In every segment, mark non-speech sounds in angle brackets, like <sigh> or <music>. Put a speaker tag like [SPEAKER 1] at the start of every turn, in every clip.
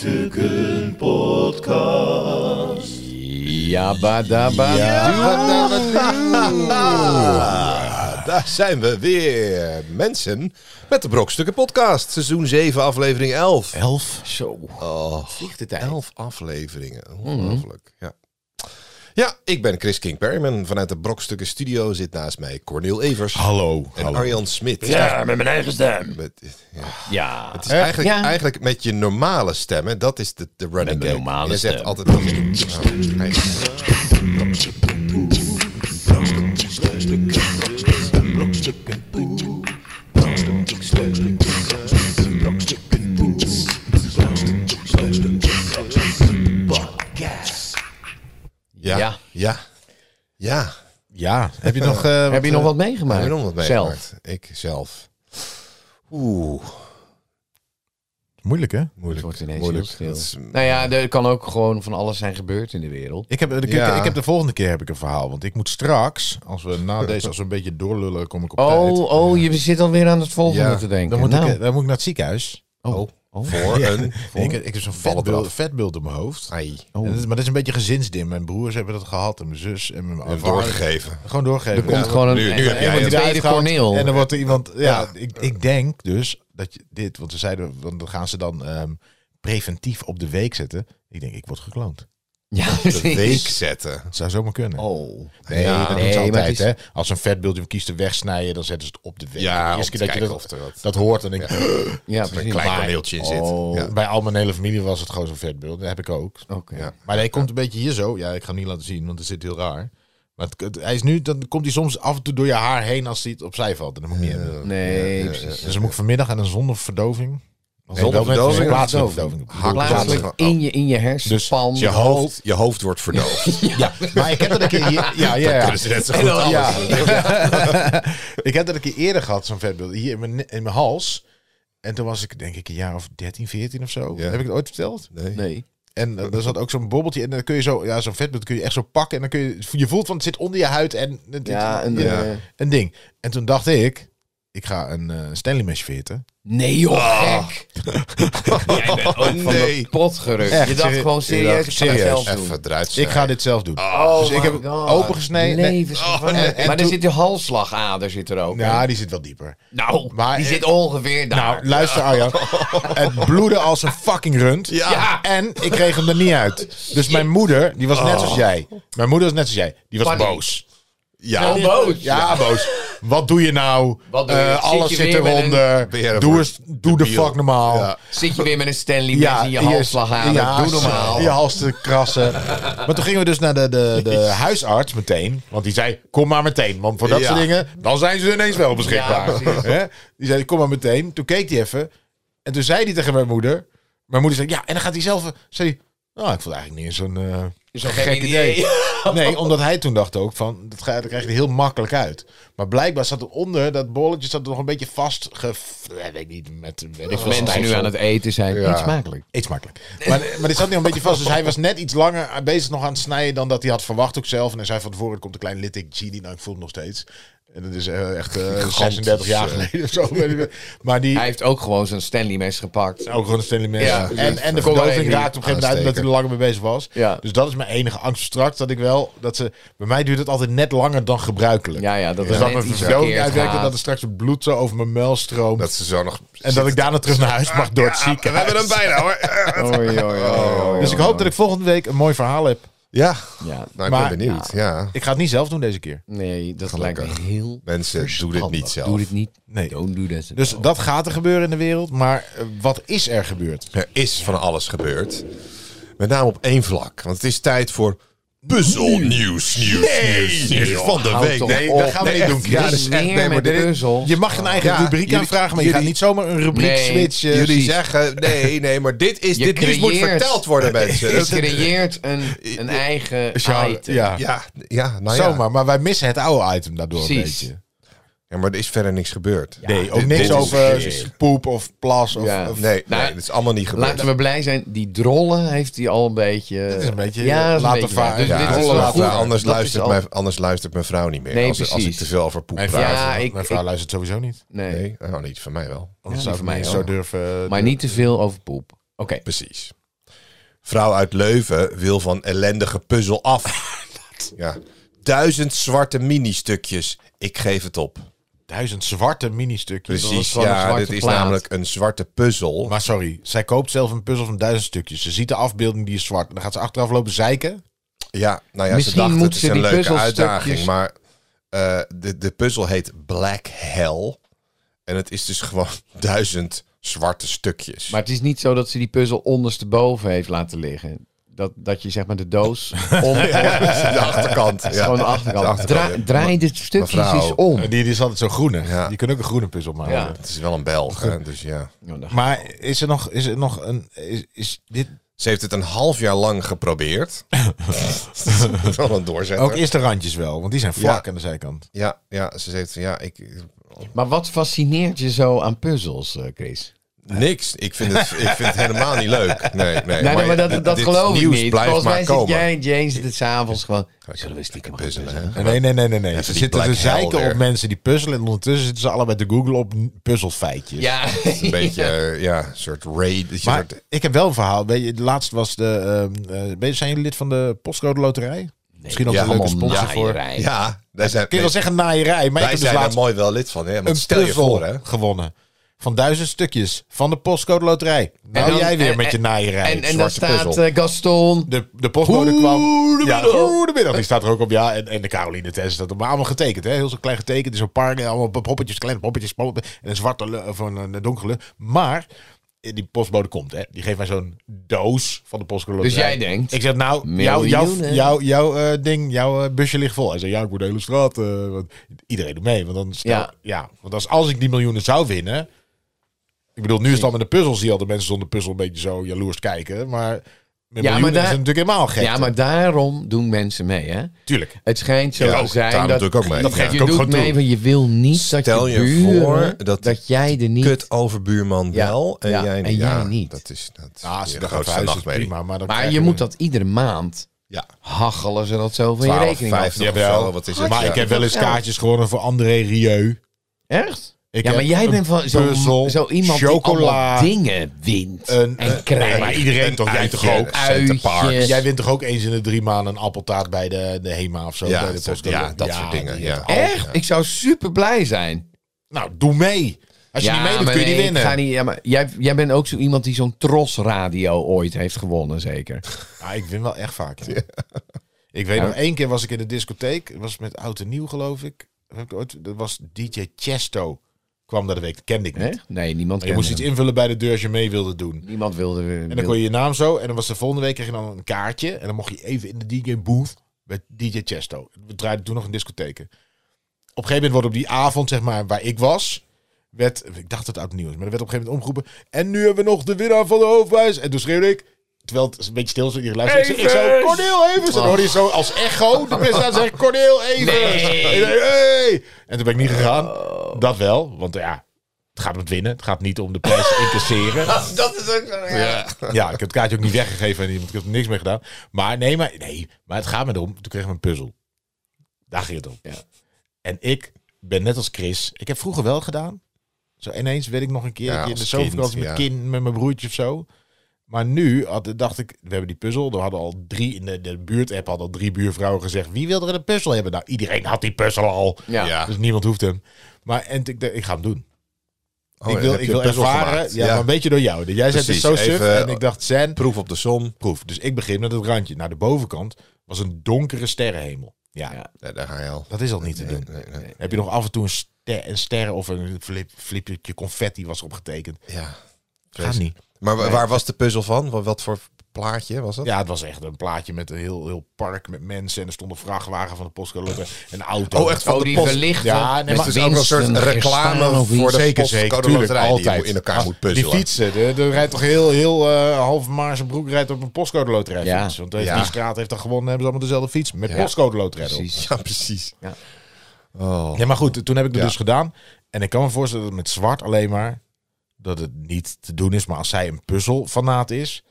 [SPEAKER 1] Brokstukken Podcast.
[SPEAKER 2] Ja, badaba. Oh. Daar zijn we weer, mensen, met de Brokstukken Podcast. Seizoen 7, aflevering 11.
[SPEAKER 1] Elf.
[SPEAKER 3] Zo.
[SPEAKER 2] Oh,
[SPEAKER 3] Vliegde tijd.
[SPEAKER 2] 11 afleveringen. Ongelooflijk, ja. Ja, ik ben Chris King Perryman. Vanuit de Brokstukken Studio zit naast mij Cornel Evers.
[SPEAKER 1] Hallo.
[SPEAKER 2] En
[SPEAKER 1] hallo.
[SPEAKER 2] Arjan Smit.
[SPEAKER 3] Ja, met mijn eigen stem.
[SPEAKER 2] Met- ja.
[SPEAKER 3] Ja.
[SPEAKER 1] Eh,
[SPEAKER 2] Het is eigenlijk,
[SPEAKER 3] Ja.
[SPEAKER 2] eigenlijk met je normale stemmen, dat is de, de running
[SPEAKER 3] Met mijn
[SPEAKER 2] gag.
[SPEAKER 3] normale
[SPEAKER 2] Je zegt
[SPEAKER 3] stem.
[SPEAKER 2] altijd... Oh, nee. Ja, ja,
[SPEAKER 3] Ja.
[SPEAKER 2] ja. ja.
[SPEAKER 1] Ja, heb je nog... eh,
[SPEAKER 3] Heb je nog
[SPEAKER 1] eh,
[SPEAKER 3] wat meegemaakt?
[SPEAKER 2] Heb je nog wat meegemaakt?
[SPEAKER 3] Zelf.
[SPEAKER 2] Ik zelf. Oeh,
[SPEAKER 1] Moeilijk, hè?
[SPEAKER 2] moeilijk.
[SPEAKER 3] Het wordt ineens
[SPEAKER 2] moeilijk.
[SPEAKER 3] heel stil.
[SPEAKER 2] Dat is- eh,
[SPEAKER 3] Nou ja, er kan ook gewoon van alles zijn gebeurd in de wereld.
[SPEAKER 1] Ik heb, ik,
[SPEAKER 2] Ja.
[SPEAKER 1] ik, ik heb de volgende keer heb ik een verhaal. Want ik moet straks, als we na deze, als we een beetje doorlullen, kom ik op tijd.
[SPEAKER 3] Oh, oh, je zit alweer aan het volgende
[SPEAKER 2] Ja,
[SPEAKER 3] te denken.
[SPEAKER 1] Dan moet,
[SPEAKER 3] nou,
[SPEAKER 1] ik, eh, dan moet ik naar het ziekenhuis.
[SPEAKER 3] oh, oh.
[SPEAKER 2] Voor
[SPEAKER 1] <laughs> Ja.
[SPEAKER 2] een...
[SPEAKER 1] Ik, ik heb zo'n
[SPEAKER 2] Vallen eraf.
[SPEAKER 1] vetbeeld, vetbeeld op mijn hoofd.
[SPEAKER 2] Ai,
[SPEAKER 3] Oh.
[SPEAKER 1] En dat is- maar dat is een beetje gezinsdin. Mijn broers hebben dat gehad. En mijn zus en mijn vader. <laughs>
[SPEAKER 2] doorgegeven.
[SPEAKER 1] Gewoon doorgeven.
[SPEAKER 3] Er komt
[SPEAKER 1] Ja.
[SPEAKER 3] gewoon een,
[SPEAKER 2] nu- nu heb jij
[SPEAKER 3] een
[SPEAKER 2] het.
[SPEAKER 3] tweede
[SPEAKER 1] Uitgaat
[SPEAKER 3] Corneel.
[SPEAKER 1] En dan wordt er iemand. Ja,
[SPEAKER 2] Ja.
[SPEAKER 1] Ik, ik denk dus dat je dit, want ze zeiden, want dan gaan ze dan ehm, preventief op de week zetten. Ik denk, ik word gekloond.
[SPEAKER 3] <laughs> ja,
[SPEAKER 2] De week zetten.
[SPEAKER 1] Het zou zomaar kunnen.
[SPEAKER 3] Oh.
[SPEAKER 1] Nee,
[SPEAKER 2] Ja,
[SPEAKER 1] dat
[SPEAKER 3] nee,
[SPEAKER 1] doen ze
[SPEAKER 3] maar
[SPEAKER 1] altijd.
[SPEAKER 3] het is-
[SPEAKER 1] Hè? Als ze een vetbeeldje kiest te wegsnijden, dan zetten ze het op de week.
[SPEAKER 2] Ja,
[SPEAKER 1] De
[SPEAKER 2] om
[SPEAKER 1] eerste
[SPEAKER 2] te
[SPEAKER 1] keer dat je
[SPEAKER 2] kijken
[SPEAKER 1] dat,
[SPEAKER 2] of er wat...
[SPEAKER 1] dat hoort, dan denk ik,
[SPEAKER 3] Ja,
[SPEAKER 2] een
[SPEAKER 3] precies.
[SPEAKER 2] klein
[SPEAKER 3] Maar-
[SPEAKER 2] paneeltje in zit.
[SPEAKER 3] Oh,
[SPEAKER 2] Ja. Oh.
[SPEAKER 1] bij al mijn hele familie was het gewoon zo'n vetbeeld. Dat heb ik ook.
[SPEAKER 3] Oké.
[SPEAKER 2] Ja.
[SPEAKER 1] Maar hij komt een beetje hier zo. Ja, ik ga hem niet laten zien, want het zit heel raar. Maar het, het- hij is nu, dan komt hij soms af en toe door je haar heen als hij het opzij valt. En dat moet ik niet hebben.
[SPEAKER 3] Nee,
[SPEAKER 2] Ja, ja,
[SPEAKER 3] precies.
[SPEAKER 1] Dus dan moet ik vanmiddag aan een zonder verdoving.
[SPEAKER 2] Zonder verdoving?
[SPEAKER 1] Plaatselijke verdoving.
[SPEAKER 2] Haak-
[SPEAKER 3] Plaatselijk
[SPEAKER 2] Plaatselijk.
[SPEAKER 3] in je, in je hersenpan.
[SPEAKER 2] Dus je
[SPEAKER 1] Oh.
[SPEAKER 2] hoofd, je hoofd
[SPEAKER 1] <laughs>
[SPEAKER 2] wordt verdoofd.
[SPEAKER 1] Ja, maar ik heb dat een keer... hier- Ja, ja, ja.
[SPEAKER 2] Dat is net zo goed
[SPEAKER 1] <laughs> Oh, Ja.
[SPEAKER 2] alles.
[SPEAKER 1] <laughs> ik heb dat een keer eerder gehad, zo'n vetbeeld. Hier in mijn, ne- in mijn hals. En toen was ik denk ik een jaar of 13, 14 of zo.
[SPEAKER 2] Ja.
[SPEAKER 1] Heb ik het ooit verteld?
[SPEAKER 2] Nee.
[SPEAKER 3] Nee.
[SPEAKER 1] En eh, er zat ook zo'n bobbeltje. En dan kun je zo, ja, zo'n vetbeeld kun je echt zo pakken. En dan kun je, je voelt, want het zit onder je huid. En het-
[SPEAKER 3] Ja, en,
[SPEAKER 2] Ja.
[SPEAKER 3] eh,
[SPEAKER 1] een ding. En toen dacht ik, ik ga een eh, Stanley Mesh veerten.
[SPEAKER 3] nee joh,
[SPEAKER 2] Ah.
[SPEAKER 3] gek. Jij
[SPEAKER 1] <laughs>
[SPEAKER 3] bent ook van
[SPEAKER 2] oh, nee.
[SPEAKER 3] de pot gerukt.
[SPEAKER 1] Echt,
[SPEAKER 3] je dacht
[SPEAKER 1] serie-
[SPEAKER 3] gewoon serieus, ik ga het
[SPEAKER 1] serieus.
[SPEAKER 3] zelf doen.
[SPEAKER 2] Even eruit
[SPEAKER 1] Ik ga dit zelf doen. dus ik heb
[SPEAKER 3] open
[SPEAKER 1] opengesneden. Nee. en- en
[SPEAKER 3] maar er
[SPEAKER 1] toen-
[SPEAKER 3] zit de halsslagader zit er ook.
[SPEAKER 1] Ja, die zit wel dieper.
[SPEAKER 3] nou,
[SPEAKER 1] maar-
[SPEAKER 3] die zit ongeveer daar.
[SPEAKER 1] Nou, luister <laughs> Arjan. Het bloedde als een fucking rund.
[SPEAKER 2] Ja.
[SPEAKER 3] Ja.
[SPEAKER 1] <laughs> En ik kreeg hem er niet uit. Dus mijn moeder, die was net
[SPEAKER 3] Oh.
[SPEAKER 1] als jij. Mijn moeder was net als jij. Die was
[SPEAKER 3] Paniek.
[SPEAKER 1] boos.
[SPEAKER 2] Ja,
[SPEAKER 3] Oh, boos.
[SPEAKER 1] Ja, boos. Wat doe je nou?
[SPEAKER 3] Wat doe je?
[SPEAKER 1] Eh,
[SPEAKER 3] Zit
[SPEAKER 1] alles
[SPEAKER 3] je
[SPEAKER 1] zit
[SPEAKER 3] weer met
[SPEAKER 1] eronder.
[SPEAKER 2] een-
[SPEAKER 1] Doe, eens, doe de
[SPEAKER 2] Debiel.
[SPEAKER 1] fuck normaal.
[SPEAKER 2] Ja.
[SPEAKER 3] Zit je weer met een Stanley mes in je
[SPEAKER 1] hier is-
[SPEAKER 3] halsslagader.
[SPEAKER 1] ja,
[SPEAKER 3] Doe normaal.
[SPEAKER 1] Je hals te krassen. maar toen gingen we dus naar de, de, de huisarts meteen. Want die zei, kom maar meteen. Want voor dat
[SPEAKER 2] Ja.
[SPEAKER 1] soort dingen, dan zijn ze ineens wel
[SPEAKER 3] Ja,
[SPEAKER 1] beschikbaar.
[SPEAKER 3] precies.
[SPEAKER 1] Hè? die zei, kom maar meteen. Toen keek hij even. En toen zei hij tegen mijn moeder. Mijn moeder zei, ja, en dan gaat hij zelf... eh," Zei hij, nou, ik vond het eigenlijk niet eens zo'n... eh,
[SPEAKER 3] Zo'n
[SPEAKER 1] gek idee. Nee, omdat hij toen dacht ook van, dat, ga, dat krijg je er heel makkelijk uit. Maar blijkbaar zat eronder, dat bolletje zat er nog een beetje vast. weet ik niet, met weet ik veel,
[SPEAKER 3] Mensen nu
[SPEAKER 1] stijfsel.
[SPEAKER 3] aan het eten zijn.
[SPEAKER 2] Ja.
[SPEAKER 3] Niet smakelijk.
[SPEAKER 1] Iets makkelijk. Maar, maar dit zat nu een beetje vast. Dus hij was net iets langer bezig nog aan het snijden dan dat hij had verwacht ook zelf. En hij zei van tevoren, er komt een klein littek G. Nou, ik voel hem nog steeds. En dat is eh, echt eh, 36 jaar geleden of zo.
[SPEAKER 3] <laughs>
[SPEAKER 1] weet ik wel. Maar die...
[SPEAKER 3] Hij heeft ook gewoon zijn Stanley mes gepakt.
[SPEAKER 1] Ook gewoon een Stanley Mes.
[SPEAKER 3] Ja,
[SPEAKER 1] en, en de
[SPEAKER 3] Kom maar
[SPEAKER 1] verdoving
[SPEAKER 3] even.
[SPEAKER 1] raakt op een gegeven moment uit
[SPEAKER 2] Aansteken.
[SPEAKER 1] omdat hij er langer mee bezig was.
[SPEAKER 3] Ja.
[SPEAKER 1] Dus dat is mijn enige angst straks. Dat ik wel, dat ze, bij mij duurt het altijd net langer dan gebruikelijk.
[SPEAKER 3] Ja, ja, dat
[SPEAKER 1] dus
[SPEAKER 3] is
[SPEAKER 1] dat
[SPEAKER 3] net
[SPEAKER 1] mijn
[SPEAKER 3] iets
[SPEAKER 1] verdoving
[SPEAKER 3] verkeerd
[SPEAKER 1] uitwerkt en
[SPEAKER 3] gaat.
[SPEAKER 1] dat er straks het bloed zo over mijn muil stroomt.
[SPEAKER 2] Dat ze zo nog...
[SPEAKER 1] en dat ik daarna terug naar huis mag door het
[SPEAKER 2] We
[SPEAKER 1] ziekenhuis.
[SPEAKER 2] hebben hem bijna hoor.
[SPEAKER 1] <laughs>
[SPEAKER 3] Oei, oei, oei, oei, oei.
[SPEAKER 1] Dus ik hoop dat ik volgende week een mooi verhaal heb.
[SPEAKER 2] Ja,
[SPEAKER 3] Ja,
[SPEAKER 2] nou, ik
[SPEAKER 1] Maar-
[SPEAKER 2] ben benieuwd. Ja.
[SPEAKER 1] Ik ga het niet zelf doen deze keer.
[SPEAKER 3] nee, dat lijkt
[SPEAKER 2] Gelukkig.
[SPEAKER 3] me heel
[SPEAKER 2] Mensen, doe dit
[SPEAKER 3] handig.
[SPEAKER 2] niet zelf.
[SPEAKER 3] Doe dit niet.
[SPEAKER 1] Nee.
[SPEAKER 3] Don't do that.
[SPEAKER 1] Dus dat gaat er gebeuren in de wereld. Maar eh, wat is er gebeurd?
[SPEAKER 2] Er is van alles gebeurd. Met name op één vlak. Want het is tijd voor puzzelnieuws. Nieuws, nieuws, nieuws van de
[SPEAKER 3] Hou
[SPEAKER 2] week.
[SPEAKER 3] toch
[SPEAKER 2] Nee,
[SPEAKER 3] op.
[SPEAKER 2] dat gaan we
[SPEAKER 1] Nee,
[SPEAKER 2] niet doen.
[SPEAKER 1] echt,
[SPEAKER 2] Ja,
[SPEAKER 1] niet
[SPEAKER 2] dat is echt...
[SPEAKER 3] meer
[SPEAKER 2] Nee, maar
[SPEAKER 3] met
[SPEAKER 2] dit,
[SPEAKER 3] puzzels.
[SPEAKER 1] Je mag een eigen
[SPEAKER 2] Ja,
[SPEAKER 1] rubriek
[SPEAKER 2] jullie-
[SPEAKER 1] aanvragen, maar je
[SPEAKER 2] jullie-
[SPEAKER 1] gaat niet zomaar een rubriek
[SPEAKER 3] Nee,
[SPEAKER 1] switchen.
[SPEAKER 2] jullie
[SPEAKER 3] Precies.
[SPEAKER 2] zeggen... Nee, nee, maar dit,
[SPEAKER 3] <laughs>
[SPEAKER 2] is,
[SPEAKER 3] Je
[SPEAKER 2] dit nieuws moet
[SPEAKER 3] creëert-
[SPEAKER 2] verteld worden,
[SPEAKER 3] <laughs>
[SPEAKER 2] mensen.
[SPEAKER 3] Je
[SPEAKER 2] Dat-
[SPEAKER 3] creëert een, een eigen
[SPEAKER 1] Ja,
[SPEAKER 3] item.
[SPEAKER 1] ja.
[SPEAKER 2] Ja, ja, nou ja.
[SPEAKER 1] zomaar. Maar wij missen het oude item daardoor
[SPEAKER 3] Precies.
[SPEAKER 1] een beetje.
[SPEAKER 2] Ja, maar er is verder niks gebeurd.
[SPEAKER 1] Nee, ook
[SPEAKER 2] dit-
[SPEAKER 1] niks
[SPEAKER 2] dit is
[SPEAKER 1] over
[SPEAKER 2] shit.
[SPEAKER 1] poep of plas. Of,
[SPEAKER 3] Ja.
[SPEAKER 1] of-
[SPEAKER 2] Nee,
[SPEAKER 3] Nou,
[SPEAKER 2] nee, het is allemaal niet gebeurd.
[SPEAKER 3] Laten we blij zijn, die drollen heeft hij al een beetje...
[SPEAKER 1] Dit is een beetje,
[SPEAKER 3] Ja, dat is
[SPEAKER 1] laten
[SPEAKER 3] een beetje
[SPEAKER 1] varen.
[SPEAKER 3] waar. Dus
[SPEAKER 1] Ja,
[SPEAKER 3] dit is
[SPEAKER 1] rollen
[SPEAKER 3] wel
[SPEAKER 1] laten
[SPEAKER 3] goed.
[SPEAKER 1] varen.
[SPEAKER 2] anders,
[SPEAKER 3] Dat is
[SPEAKER 2] luistert
[SPEAKER 3] al-
[SPEAKER 2] mijn, anders luistert mijn vrouw niet meer.
[SPEAKER 3] Nee,
[SPEAKER 2] als, als ik
[SPEAKER 3] precies.
[SPEAKER 2] te veel over poep
[SPEAKER 1] Mijn
[SPEAKER 2] praat.
[SPEAKER 1] vrouw,
[SPEAKER 3] Ja, ik-
[SPEAKER 1] mijn vrouw
[SPEAKER 3] ik-
[SPEAKER 1] luistert sowieso niet.
[SPEAKER 3] Nee,
[SPEAKER 2] Nee, nou niet van mij wel.
[SPEAKER 1] Anders
[SPEAKER 3] die
[SPEAKER 1] zou ik
[SPEAKER 3] van mij
[SPEAKER 1] mij
[SPEAKER 3] ook.
[SPEAKER 1] zo durven. eh,
[SPEAKER 3] maar niet te veel over poep. Oké,
[SPEAKER 2] Precies. Vrouw uit Leuven wil van ellendige puzzel af. ja. Duizend zwarte mini-stukjes. Ik geef het op.
[SPEAKER 1] Duizend zwarte mini-stukjes.
[SPEAKER 3] was
[SPEAKER 2] Precies,
[SPEAKER 3] gewoon een
[SPEAKER 2] ja,
[SPEAKER 3] zwarte
[SPEAKER 2] dit is
[SPEAKER 3] plaat.
[SPEAKER 2] namelijk een zwarte puzzel.
[SPEAKER 1] Maar sorry, zij koopt zelf een puzzel van duizend stukjes. Ze ziet de afbeelding, die is zwart. Dan gaat ze achteraf lopen zeiken.
[SPEAKER 2] Ja, nou ja,
[SPEAKER 3] Misschien
[SPEAKER 2] ze dachten het
[SPEAKER 3] moeten
[SPEAKER 2] is
[SPEAKER 3] ze
[SPEAKER 2] een
[SPEAKER 3] die
[SPEAKER 2] leuke
[SPEAKER 3] puzzelstukjes-
[SPEAKER 2] uitdaging, maar eh, de, de puzzel heet Black Hell. En het is dus gewoon duizend zwarte stukjes.
[SPEAKER 3] Maar het is niet zo dat ze die puzzel ondersteboven heeft laten liggen. Dat, dat je zeg maar de doos om...
[SPEAKER 2] de achterkant.
[SPEAKER 3] is gewoon de achterkant. Dra-
[SPEAKER 2] ja.
[SPEAKER 3] draai dit stukjes
[SPEAKER 2] mevrouw.
[SPEAKER 3] eens om.
[SPEAKER 1] Die, die is altijd zo groenig.
[SPEAKER 2] Ja.
[SPEAKER 1] Je kunt ook een groene puzzel maken.
[SPEAKER 3] Ja.
[SPEAKER 2] Het is wel een Belg, hè, dus ja.
[SPEAKER 1] Maar is er nog, is er nog een... Is, is dit
[SPEAKER 2] Ze heeft het een half jaar
[SPEAKER 3] <laughs>
[SPEAKER 2] lang geprobeerd. Dat is wel een doorzetter.
[SPEAKER 1] ook eerst de randjes wel? Want die zijn vlak
[SPEAKER 2] Ja.
[SPEAKER 1] aan de zijkant.
[SPEAKER 2] Ja, ja, ze zegt van ja, ik,
[SPEAKER 3] Maar wat fascineert je zo aan puzzels, eh, Chris?
[SPEAKER 2] Niks. Ik vind het, ik vind het helemaal niet leuk. Nee, nee.
[SPEAKER 3] Nee, nee, maar dat,
[SPEAKER 2] dit-
[SPEAKER 3] dat
[SPEAKER 2] eh, dit
[SPEAKER 3] geloof ik
[SPEAKER 2] nieuws
[SPEAKER 3] niet.
[SPEAKER 2] blijft
[SPEAKER 3] Volgens
[SPEAKER 2] maar
[SPEAKER 3] mij zit
[SPEAKER 2] komen.
[SPEAKER 3] jij en James het s'avonds gewoon...
[SPEAKER 2] ik
[SPEAKER 3] Zullen we stiekem gaan
[SPEAKER 2] puzzelen,
[SPEAKER 3] puzzelen?
[SPEAKER 2] hè?
[SPEAKER 1] Nee, nee, nee, nee. nee. ze
[SPEAKER 2] die
[SPEAKER 1] zitten
[SPEAKER 2] black
[SPEAKER 1] te
[SPEAKER 2] hell
[SPEAKER 1] zeiken
[SPEAKER 2] weer.
[SPEAKER 1] op mensen die puzzelen. En ondertussen zitten ze allebei te googlen op n- puzzelfeitjes.
[SPEAKER 3] Ja. <laughs>
[SPEAKER 2] Een beetje, eh, ja, een soort raid. een
[SPEAKER 1] Maar
[SPEAKER 2] soort-
[SPEAKER 1] ik heb wel een verhaal. Weet je, de laatste was de... ehm, eh, weet je, zijn jullie lid van de Postcode Loterij? Misschien ook
[SPEAKER 2] Ja,
[SPEAKER 1] een eh, leuke
[SPEAKER 2] allemaal
[SPEAKER 1] sponsor voor.
[SPEAKER 3] naaierij.
[SPEAKER 2] ja, daar zijn,
[SPEAKER 1] Kun je wel zeggen naaierij, maar ik
[SPEAKER 2] wij
[SPEAKER 1] heb dus
[SPEAKER 2] zijn daar
[SPEAKER 1] laatst
[SPEAKER 2] mooi wel lid van. Hè?
[SPEAKER 1] een
[SPEAKER 2] Want stel je
[SPEAKER 1] puzzel
[SPEAKER 2] voor, hè.
[SPEAKER 1] gewonnen. Van duizend stukjes van de postcode loterij. Nou
[SPEAKER 3] dan-
[SPEAKER 1] jij weer
[SPEAKER 3] en-
[SPEAKER 1] met je
[SPEAKER 3] en-
[SPEAKER 1] naaierij.
[SPEAKER 3] En, en dan
[SPEAKER 1] zwarte
[SPEAKER 3] staat
[SPEAKER 1] puzzel.
[SPEAKER 3] eh, Gaston...
[SPEAKER 1] de, de postcode kwam. Ja,
[SPEAKER 3] Goedemiddag.
[SPEAKER 1] goedemiddag. Die staat er ook op. Ja, en, en de Caroline Tess. Dat maar allemaal getekend. Hè? Heel zo klein getekend. in Zo'n park. en Allemaal poppetjes, kleine poppetjes. poppetjes en een zwarte lu- of een, een donkere. Maar eh, die postbode komt. Hè? Die geeft mij zo'n doos van de postcode
[SPEAKER 3] Dus
[SPEAKER 1] loterij.
[SPEAKER 3] jij denkt,
[SPEAKER 1] Ik zeg, nou, jouw jou,
[SPEAKER 3] Miljoenen.
[SPEAKER 1] jou, jou, eh, ding, jouw eh, busje ligt vol. Hij zei, ja, ik moet de hele straat. eh, want iedereen doet mee. Want, dan stel- ja.
[SPEAKER 3] Ja.
[SPEAKER 1] want als, als ik die miljoenen zou winnen... Ik bedoel, nu is het al met de puzzels. Zie je al de mensen zonder puzzel een beetje zo jaloers kijken. Maar met miljoenen
[SPEAKER 3] maar daar-
[SPEAKER 1] is het natuurlijk helemaal gek.
[SPEAKER 3] ja, maar daarom doen mensen mee, hè?
[SPEAKER 1] Tuurlijk.
[SPEAKER 3] Het schijnt zo
[SPEAKER 2] Ja,
[SPEAKER 3] te
[SPEAKER 2] ook, daarom
[SPEAKER 3] zijn dat,
[SPEAKER 2] doe ik ook mee.
[SPEAKER 1] Dat
[SPEAKER 2] Dat
[SPEAKER 1] geeft
[SPEAKER 2] geeft
[SPEAKER 1] ik
[SPEAKER 3] je
[SPEAKER 1] ook
[SPEAKER 3] doet
[SPEAKER 1] gewoon toe.
[SPEAKER 3] mee, want je wil niet
[SPEAKER 2] Stel
[SPEAKER 3] dat je
[SPEAKER 2] je
[SPEAKER 3] buren,
[SPEAKER 2] voor dat
[SPEAKER 3] dat, jij er niet...
[SPEAKER 2] Kut overbuurman
[SPEAKER 3] Ja.
[SPEAKER 2] wel en,
[SPEAKER 3] Ja,
[SPEAKER 2] jij,
[SPEAKER 3] en
[SPEAKER 2] ja,
[SPEAKER 3] jij niet.
[SPEAKER 2] Dat is dat is
[SPEAKER 1] Ja, als je
[SPEAKER 2] de
[SPEAKER 1] dat gaat
[SPEAKER 2] grootste
[SPEAKER 1] verhuizen,
[SPEAKER 2] nachtmerrie.
[SPEAKER 1] prima. Maar, dan
[SPEAKER 3] Maar
[SPEAKER 1] krijg
[SPEAKER 3] je moet dat iedere maand
[SPEAKER 2] Ja,
[SPEAKER 3] hachelen, zodat zo van je rekening af.
[SPEAKER 2] 12,50 of
[SPEAKER 1] Jawel.
[SPEAKER 2] zo, wat is het?
[SPEAKER 1] Maar
[SPEAKER 2] Ja.
[SPEAKER 1] ik heb wel eens kaartjes gewonnen voor André Rieu.
[SPEAKER 3] Echt?
[SPEAKER 1] Ik
[SPEAKER 3] ja, maar
[SPEAKER 1] heb
[SPEAKER 3] jij
[SPEAKER 1] een
[SPEAKER 3] bent van zo,
[SPEAKER 1] puzzel,
[SPEAKER 3] zo iemand die
[SPEAKER 1] chocola,
[SPEAKER 3] allemaal dingen wint
[SPEAKER 1] een-
[SPEAKER 3] en
[SPEAKER 1] een-
[SPEAKER 3] krijgt.
[SPEAKER 1] nee, maar iedereen
[SPEAKER 2] Een
[SPEAKER 1] toch? Jij toch
[SPEAKER 2] uitje,
[SPEAKER 1] ook?
[SPEAKER 2] een centerpark.
[SPEAKER 3] Uitjes.
[SPEAKER 1] Jij wint toch ook eens in de drie maanden een appeltaart bij de, de HEMA of zo?
[SPEAKER 2] Ja,
[SPEAKER 1] bij de
[SPEAKER 2] dat-
[SPEAKER 1] postcode?
[SPEAKER 2] ja, dat soort dingen,
[SPEAKER 1] die
[SPEAKER 2] ja.
[SPEAKER 1] heeft al-
[SPEAKER 3] Echt? Ik zou super blij zijn.
[SPEAKER 1] Nou, doe mee. Als je niet meedoet,
[SPEAKER 3] maar
[SPEAKER 1] kun je niet
[SPEAKER 3] nee, ik
[SPEAKER 1] winnen.
[SPEAKER 3] ga niet- ja, maar jij, jij bent ook zo iemand die zo'n trosradio ooit heeft gewonnen, zeker.
[SPEAKER 1] Ja, ik win wel echt vaak. ja. <laughs> Ik weet nog, één keer was ik in de discotheek. Het was met Oud en Nieuw, geloof ik. Heb ik ooit- Dat was DJ Chesto. Kwam daar de week. Dat kende ik niet.
[SPEAKER 3] Hè? Nee, niemand
[SPEAKER 1] Maar je
[SPEAKER 3] kende
[SPEAKER 1] moest iets
[SPEAKER 3] hem.
[SPEAKER 1] invullen bij de deur als je mee wilde doen.
[SPEAKER 3] Niemand wilde...
[SPEAKER 1] En dan kon je je naam zo. En dan was de volgende week kreeg je dan een kaartje. En dan mocht je even in de DJ booth met DJ Chesto. We draaiden toen nog in discotheken. Op een gegeven moment wordt op die avond, zeg maar, waar ik was... Werd, ik dacht dat het oud nieuws, maar er werd op een gegeven moment omgeroepen. En nu hebben we nog de winnaar van de hoofdprijs. En toen schreeuwde ik, terwijl het een beetje stil is, iedereen luisterde. Ik zei, ik zei, Corneel Evers. En dan hoorde je zo als echo de presentatie zeggen, Corneel Evers. En, ik zei, hey. en toen ben ik niet gegaan. Dat wel, want ja, het gaat om het winnen. Het gaat niet om de prijs incasseren.
[SPEAKER 3] Dat is ook zo, ja.
[SPEAKER 1] <laughs> Ja, ik heb het kaartje ook niet weggegeven aan iemand. Ik heb er niks mee gedaan. Maar nee, maar, nee, maar het gaat me erom. Toen kregen we een puzzel. Daar ging het om.
[SPEAKER 3] Ja.
[SPEAKER 1] En ik ben net als Chris. Ik heb vroeger wel gedaan. Zo ineens weet ik nog een keer.
[SPEAKER 2] Ja,
[SPEAKER 1] dat je
[SPEAKER 2] als
[SPEAKER 1] in de zomervakantie
[SPEAKER 2] kind,
[SPEAKER 1] met
[SPEAKER 2] ja.
[SPEAKER 1] kind, met mijn broertje of zo. Maar nu had, dacht ik, we hebben die puzzel. Er hadden al drie in de, de buurt-app hadden al drie buurvrouwen gezegd: wie wil er een puzzel hebben? Nou, iedereen had die puzzel al.
[SPEAKER 3] Ja.
[SPEAKER 2] Ja.
[SPEAKER 1] Dus niemand hoeft hem. Maar en ik, dacht, ik ga hem doen.
[SPEAKER 2] Oh,
[SPEAKER 1] ik
[SPEAKER 2] ja,
[SPEAKER 1] wil,
[SPEAKER 2] heb
[SPEAKER 1] ik
[SPEAKER 2] je
[SPEAKER 1] wil
[SPEAKER 2] een puzzel
[SPEAKER 1] ervaren.
[SPEAKER 2] gemaakt.
[SPEAKER 1] Ja, maar een beetje door jou. Jij zei het is
[SPEAKER 2] Precies,
[SPEAKER 1] zo suf.
[SPEAKER 2] even-
[SPEAKER 1] En ik dacht, Zen,
[SPEAKER 2] Proef op de som.
[SPEAKER 1] proef. Dus ik begin met het randje. Naar de bovenkant was een donkere sterrenhemel. Ja,
[SPEAKER 3] Ja.
[SPEAKER 2] Ja, daar ga je al.
[SPEAKER 1] dat is al niet te
[SPEAKER 2] Nee,
[SPEAKER 1] doen.
[SPEAKER 2] nee, nee.
[SPEAKER 1] Heb je nog af en toe een ster, een ster of een flip, flipje confetti was erop getekend?
[SPEAKER 2] Ja.
[SPEAKER 1] Gaat niet.
[SPEAKER 2] Maar wa- waar was de puzzel van? Wa- Wat voor plaatje was dat?
[SPEAKER 1] Ja, het was echt een plaatje met een heel, heel park met mensen. En er stond een vrachtwagen van de postcode Lotte, een auto.
[SPEAKER 2] Oh, echt van
[SPEAKER 3] Oh,
[SPEAKER 2] de
[SPEAKER 3] die
[SPEAKER 2] post.
[SPEAKER 3] verlichten.
[SPEAKER 1] Ja, nee,
[SPEAKER 3] met
[SPEAKER 1] maar
[SPEAKER 2] Het is ook wel een soort
[SPEAKER 3] winsten,
[SPEAKER 2] reclame
[SPEAKER 3] gestaan of iets.
[SPEAKER 2] voor de zeker,
[SPEAKER 1] Zeker, zeker.
[SPEAKER 2] postcode
[SPEAKER 1] Tuurlijk,
[SPEAKER 2] loterij die je
[SPEAKER 1] altijd.
[SPEAKER 2] in elkaar
[SPEAKER 1] Ah,
[SPEAKER 2] moet puzzelen.
[SPEAKER 1] Die fietsen, er, er rijdt toch heel, heel eh half Maarse broek rijdt op een postcode loterij
[SPEAKER 3] Ja.
[SPEAKER 1] fiets. Want de
[SPEAKER 2] Ja.
[SPEAKER 1] die straat heeft dan gewonnen, hebben ze allemaal dezelfde fiets. Met
[SPEAKER 2] Ja.
[SPEAKER 1] postcode loterij erop.
[SPEAKER 3] Precies.
[SPEAKER 2] Ja, precies.
[SPEAKER 3] Ja.
[SPEAKER 2] Oh.
[SPEAKER 1] Ja, maar goed, toen heb ik dat
[SPEAKER 2] Ja.
[SPEAKER 1] dus gedaan. En ik kan me voorstellen dat met zwart alleen maar dat het niet te doen is. Maar als zij een puzzelfanaat is,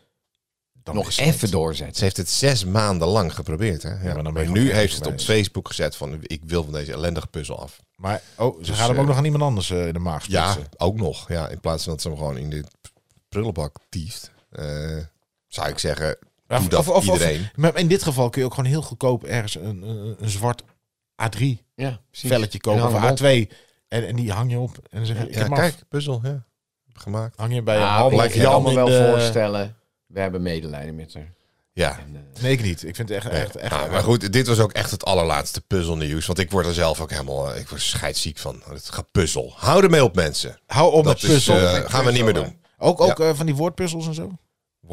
[SPEAKER 1] dan
[SPEAKER 3] Nog
[SPEAKER 1] is het niet.
[SPEAKER 3] even doorzetten.
[SPEAKER 2] Ze heeft het zes maanden lang geprobeerd. Hè? Ja.
[SPEAKER 1] maar dan ben je
[SPEAKER 2] maar
[SPEAKER 1] gewoon
[SPEAKER 2] nu
[SPEAKER 1] ergens
[SPEAKER 2] heeft ze het op
[SPEAKER 1] bij.
[SPEAKER 2] Facebook gezet van ik wil van deze ellendige puzzel af.
[SPEAKER 1] Maar oh, ze
[SPEAKER 2] Dus,
[SPEAKER 1] gaan hem ook
[SPEAKER 2] eh,
[SPEAKER 1] nog aan iemand anders eh, in de maag
[SPEAKER 2] Ja,
[SPEAKER 1] splitsen.
[SPEAKER 2] ook nog. Ja, in plaats van dat ze hem gewoon in de prullenbak tieft. Eh, zou ik zeggen,
[SPEAKER 1] Ja,
[SPEAKER 2] doe dat iedereen.
[SPEAKER 1] maar in dit geval kun je ook gewoon heel goedkoop ergens een, een, een zwart A3
[SPEAKER 3] Ja, precies.
[SPEAKER 1] velletje
[SPEAKER 3] En
[SPEAKER 1] kopen
[SPEAKER 3] hang
[SPEAKER 1] of
[SPEAKER 3] hem op.
[SPEAKER 1] A2. En, en die hang je op. En dan zeg je,
[SPEAKER 2] ja,
[SPEAKER 1] ik heb hem af.
[SPEAKER 2] kijk, puzzel, ja. Heb gemaakt.
[SPEAKER 1] Hang je bij je
[SPEAKER 3] Ja,
[SPEAKER 1] hand.
[SPEAKER 3] ik
[SPEAKER 2] lijkt je
[SPEAKER 3] kan me
[SPEAKER 1] in
[SPEAKER 3] wel
[SPEAKER 1] de-
[SPEAKER 3] voorstellen. We hebben medelijden met haar.
[SPEAKER 2] Ja.
[SPEAKER 3] En, eh,
[SPEAKER 1] Nee, ik niet. Ik vind het echt... echt, echt eh,
[SPEAKER 2] Nou, maar goed, dit was ook echt het allerlaatste puzzelnieuws. Want ik word er zelf ook helemaal, eh, ik word scheidsziek van. Oh, Het gepuzzel. Hou ermee op mensen.
[SPEAKER 1] Hou op
[SPEAKER 2] Dat
[SPEAKER 1] met
[SPEAKER 2] is, eh,
[SPEAKER 1] puzzels.
[SPEAKER 2] gaan we niet meer doen.
[SPEAKER 1] Ook, ook eh, van die woordpuzzels en zo?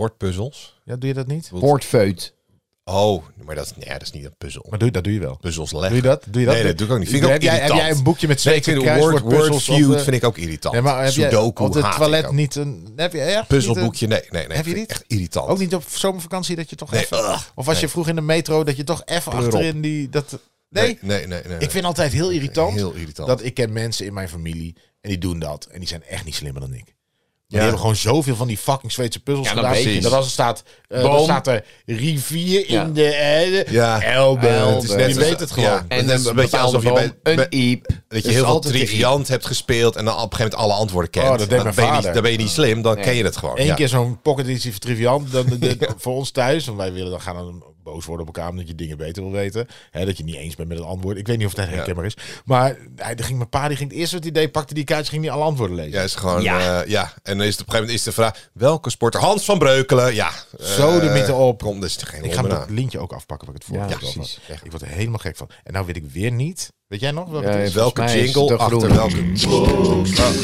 [SPEAKER 2] Woordpuzzels.
[SPEAKER 1] Ja, doe je dat niet?
[SPEAKER 3] Woordfeut.
[SPEAKER 2] Oh, maar dat, is- nee, dat is niet een puzzel.
[SPEAKER 1] Maar doe, dat doe je wel.
[SPEAKER 2] Puzzels
[SPEAKER 1] Doe
[SPEAKER 2] leggen.
[SPEAKER 1] je dat? Doe je dat?
[SPEAKER 2] Nee, dat doe ik ook niet. Vind ik ook
[SPEAKER 1] heb, jij, heb
[SPEAKER 2] irritant.
[SPEAKER 1] jij een boekje met
[SPEAKER 2] Nee, ik
[SPEAKER 1] zeven
[SPEAKER 2] vind word, word
[SPEAKER 1] woordpuzzels? of,
[SPEAKER 2] feud
[SPEAKER 1] eh,
[SPEAKER 2] vind ik ook irritant.
[SPEAKER 1] nee, maar heb jij
[SPEAKER 2] Sudoku
[SPEAKER 1] op de
[SPEAKER 2] haat ik
[SPEAKER 1] toilet
[SPEAKER 2] ook.
[SPEAKER 1] niet een... Heb je echt
[SPEAKER 2] Puzzelboekje, nee, nee, nee.
[SPEAKER 1] Heb je
[SPEAKER 2] vind ik
[SPEAKER 1] niet?
[SPEAKER 2] Echt irritant.
[SPEAKER 1] Niet een- ook niet op zomervakantie dat je toch
[SPEAKER 2] Nee,
[SPEAKER 1] even...
[SPEAKER 2] ugh.
[SPEAKER 1] Of als je
[SPEAKER 2] Nee.
[SPEAKER 1] vroeg in de metro dat je toch even
[SPEAKER 2] Kleur op.
[SPEAKER 1] achterin die... Dat, nee,
[SPEAKER 2] Nee, nee, nee. nee,
[SPEAKER 1] ik vind altijd heel irritant,
[SPEAKER 2] Heel irritant.
[SPEAKER 1] dat ik ken mensen in mijn familiie en die doen dat. En die zijn echt niet slimmer dan ik. Maar Die
[SPEAKER 2] Ja.
[SPEAKER 1] hebben gewoon zoveel van die fucking Zweedse puzzels
[SPEAKER 3] Ja, dat
[SPEAKER 1] gedaan.
[SPEAKER 3] weet je.
[SPEAKER 1] Dat als er staat, eh,
[SPEAKER 3] Boom.
[SPEAKER 1] dan staat er rivier
[SPEAKER 3] Ja.
[SPEAKER 1] in de... eh,
[SPEAKER 2] Ja.
[SPEAKER 1] Elbe.
[SPEAKER 3] Elbe.
[SPEAKER 1] Het is net
[SPEAKER 3] Je
[SPEAKER 1] als-
[SPEAKER 2] weet het gewoon.
[SPEAKER 1] ja.
[SPEAKER 2] Dat is een beetje
[SPEAKER 3] bepaalde
[SPEAKER 2] alsof je
[SPEAKER 3] boom,
[SPEAKER 2] bij- bij-
[SPEAKER 3] een iep.
[SPEAKER 2] Dat je
[SPEAKER 3] is
[SPEAKER 2] heel veel
[SPEAKER 3] altijd een iep.
[SPEAKER 2] triviant hebt gespeeld en dan op een gegeven moment alle antwoorden kent.
[SPEAKER 1] Oh, dat deed
[SPEAKER 2] dan,
[SPEAKER 1] mijn
[SPEAKER 2] ben je niet,
[SPEAKER 1] vader.
[SPEAKER 2] dan ben je niet slim, dan
[SPEAKER 3] Nee.
[SPEAKER 2] ken je het gewoon.
[SPEAKER 1] Eén
[SPEAKER 2] ja.
[SPEAKER 1] keer zo'n pocket editie van Triviant dan,
[SPEAKER 2] <laughs>
[SPEAKER 1] de- de- voor ons thuis. Want wij willen dan gaan dan boos worden op elkaar omdat je dingen beter wil weten. Hè, dat je niet eens bent met het antwoord. Ik weet niet of dat herkenbaar is. Maar hij, dan ging mijn pa, die ging het eerste wat hij deed, pakte die kaartjes, ging die alle antwoorden lezen.
[SPEAKER 2] Ja, is gewoon, ja.
[SPEAKER 3] Ja.
[SPEAKER 2] ja. En dan is het op een gegeven moment is de vraag, welke sporter? Hans van Breukelen, ja.
[SPEAKER 1] Zo de
[SPEAKER 2] Eh,
[SPEAKER 1] mythe op.
[SPEAKER 2] Kom, dus geen
[SPEAKER 1] Ik ga
[SPEAKER 2] honderd
[SPEAKER 1] dat lintje ook afpakken waar ik het
[SPEAKER 3] Ja,
[SPEAKER 1] vorige keer over
[SPEAKER 3] precies.
[SPEAKER 1] had. Ik word er helemaal gek van. En nou weet ik weer niet. Weet jij nog? Welke
[SPEAKER 3] Ja,
[SPEAKER 1] het is?
[SPEAKER 2] aan. Welke
[SPEAKER 3] Volgens mij is het
[SPEAKER 2] jingle
[SPEAKER 3] de
[SPEAKER 2] achter
[SPEAKER 3] groene.
[SPEAKER 2] welke...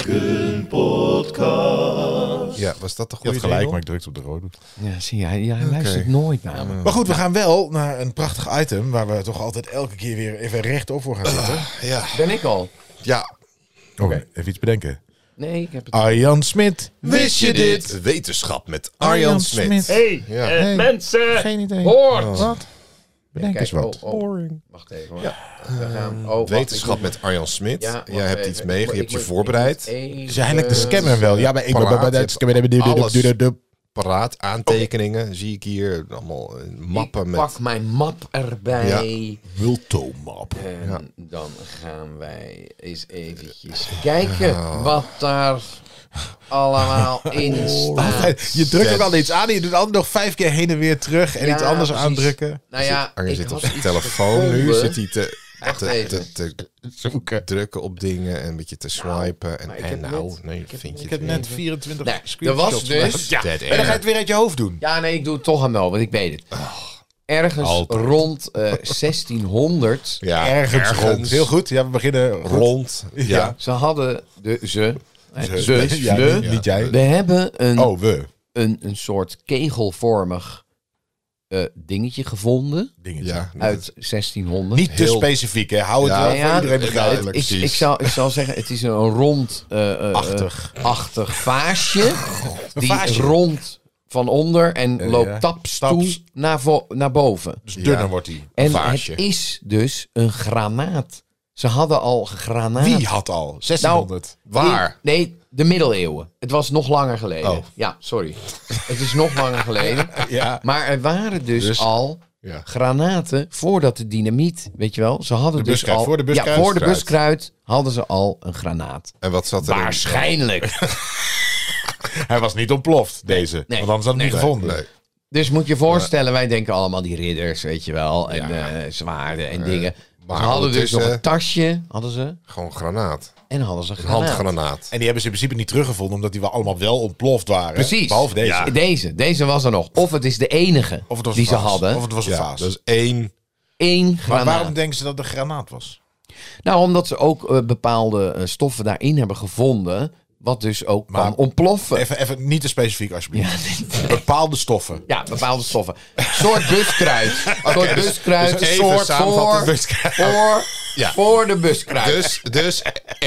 [SPEAKER 2] Ja, was dat de
[SPEAKER 1] Je
[SPEAKER 2] goede
[SPEAKER 1] had gelijk, maar
[SPEAKER 2] jingle?
[SPEAKER 1] ik drukte op de rode.
[SPEAKER 3] Ja, zie je, hij, ja, hij luistert nooit naar me.
[SPEAKER 1] Maar goed, we gaan wel naar een prachtig item waar we toch altijd elke keer weer even rechtop voor gaan zitten.
[SPEAKER 2] Ja,
[SPEAKER 3] Ben ik al?
[SPEAKER 2] ja.
[SPEAKER 1] <clears throat> Oké, even iets bedenken.
[SPEAKER 3] Nee, ik heb het.
[SPEAKER 1] Arjan Smit.
[SPEAKER 2] Wist je dit? Wetenschap met Arjan Smit.
[SPEAKER 4] Hey,
[SPEAKER 2] Ja.
[SPEAKER 4] eh,
[SPEAKER 1] Hey.
[SPEAKER 4] mensen,
[SPEAKER 1] Geen idee.
[SPEAKER 4] hoort!
[SPEAKER 3] Oh,
[SPEAKER 1] Wat? Bedenk
[SPEAKER 3] Kijk,
[SPEAKER 1] eens wat.
[SPEAKER 3] oh, oh, Wacht even hoor. We gaan- oh, wacht,
[SPEAKER 2] Wetenschap
[SPEAKER 3] ik moet-
[SPEAKER 2] met Arjan Smit.
[SPEAKER 3] Ja, wacht
[SPEAKER 2] Jij hebt
[SPEAKER 3] even.
[SPEAKER 2] iets mee, je
[SPEAKER 3] Ik
[SPEAKER 2] hebt je
[SPEAKER 3] moet-
[SPEAKER 2] voorbereid.
[SPEAKER 3] ik moet even- Eh,
[SPEAKER 1] Ze eigenlijk de scammer wel. Ja, maar ik ben
[SPEAKER 2] paraat.
[SPEAKER 1] bij dat scammer.
[SPEAKER 2] Alles.
[SPEAKER 1] dup, dup.
[SPEAKER 2] paraat. Aantekeningen zie ik hier. Allemaal eh, mappen
[SPEAKER 3] ik
[SPEAKER 2] met...
[SPEAKER 3] pak mijn map erbij.
[SPEAKER 1] <laughs> Multomap.
[SPEAKER 3] En dan gaan wij eens eventjes
[SPEAKER 2] Oh.
[SPEAKER 3] kijken wat daar
[SPEAKER 2] <laughs>
[SPEAKER 3] allemaal in staat.
[SPEAKER 1] Je drukt ook al iets aan en je doet altijd nog vijf keer heen en weer terug en
[SPEAKER 3] Ja,
[SPEAKER 1] iets anders
[SPEAKER 3] precies.
[SPEAKER 1] aandrukken.
[SPEAKER 3] Nou ja,
[SPEAKER 2] Arjen
[SPEAKER 3] ik
[SPEAKER 2] zit op
[SPEAKER 3] had
[SPEAKER 2] zijn
[SPEAKER 3] iets
[SPEAKER 2] telefoon nu.
[SPEAKER 3] gevonden,
[SPEAKER 2] Zit hij te,
[SPEAKER 3] Wacht
[SPEAKER 2] te, te,
[SPEAKER 3] even.
[SPEAKER 2] te drukken op dingen en een beetje te swipen. En,
[SPEAKER 3] maar ik
[SPEAKER 2] en
[SPEAKER 3] heb
[SPEAKER 2] nou,
[SPEAKER 3] net-
[SPEAKER 2] nee,
[SPEAKER 3] ik heb-
[SPEAKER 2] vind je
[SPEAKER 1] Ik
[SPEAKER 2] het
[SPEAKER 1] heb
[SPEAKER 2] net.
[SPEAKER 1] net 24
[SPEAKER 3] Nee, er
[SPEAKER 1] screenshots.
[SPEAKER 3] was dus...
[SPEAKER 2] Ja,
[SPEAKER 1] En dan ga je het weer uit je hoofd doen.
[SPEAKER 3] Ja, nee, ik doe het toch aan wel, want ik weet het.
[SPEAKER 1] Oh.
[SPEAKER 3] Ergens
[SPEAKER 2] Altijd.
[SPEAKER 3] rond eh,
[SPEAKER 1] <laughs>
[SPEAKER 3] 1600...
[SPEAKER 2] ja,
[SPEAKER 1] ergens, rond. Heel goed. Ja, we beginnen rond. <laughs>
[SPEAKER 2] Rond. Ja.
[SPEAKER 3] Ze hadden... De, ze... Ze,
[SPEAKER 1] Ze. <laughs> Ja,
[SPEAKER 3] ze-
[SPEAKER 1] niet- niet jij.
[SPEAKER 3] We hebben een,
[SPEAKER 1] Oh, we.
[SPEAKER 3] een, een soort kegelvormig eh, dingetje gevonden
[SPEAKER 1] Dingetje.
[SPEAKER 2] ja.
[SPEAKER 3] uit 1600.
[SPEAKER 1] Niet te
[SPEAKER 2] Heel-
[SPEAKER 1] specifiek, hè. Hou het
[SPEAKER 2] Ja,
[SPEAKER 1] wel
[SPEAKER 3] ja,
[SPEAKER 1] voor iedereen
[SPEAKER 2] ja,
[SPEAKER 1] begrijpelijk.
[SPEAKER 2] duidelijk,
[SPEAKER 3] Ik,
[SPEAKER 2] precies.
[SPEAKER 3] ik, zou, ik zou zeggen, het is een rond... eh, eh,
[SPEAKER 1] Achtig.
[SPEAKER 3] eh, achtig
[SPEAKER 1] <laughs>
[SPEAKER 3] vaasje. die
[SPEAKER 1] vaasje.
[SPEAKER 3] rond van onder en
[SPEAKER 1] Eh,
[SPEAKER 3] loopt
[SPEAKER 1] ja.
[SPEAKER 3] taps,
[SPEAKER 1] Taps.
[SPEAKER 3] toe naar, vo- naar boven.
[SPEAKER 1] Dus dunner
[SPEAKER 2] Ja.
[SPEAKER 1] wordt hij.
[SPEAKER 3] En
[SPEAKER 2] vaasje.
[SPEAKER 3] het is dus een granaat. Ze hadden al granaat.
[SPEAKER 1] Wie had al? 1600.
[SPEAKER 3] Nou,
[SPEAKER 2] Waar?
[SPEAKER 3] Nee, nee, de middeleeuwen. Het was nog langer geleden.
[SPEAKER 2] Oh.
[SPEAKER 3] Ja, sorry. het is nog langer geleden.
[SPEAKER 1] <laughs>
[SPEAKER 3] <laughs>
[SPEAKER 1] ja.
[SPEAKER 3] Maar er waren dus, al
[SPEAKER 2] Ja.
[SPEAKER 3] granaten voordat de dynamiet, weet je wel. Ze hadden
[SPEAKER 1] De
[SPEAKER 3] dus
[SPEAKER 1] buskruid,
[SPEAKER 3] al...
[SPEAKER 1] voor de buskruid.
[SPEAKER 3] Ja, voor de buskruid hadden ze al een granaat.
[SPEAKER 2] En wat zat er in?
[SPEAKER 1] <laughs>
[SPEAKER 3] Waarschijnlijk.
[SPEAKER 1] Hij was niet ontploft, deze.
[SPEAKER 3] Nee.
[SPEAKER 1] Want anders had ik
[SPEAKER 3] Nee.
[SPEAKER 1] hem niet gevonden.
[SPEAKER 2] Nee.
[SPEAKER 3] Dus moet je voorstellen, wij denken allemaal die ridders, weet je wel. En eh, zwaarden en dingen. Maar ze hadden dus
[SPEAKER 2] ondertussen-
[SPEAKER 3] nog een tasje, hadden ze.
[SPEAKER 2] Gewoon granaat.
[SPEAKER 3] En hadden ze een
[SPEAKER 2] Een
[SPEAKER 3] granaat.
[SPEAKER 2] handgranaat.
[SPEAKER 1] En die hebben ze in principe niet teruggevonden, omdat die wel allemaal wel ontploft waren.
[SPEAKER 3] Precies.
[SPEAKER 1] Behalve deze.
[SPEAKER 3] Ja. Deze. Deze was er nog. Of het is de enige
[SPEAKER 1] Of het was
[SPEAKER 3] die
[SPEAKER 1] een
[SPEAKER 3] ze
[SPEAKER 1] vaas.
[SPEAKER 3] hadden.
[SPEAKER 1] Of het was een
[SPEAKER 2] Ja, dus-
[SPEAKER 1] vaas.
[SPEAKER 2] dat is één.
[SPEAKER 3] Eén
[SPEAKER 1] maar
[SPEAKER 3] granaat.
[SPEAKER 1] waarom denken ze dat het een granaat was?
[SPEAKER 3] Nou, omdat ze ook eh, bepaalde eh, stoffen daarin hebben gevonden. Wat dus ook
[SPEAKER 1] Maar-
[SPEAKER 3] kan ontploffen.
[SPEAKER 1] Even, even niet te specifiek, alsjeblieft.
[SPEAKER 3] <laughs> Ja, dit-
[SPEAKER 1] Bepaalde stoffen.
[SPEAKER 3] ja, bepaalde stoffen. soort
[SPEAKER 2] <laughs>
[SPEAKER 3] buskruid. soort buskruid.
[SPEAKER 2] dus even
[SPEAKER 3] soort
[SPEAKER 2] samenvatten,
[SPEAKER 3] voor,
[SPEAKER 2] buskruid.
[SPEAKER 3] voor,
[SPEAKER 2] <laughs> Ja.
[SPEAKER 3] voor de buskruid.
[SPEAKER 2] Dus, dus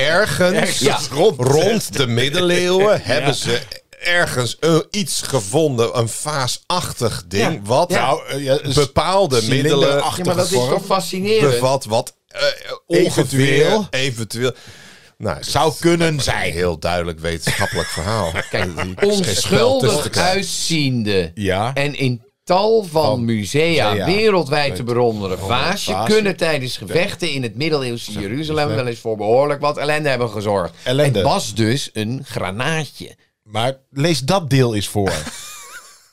[SPEAKER 2] ergens
[SPEAKER 3] Ja.
[SPEAKER 2] <laughs> rond, rond de middeleeuwen hebben ze ergens eh, iets gevonden, een vaasachtig ding,
[SPEAKER 3] Ja.
[SPEAKER 2] wat
[SPEAKER 3] Ja.
[SPEAKER 1] Nou, eh, ja,
[SPEAKER 2] bepaalde middelen
[SPEAKER 1] cilinderachtige
[SPEAKER 3] ja, maar dat is
[SPEAKER 1] vorm
[SPEAKER 3] toch fascinerend?
[SPEAKER 2] bevat, wat eh,
[SPEAKER 1] Eventueel.
[SPEAKER 2] ongeveer eventueel. Nou, dat
[SPEAKER 1] zou
[SPEAKER 2] is
[SPEAKER 1] kunnen
[SPEAKER 2] een
[SPEAKER 1] zijn.
[SPEAKER 2] heel duidelijk
[SPEAKER 1] <laughs>
[SPEAKER 2] wetenschappelijk verhaal.
[SPEAKER 3] Kijk,
[SPEAKER 2] spel tussen te
[SPEAKER 3] onschuldig
[SPEAKER 2] krijgen.
[SPEAKER 3] uitziende.
[SPEAKER 1] Ja.
[SPEAKER 3] En in tal van, musea,
[SPEAKER 1] musea.
[SPEAKER 3] wereldwijd te bewonderen vaasje
[SPEAKER 1] vaasje.
[SPEAKER 3] kunnen tijdens gevechten in het middeleeuwse
[SPEAKER 2] dus
[SPEAKER 3] Jeruzalem wel eens voor behoorlijk wat ellende hebben gezorgd.
[SPEAKER 1] Ellende.
[SPEAKER 3] Het was dus een granaatje. <laughs>
[SPEAKER 1] Maar lees dat deel eens voor.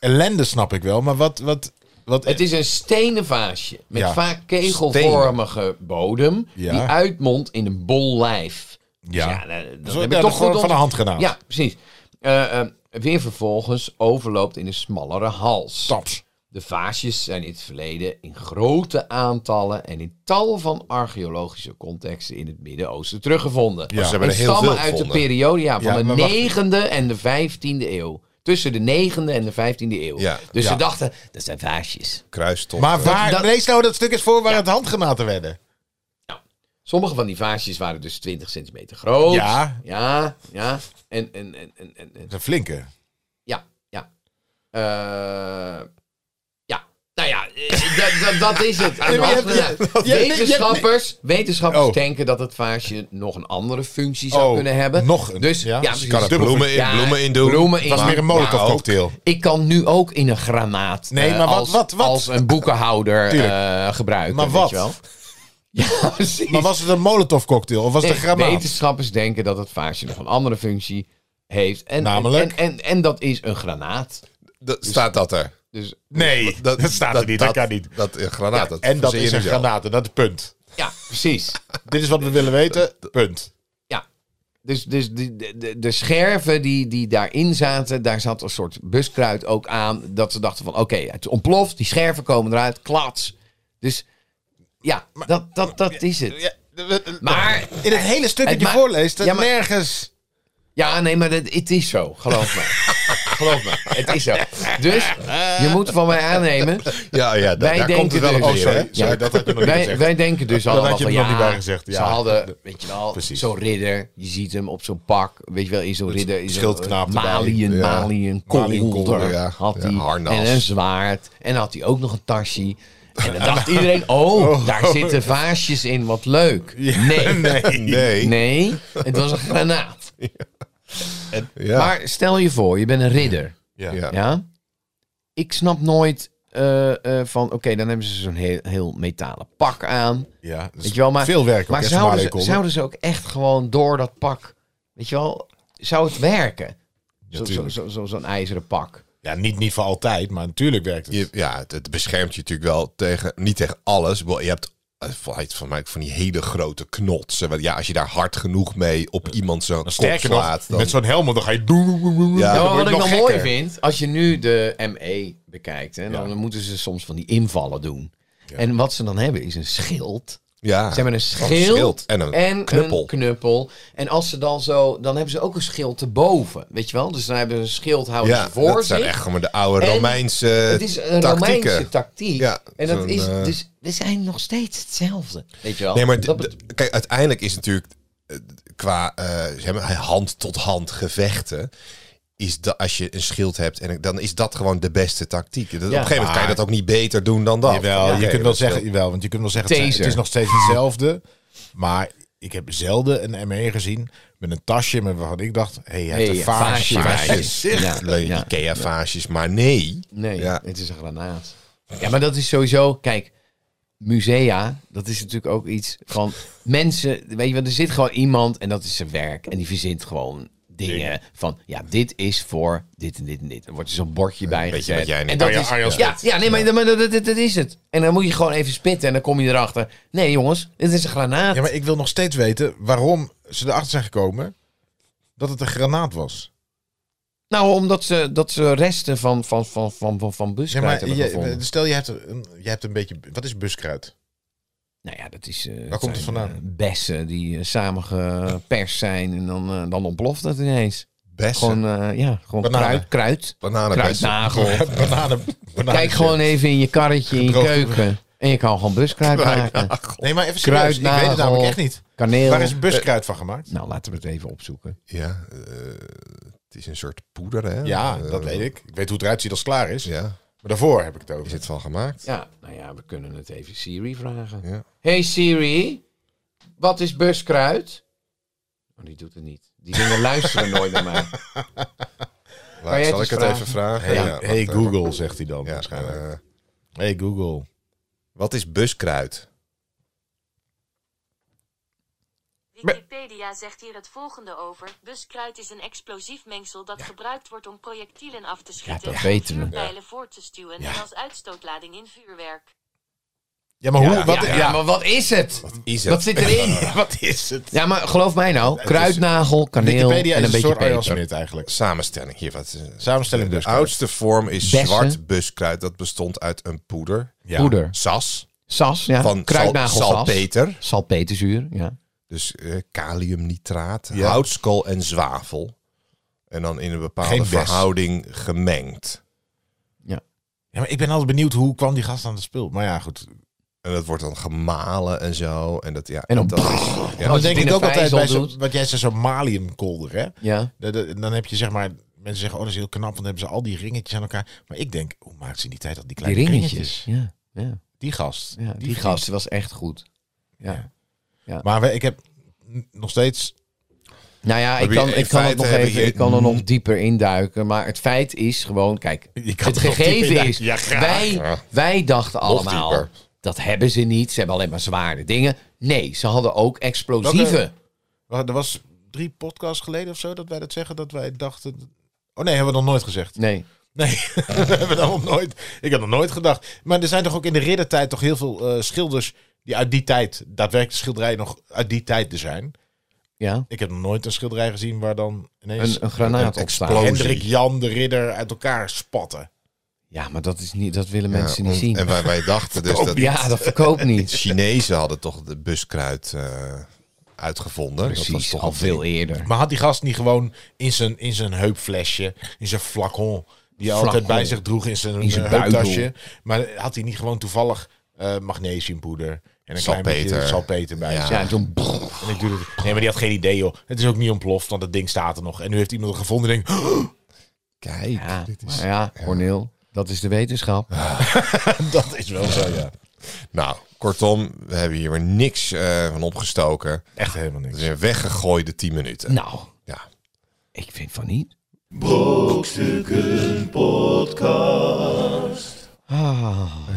[SPEAKER 1] ellende snap ik wel, maar wat... wat, wat
[SPEAKER 3] Het is een stenen vaasje met
[SPEAKER 1] Ja.
[SPEAKER 3] vaak kegelvormige bodem
[SPEAKER 1] Ja.
[SPEAKER 3] die uitmondt in een bol lijf. Dus
[SPEAKER 1] Ja.
[SPEAKER 3] dat- dat,
[SPEAKER 1] Zo-
[SPEAKER 3] heb
[SPEAKER 1] ja,
[SPEAKER 3] ik
[SPEAKER 1] dat
[SPEAKER 3] toch
[SPEAKER 1] gewoon
[SPEAKER 3] goed
[SPEAKER 1] van de
[SPEAKER 3] ont-
[SPEAKER 1] hand gedaan.
[SPEAKER 3] Ja, precies. Eh, eh, weer vervolgens overloopt in een smallere hals.
[SPEAKER 1] Taps.
[SPEAKER 3] De vaasjes zijn in het verleden in grote aantallen en in tal van archeologische contexten in het Midden-Oosten teruggevonden.
[SPEAKER 1] Ja. ze
[SPEAKER 2] hebben
[SPEAKER 3] En
[SPEAKER 2] er heel
[SPEAKER 3] stammen
[SPEAKER 2] veel
[SPEAKER 3] uit
[SPEAKER 2] gevonden.
[SPEAKER 3] de periode ja,
[SPEAKER 1] Ja,
[SPEAKER 3] van
[SPEAKER 1] maar wacht.
[SPEAKER 3] de 9e en de 15e eeuw. Tussen de 9e en de 15e eeuw.
[SPEAKER 2] Ja.
[SPEAKER 3] dus
[SPEAKER 1] Ja.
[SPEAKER 3] ze dachten, dat zijn vaasjes.
[SPEAKER 2] Kruistocht.
[SPEAKER 1] Maar
[SPEAKER 2] eh,
[SPEAKER 1] waar,
[SPEAKER 3] dat-
[SPEAKER 1] lees nou dat stuk eens voor waar het handgenaten werden.
[SPEAKER 3] Sommige van die vaasjes waren dus 20 centimeter groot.
[SPEAKER 1] Ja.
[SPEAKER 3] Ja, ja. En, en, en, en, en, en-
[SPEAKER 1] Dat is een flinke.
[SPEAKER 3] ja, ja. Eh, ja. Nou ja, eh, dat- dat- dat is
[SPEAKER 1] <laughs>
[SPEAKER 3] het.
[SPEAKER 1] maar je hebt-
[SPEAKER 3] Nou, wetenschappers wetenschappers
[SPEAKER 1] Oh.
[SPEAKER 3] denken dat het vaasje nog een andere functie zou
[SPEAKER 1] Oh,
[SPEAKER 3] kunnen hebben.
[SPEAKER 1] nog een,
[SPEAKER 3] Dus,
[SPEAKER 1] ja?
[SPEAKER 3] ja,
[SPEAKER 1] Dus je kan
[SPEAKER 2] kan er bloemen in,
[SPEAKER 3] Ja,
[SPEAKER 2] bloemen in doen.
[SPEAKER 3] bloemen in
[SPEAKER 1] Dat
[SPEAKER 3] doen.
[SPEAKER 1] is
[SPEAKER 3] Nou,
[SPEAKER 1] meer een molotov
[SPEAKER 2] maar ook-
[SPEAKER 1] cocktail.
[SPEAKER 3] Ik kan nu ook in een granaat.
[SPEAKER 1] Nee,
[SPEAKER 3] eh,
[SPEAKER 1] maar wat-
[SPEAKER 3] als,
[SPEAKER 1] wat- wat?
[SPEAKER 3] als een boekenhouder
[SPEAKER 1] Tuurlijk.
[SPEAKER 3] eh, gebruiken.
[SPEAKER 1] Maar
[SPEAKER 3] weet
[SPEAKER 1] wat?
[SPEAKER 3] je wel. <laughs> Ja, precies.
[SPEAKER 1] Maar was het een molotov cocktail of was het
[SPEAKER 3] Nee,
[SPEAKER 1] een granaat?
[SPEAKER 3] wetenschappers denken dat het vaasje nog een andere functie heeft. En,
[SPEAKER 1] Namelijk?
[SPEAKER 3] En, en, en, en dat is een granaat.
[SPEAKER 2] dat, staat dat er?
[SPEAKER 3] Dus <laughs>
[SPEAKER 1] Nee, dat, staat er niet. Dat, kan niet.
[SPEAKER 2] Dat, een granaat.
[SPEAKER 3] Ja,
[SPEAKER 2] dat
[SPEAKER 1] En dat
[SPEAKER 2] verzin je
[SPEAKER 1] is een
[SPEAKER 2] zelf.
[SPEAKER 1] granaat en dat is punt.
[SPEAKER 3] ja, precies.
[SPEAKER 1] Dit is wat we willen weten, punt.
[SPEAKER 3] Ja. Dus, dus die- de, de, de scherven die, die daarin zaten, daar zat een soort buskruid ook aan. Dat ze dachten van, oké, het ontploft, die scherven komen eruit, klats. Dus ja, dat, dat, dat is het. Maar
[SPEAKER 1] in het hele stuk dat
[SPEAKER 3] Het
[SPEAKER 1] je
[SPEAKER 3] ma-
[SPEAKER 1] voorleest, dat
[SPEAKER 3] Ja, maar-
[SPEAKER 1] nergens...
[SPEAKER 3] Ja, nee, maar dat, het is zo. Geloof me. geloof me. Het is zo. Dus je moet van mij aannemen.
[SPEAKER 2] Ja, oh ja da-
[SPEAKER 3] Wij
[SPEAKER 2] daar komt
[SPEAKER 3] denken
[SPEAKER 2] het wel
[SPEAKER 3] dus-
[SPEAKER 2] op
[SPEAKER 1] Oh,
[SPEAKER 2] neer,
[SPEAKER 1] sorry.
[SPEAKER 2] hè?
[SPEAKER 1] Sorry,
[SPEAKER 3] Ja.
[SPEAKER 1] <laughs> dat had je nog niet
[SPEAKER 3] Wij,
[SPEAKER 1] gezegd.
[SPEAKER 3] wij denken dus
[SPEAKER 1] Dat
[SPEAKER 3] allemaal
[SPEAKER 1] had je
[SPEAKER 3] van,
[SPEAKER 1] er nog
[SPEAKER 3] ja,
[SPEAKER 1] niet bij gezegd, ja.
[SPEAKER 3] ze hadden, weet je wel,
[SPEAKER 1] Precies.
[SPEAKER 3] zo'n ridder. Je ziet hem op zo'n pak, weet je wel, in zo'n ridder. In zo'n,
[SPEAKER 1] schildknaap
[SPEAKER 3] eh,
[SPEAKER 1] erbij.
[SPEAKER 3] Maliën,
[SPEAKER 2] Ja.
[SPEAKER 3] Maliën,
[SPEAKER 2] Maliën,
[SPEAKER 3] kolder
[SPEAKER 2] kolder, ja.
[SPEAKER 3] had
[SPEAKER 2] Ja,
[SPEAKER 3] hij.
[SPEAKER 2] harnas.
[SPEAKER 3] en een zwaard. En had hij ook nog een
[SPEAKER 1] <laughs>
[SPEAKER 3] tasje. En dan dacht iedereen, oh, daar zitten vaasjes in, wat leuk.
[SPEAKER 1] <laughs>
[SPEAKER 3] Nee, nee,
[SPEAKER 2] Nee.
[SPEAKER 3] het was een granaat.
[SPEAKER 2] Ja.
[SPEAKER 3] Maar stel je voor, je bent een ridder.
[SPEAKER 1] Ja.
[SPEAKER 2] Ja.
[SPEAKER 3] Ja? Ik snap nooit eh, eh, van, oké, dan hebben ze zo'n heel, heel metalen pak aan.
[SPEAKER 1] Ja, dus
[SPEAKER 3] Weet je wel, maar,
[SPEAKER 1] veel werk ook,
[SPEAKER 3] maar
[SPEAKER 1] hè,
[SPEAKER 3] zouden,
[SPEAKER 1] Somalië
[SPEAKER 3] ze,
[SPEAKER 1] Kolder.
[SPEAKER 3] zouden ze ook echt gewoon door dat pak, weet je wel, zou het werken? Zo'n zo,
[SPEAKER 1] tuurlijk.
[SPEAKER 3] zo, zo, zo'n ijzeren pak.
[SPEAKER 1] Ja, niet, niet voor altijd, maar natuurlijk werkt het.
[SPEAKER 2] Je- ja, het, het beschermt je natuurlijk wel tegen, niet tegen alles. Ik bedoel, Je hebt eh, van- heet van mij ook van die hele grote knotsen. Want Ja, als je daar hard genoeg mee op iemand zo'n kop
[SPEAKER 1] Nou, Sterker nog,
[SPEAKER 2] slaat, dan
[SPEAKER 1] met zo'n helm, dan ga je... doen.
[SPEAKER 3] Ja,
[SPEAKER 2] Ja, dan
[SPEAKER 3] maar wat ik nog mooi
[SPEAKER 1] gekker.
[SPEAKER 3] vind, als je nu de ME bekijkt, hè, dan
[SPEAKER 1] Ja.
[SPEAKER 3] moeten ze soms van die invallen doen. En wat ze dan hebben is een schild.
[SPEAKER 2] ja,
[SPEAKER 3] Ze hebben een schild,
[SPEAKER 2] en Ah, een
[SPEAKER 3] knuppel.
[SPEAKER 2] knuppel.
[SPEAKER 3] knuppel. En als ze dan zo, dan hebben ze ook een schild erboven. Weet je wel? Dus dan hebben ze een schild houden
[SPEAKER 2] Ja,
[SPEAKER 3] ze voor
[SPEAKER 2] dat zijn
[SPEAKER 3] zich.
[SPEAKER 2] echt gewoon de oude
[SPEAKER 3] En
[SPEAKER 2] Romeinse
[SPEAKER 3] het is een
[SPEAKER 2] tactieken.
[SPEAKER 3] Romeinse tactiek.
[SPEAKER 2] Ja,
[SPEAKER 3] en dat
[SPEAKER 2] zo'n,
[SPEAKER 3] is,
[SPEAKER 2] eh,
[SPEAKER 3] dus we zijn nog steeds hetzelfde. Weet je wel?
[SPEAKER 2] Nee, maar
[SPEAKER 3] Dat
[SPEAKER 2] d-
[SPEAKER 3] bet-
[SPEAKER 2] d- kijk, uiteindelijk is natuurlijk eh, qua eh, zeg maar, hand tot hand gevechten. Is dat als je een schild hebt, en dan is dat gewoon de beste tactiek. Dat, op een gegeven moment kan je dat ook niet beter doen dan dat.
[SPEAKER 1] Jawel,
[SPEAKER 2] Oké,
[SPEAKER 1] je kunt wel
[SPEAKER 2] dat-
[SPEAKER 1] zeggen, jawel, want je kunt wel zeggen, het,
[SPEAKER 3] Taser.
[SPEAKER 1] zijn- het is nog steeds hetzelfde. Maar ik heb zelden een ME gezien met een tasje met waarvan ik dacht, hé, hey, hij heeft
[SPEAKER 3] Hey,
[SPEAKER 1] een vaasje.
[SPEAKER 3] vaasje.
[SPEAKER 1] Vaasje.
[SPEAKER 2] Vaasjes. Ja, leuke
[SPEAKER 3] ja.
[SPEAKER 2] Ikea-vaasjes, maar nee.
[SPEAKER 3] nee,
[SPEAKER 2] Ja.
[SPEAKER 3] het is een granaat. Ja, maar dat is sowieso... Kijk, musea, dat is natuurlijk ook iets
[SPEAKER 1] <laughs>
[SPEAKER 3] van... mensen, weet je wel, er zit gewoon iemand en dat is zijn werk. En die verzint gewoon dingen van... Ja, dit is voor dit en dit en dit. Er wordt er zo'n bordje bij
[SPEAKER 2] beetje
[SPEAKER 3] gezet.
[SPEAKER 2] wat jij nu-
[SPEAKER 3] en dat
[SPEAKER 1] Arjan-
[SPEAKER 3] is,
[SPEAKER 1] Arjan
[SPEAKER 3] ja,
[SPEAKER 1] Smit.
[SPEAKER 3] ja, nee, maar, maar dat, dat, dat is het. En dan moet je gewoon even spitten en dan kom je erachter. Nee, jongens, dit is een granaat.
[SPEAKER 1] Ja, maar ik wil nog steeds weten waarom ze erachter zijn gekomen dat het een granaat was.
[SPEAKER 3] Nou, omdat ze, dat ze resten van, van, van, van, van, van
[SPEAKER 1] Ja,
[SPEAKER 3] buskruid
[SPEAKER 1] maar
[SPEAKER 3] hebben
[SPEAKER 1] je,
[SPEAKER 3] gevonden.
[SPEAKER 1] stel, je hebt, een, je hebt een beetje... Wat is buskruid?
[SPEAKER 3] Nou ja, dat is... eh,
[SPEAKER 1] Waar komt het
[SPEAKER 3] zijn,
[SPEAKER 1] vandaan?
[SPEAKER 3] eh, bessen die eh, samengeperst zijn en dan, eh, dan ontploft het ineens.
[SPEAKER 2] Bessen.
[SPEAKER 3] Gewoon, eh, ja, gewoon
[SPEAKER 1] Bananen.
[SPEAKER 3] kruid, kruid,
[SPEAKER 2] bananenbessen.
[SPEAKER 3] kruidnagel.
[SPEAKER 1] Bananen, bananen.
[SPEAKER 3] Kijk gewoon even in je karretje, in je
[SPEAKER 1] Gedroogde-
[SPEAKER 3] keuken. En je kan gewoon buskruid maken.
[SPEAKER 1] <laughs> Nee, maar even serieus, ik weet het
[SPEAKER 3] Kruidnagel.
[SPEAKER 1] namelijk echt niet.
[SPEAKER 3] Kaneel.
[SPEAKER 1] Waar is buskruid van gemaakt?
[SPEAKER 3] Nou, laten we het even opzoeken.
[SPEAKER 2] Ja, eh, het is een soort poeder, hè?
[SPEAKER 1] Ja,
[SPEAKER 2] Eh,
[SPEAKER 1] dat weet ik. Ik weet hoe het eruit ziet als het klaar is.
[SPEAKER 2] Ja,
[SPEAKER 1] Maar daarvoor heb ik het
[SPEAKER 2] is
[SPEAKER 1] over.
[SPEAKER 2] het van gemaakt?
[SPEAKER 3] Ja, nou ja, we kunnen het even Siri vragen.
[SPEAKER 2] Ja.
[SPEAKER 3] Hey Siri, wat is buskruid? Oh, die doet het niet. Die dingen luisteren nooit naar mij. jij
[SPEAKER 2] Laat,
[SPEAKER 3] het
[SPEAKER 2] zal
[SPEAKER 3] eens
[SPEAKER 2] ik het
[SPEAKER 3] vragen?
[SPEAKER 2] even vragen?
[SPEAKER 1] Hey,
[SPEAKER 2] Ja, wacht
[SPEAKER 1] hey
[SPEAKER 2] even.
[SPEAKER 1] Google, zegt hij dan
[SPEAKER 2] Ja,
[SPEAKER 1] waarschijnlijk.
[SPEAKER 2] eh,
[SPEAKER 1] hey Google.
[SPEAKER 2] wat is buskruid?
[SPEAKER 4] Wikipedia zegt hier het volgende over. Buskruid is een explosief mengsel dat gebruikt wordt om projectielen af te schieten,
[SPEAKER 3] dat weten we.
[SPEAKER 4] vuurpijlen voor te stuwen en als uitstootlading in vuurwerk.
[SPEAKER 1] Ja, maar hoe? wat,
[SPEAKER 3] ja,
[SPEAKER 1] ja,
[SPEAKER 3] maar wat is het? Wat,
[SPEAKER 2] Is
[SPEAKER 3] zit <laughs> erin?
[SPEAKER 1] wat is het?
[SPEAKER 3] ja, maar geloof mij nou. Kruidnagel, kaneel
[SPEAKER 1] Wikipedia
[SPEAKER 3] en
[SPEAKER 1] is
[SPEAKER 3] een
[SPEAKER 1] een
[SPEAKER 3] beetje
[SPEAKER 1] soort Arjan
[SPEAKER 3] peper.
[SPEAKER 1] Smit eigenlijk.
[SPEAKER 2] Samenstelling hier. Wat, eh,
[SPEAKER 1] Samenstelling
[SPEAKER 2] de
[SPEAKER 1] buskruid.
[SPEAKER 2] oudste vorm is
[SPEAKER 3] Bessen.
[SPEAKER 2] zwart buskruid. Dat bestond uit een poeder.
[SPEAKER 1] Ja.
[SPEAKER 3] Poeder.
[SPEAKER 2] Sas.
[SPEAKER 3] Sas, ja.
[SPEAKER 2] Van
[SPEAKER 3] Kruidnagelsas.
[SPEAKER 2] sal- salpeter.
[SPEAKER 3] Salpeterzuur, ja.
[SPEAKER 2] Dus eh, kaliumnitraat,
[SPEAKER 1] Ja.
[SPEAKER 2] houtskool en zwavel. En dan in een bepaalde
[SPEAKER 1] Geen bes.
[SPEAKER 2] verhouding gemengd.
[SPEAKER 1] Ja, maar ik ben altijd benieuwd hoe kwam die gast aan het spul. Maar ja, goed.
[SPEAKER 2] En dat wordt dan gemalen en zo. En, dat, ja,
[SPEAKER 3] En dan-
[SPEAKER 2] dat,
[SPEAKER 1] Ja, dan denk
[SPEAKER 3] in
[SPEAKER 1] ik
[SPEAKER 3] een
[SPEAKER 1] ook altijd bij
[SPEAKER 3] vijzel
[SPEAKER 1] zo,
[SPEAKER 3] doet.
[SPEAKER 1] wat jij zei, zo'n maliumkolder, hè?
[SPEAKER 3] Ja.
[SPEAKER 1] Dat- dat- Dan heb je zeg maar, mensen zeggen, oh dat is heel knap, want dan hebben ze al die ringetjes aan elkaar. Maar ik denk, hoe maakt ze in die tijd al die
[SPEAKER 3] Die
[SPEAKER 1] kleine
[SPEAKER 3] ringetjes.
[SPEAKER 1] ringetjes?
[SPEAKER 3] Ja, ja,
[SPEAKER 1] Die gast.
[SPEAKER 3] ja. Die gast was echt goed. Ja.
[SPEAKER 1] Maar we- ik heb n- nog steeds,
[SPEAKER 3] Nou ja, ik
[SPEAKER 2] je-
[SPEAKER 3] kan,
[SPEAKER 2] in
[SPEAKER 3] ik kan, het
[SPEAKER 2] feite
[SPEAKER 3] nog
[SPEAKER 2] heb
[SPEAKER 3] even,
[SPEAKER 2] je- Hmm.
[SPEAKER 3] ik kan er nog dieper induiken. Maar het feit is gewoon, kijk,
[SPEAKER 1] Je kan
[SPEAKER 3] het
[SPEAKER 1] er nog dieper
[SPEAKER 3] gegeven
[SPEAKER 1] induiken.
[SPEAKER 3] is,
[SPEAKER 1] Ja, graag.
[SPEAKER 3] wij, wij dachten allemaal,
[SPEAKER 2] dieper.
[SPEAKER 3] dat hebben ze niet. Ze hebben alleen maar zware dingen. Nee, ze hadden ook explosieven.
[SPEAKER 1] er was drie podcasts geleden of zo dat wij dat zeggen, dat wij dachten... Oh nee, hebben we nog nooit gezegd.
[SPEAKER 3] Nee.
[SPEAKER 1] Nee, <laughs> dat hebben we dan nog nooit. Ik had nog nooit gedacht. Maar er zijn toch ook in de riddertijd toch heel veel eh, schilders die uit die tijd, daadwerkelijk schilderijen nog uit die tijd er zijn.
[SPEAKER 3] Ja,
[SPEAKER 1] Ik heb nog nooit een schilderij gezien waar dan ineens
[SPEAKER 3] een, een granaat
[SPEAKER 2] een
[SPEAKER 3] opslaan.
[SPEAKER 2] explosie.
[SPEAKER 1] Hendrik Jan de Ridder uit elkaar spatten.
[SPEAKER 3] Ja, maar dat, is niet, dat willen
[SPEAKER 2] ja,
[SPEAKER 3] mensen niet
[SPEAKER 2] on-
[SPEAKER 3] zien.
[SPEAKER 2] En wij, wij
[SPEAKER 3] <laughs>
[SPEAKER 2] dachten dus dat
[SPEAKER 3] ja, dat verkoopt
[SPEAKER 2] <laughs>
[SPEAKER 3] niet.
[SPEAKER 2] Chinezen hadden toch de buskruid eh, uitgevonden. dat was
[SPEAKER 3] Precies,
[SPEAKER 2] toch
[SPEAKER 3] al
[SPEAKER 2] een-
[SPEAKER 3] veel eerder.
[SPEAKER 1] Maar had die gast niet gewoon in zijn, in zijn heupflesje, in zijn flacon, die hij altijd
[SPEAKER 3] Flacon.
[SPEAKER 1] bij zich droeg in zijn,
[SPEAKER 3] In zijn
[SPEAKER 1] eh,
[SPEAKER 3] buidel.
[SPEAKER 1] heuptasje. Maar had hij niet gewoon toevallig eh, magnesiumpoeder en een klein beetje
[SPEAKER 2] Salpeter.
[SPEAKER 1] salpeter bij
[SPEAKER 2] Ja.
[SPEAKER 1] zich?
[SPEAKER 3] Ja, toen...
[SPEAKER 1] En ik doe het- Nee, maar die had geen idee, joh. Het is ook niet ontploft, want dat ding staat er nog. En nu heeft iemand het gevonden en denkt,
[SPEAKER 2] Kijk,
[SPEAKER 3] Ja,
[SPEAKER 2] dit is...
[SPEAKER 3] maar ja, Cornel, dat is de wetenschap.
[SPEAKER 1] <laughs> dat is wel zo, ja.
[SPEAKER 2] Nou, kortom, we hebben hier weer niks eh, van opgestoken.
[SPEAKER 1] Echt helemaal
[SPEAKER 2] Het
[SPEAKER 1] niks.
[SPEAKER 2] is een weggegooide 10 minuten.
[SPEAKER 3] Nou,
[SPEAKER 2] Ja.
[SPEAKER 3] ik vind van niet.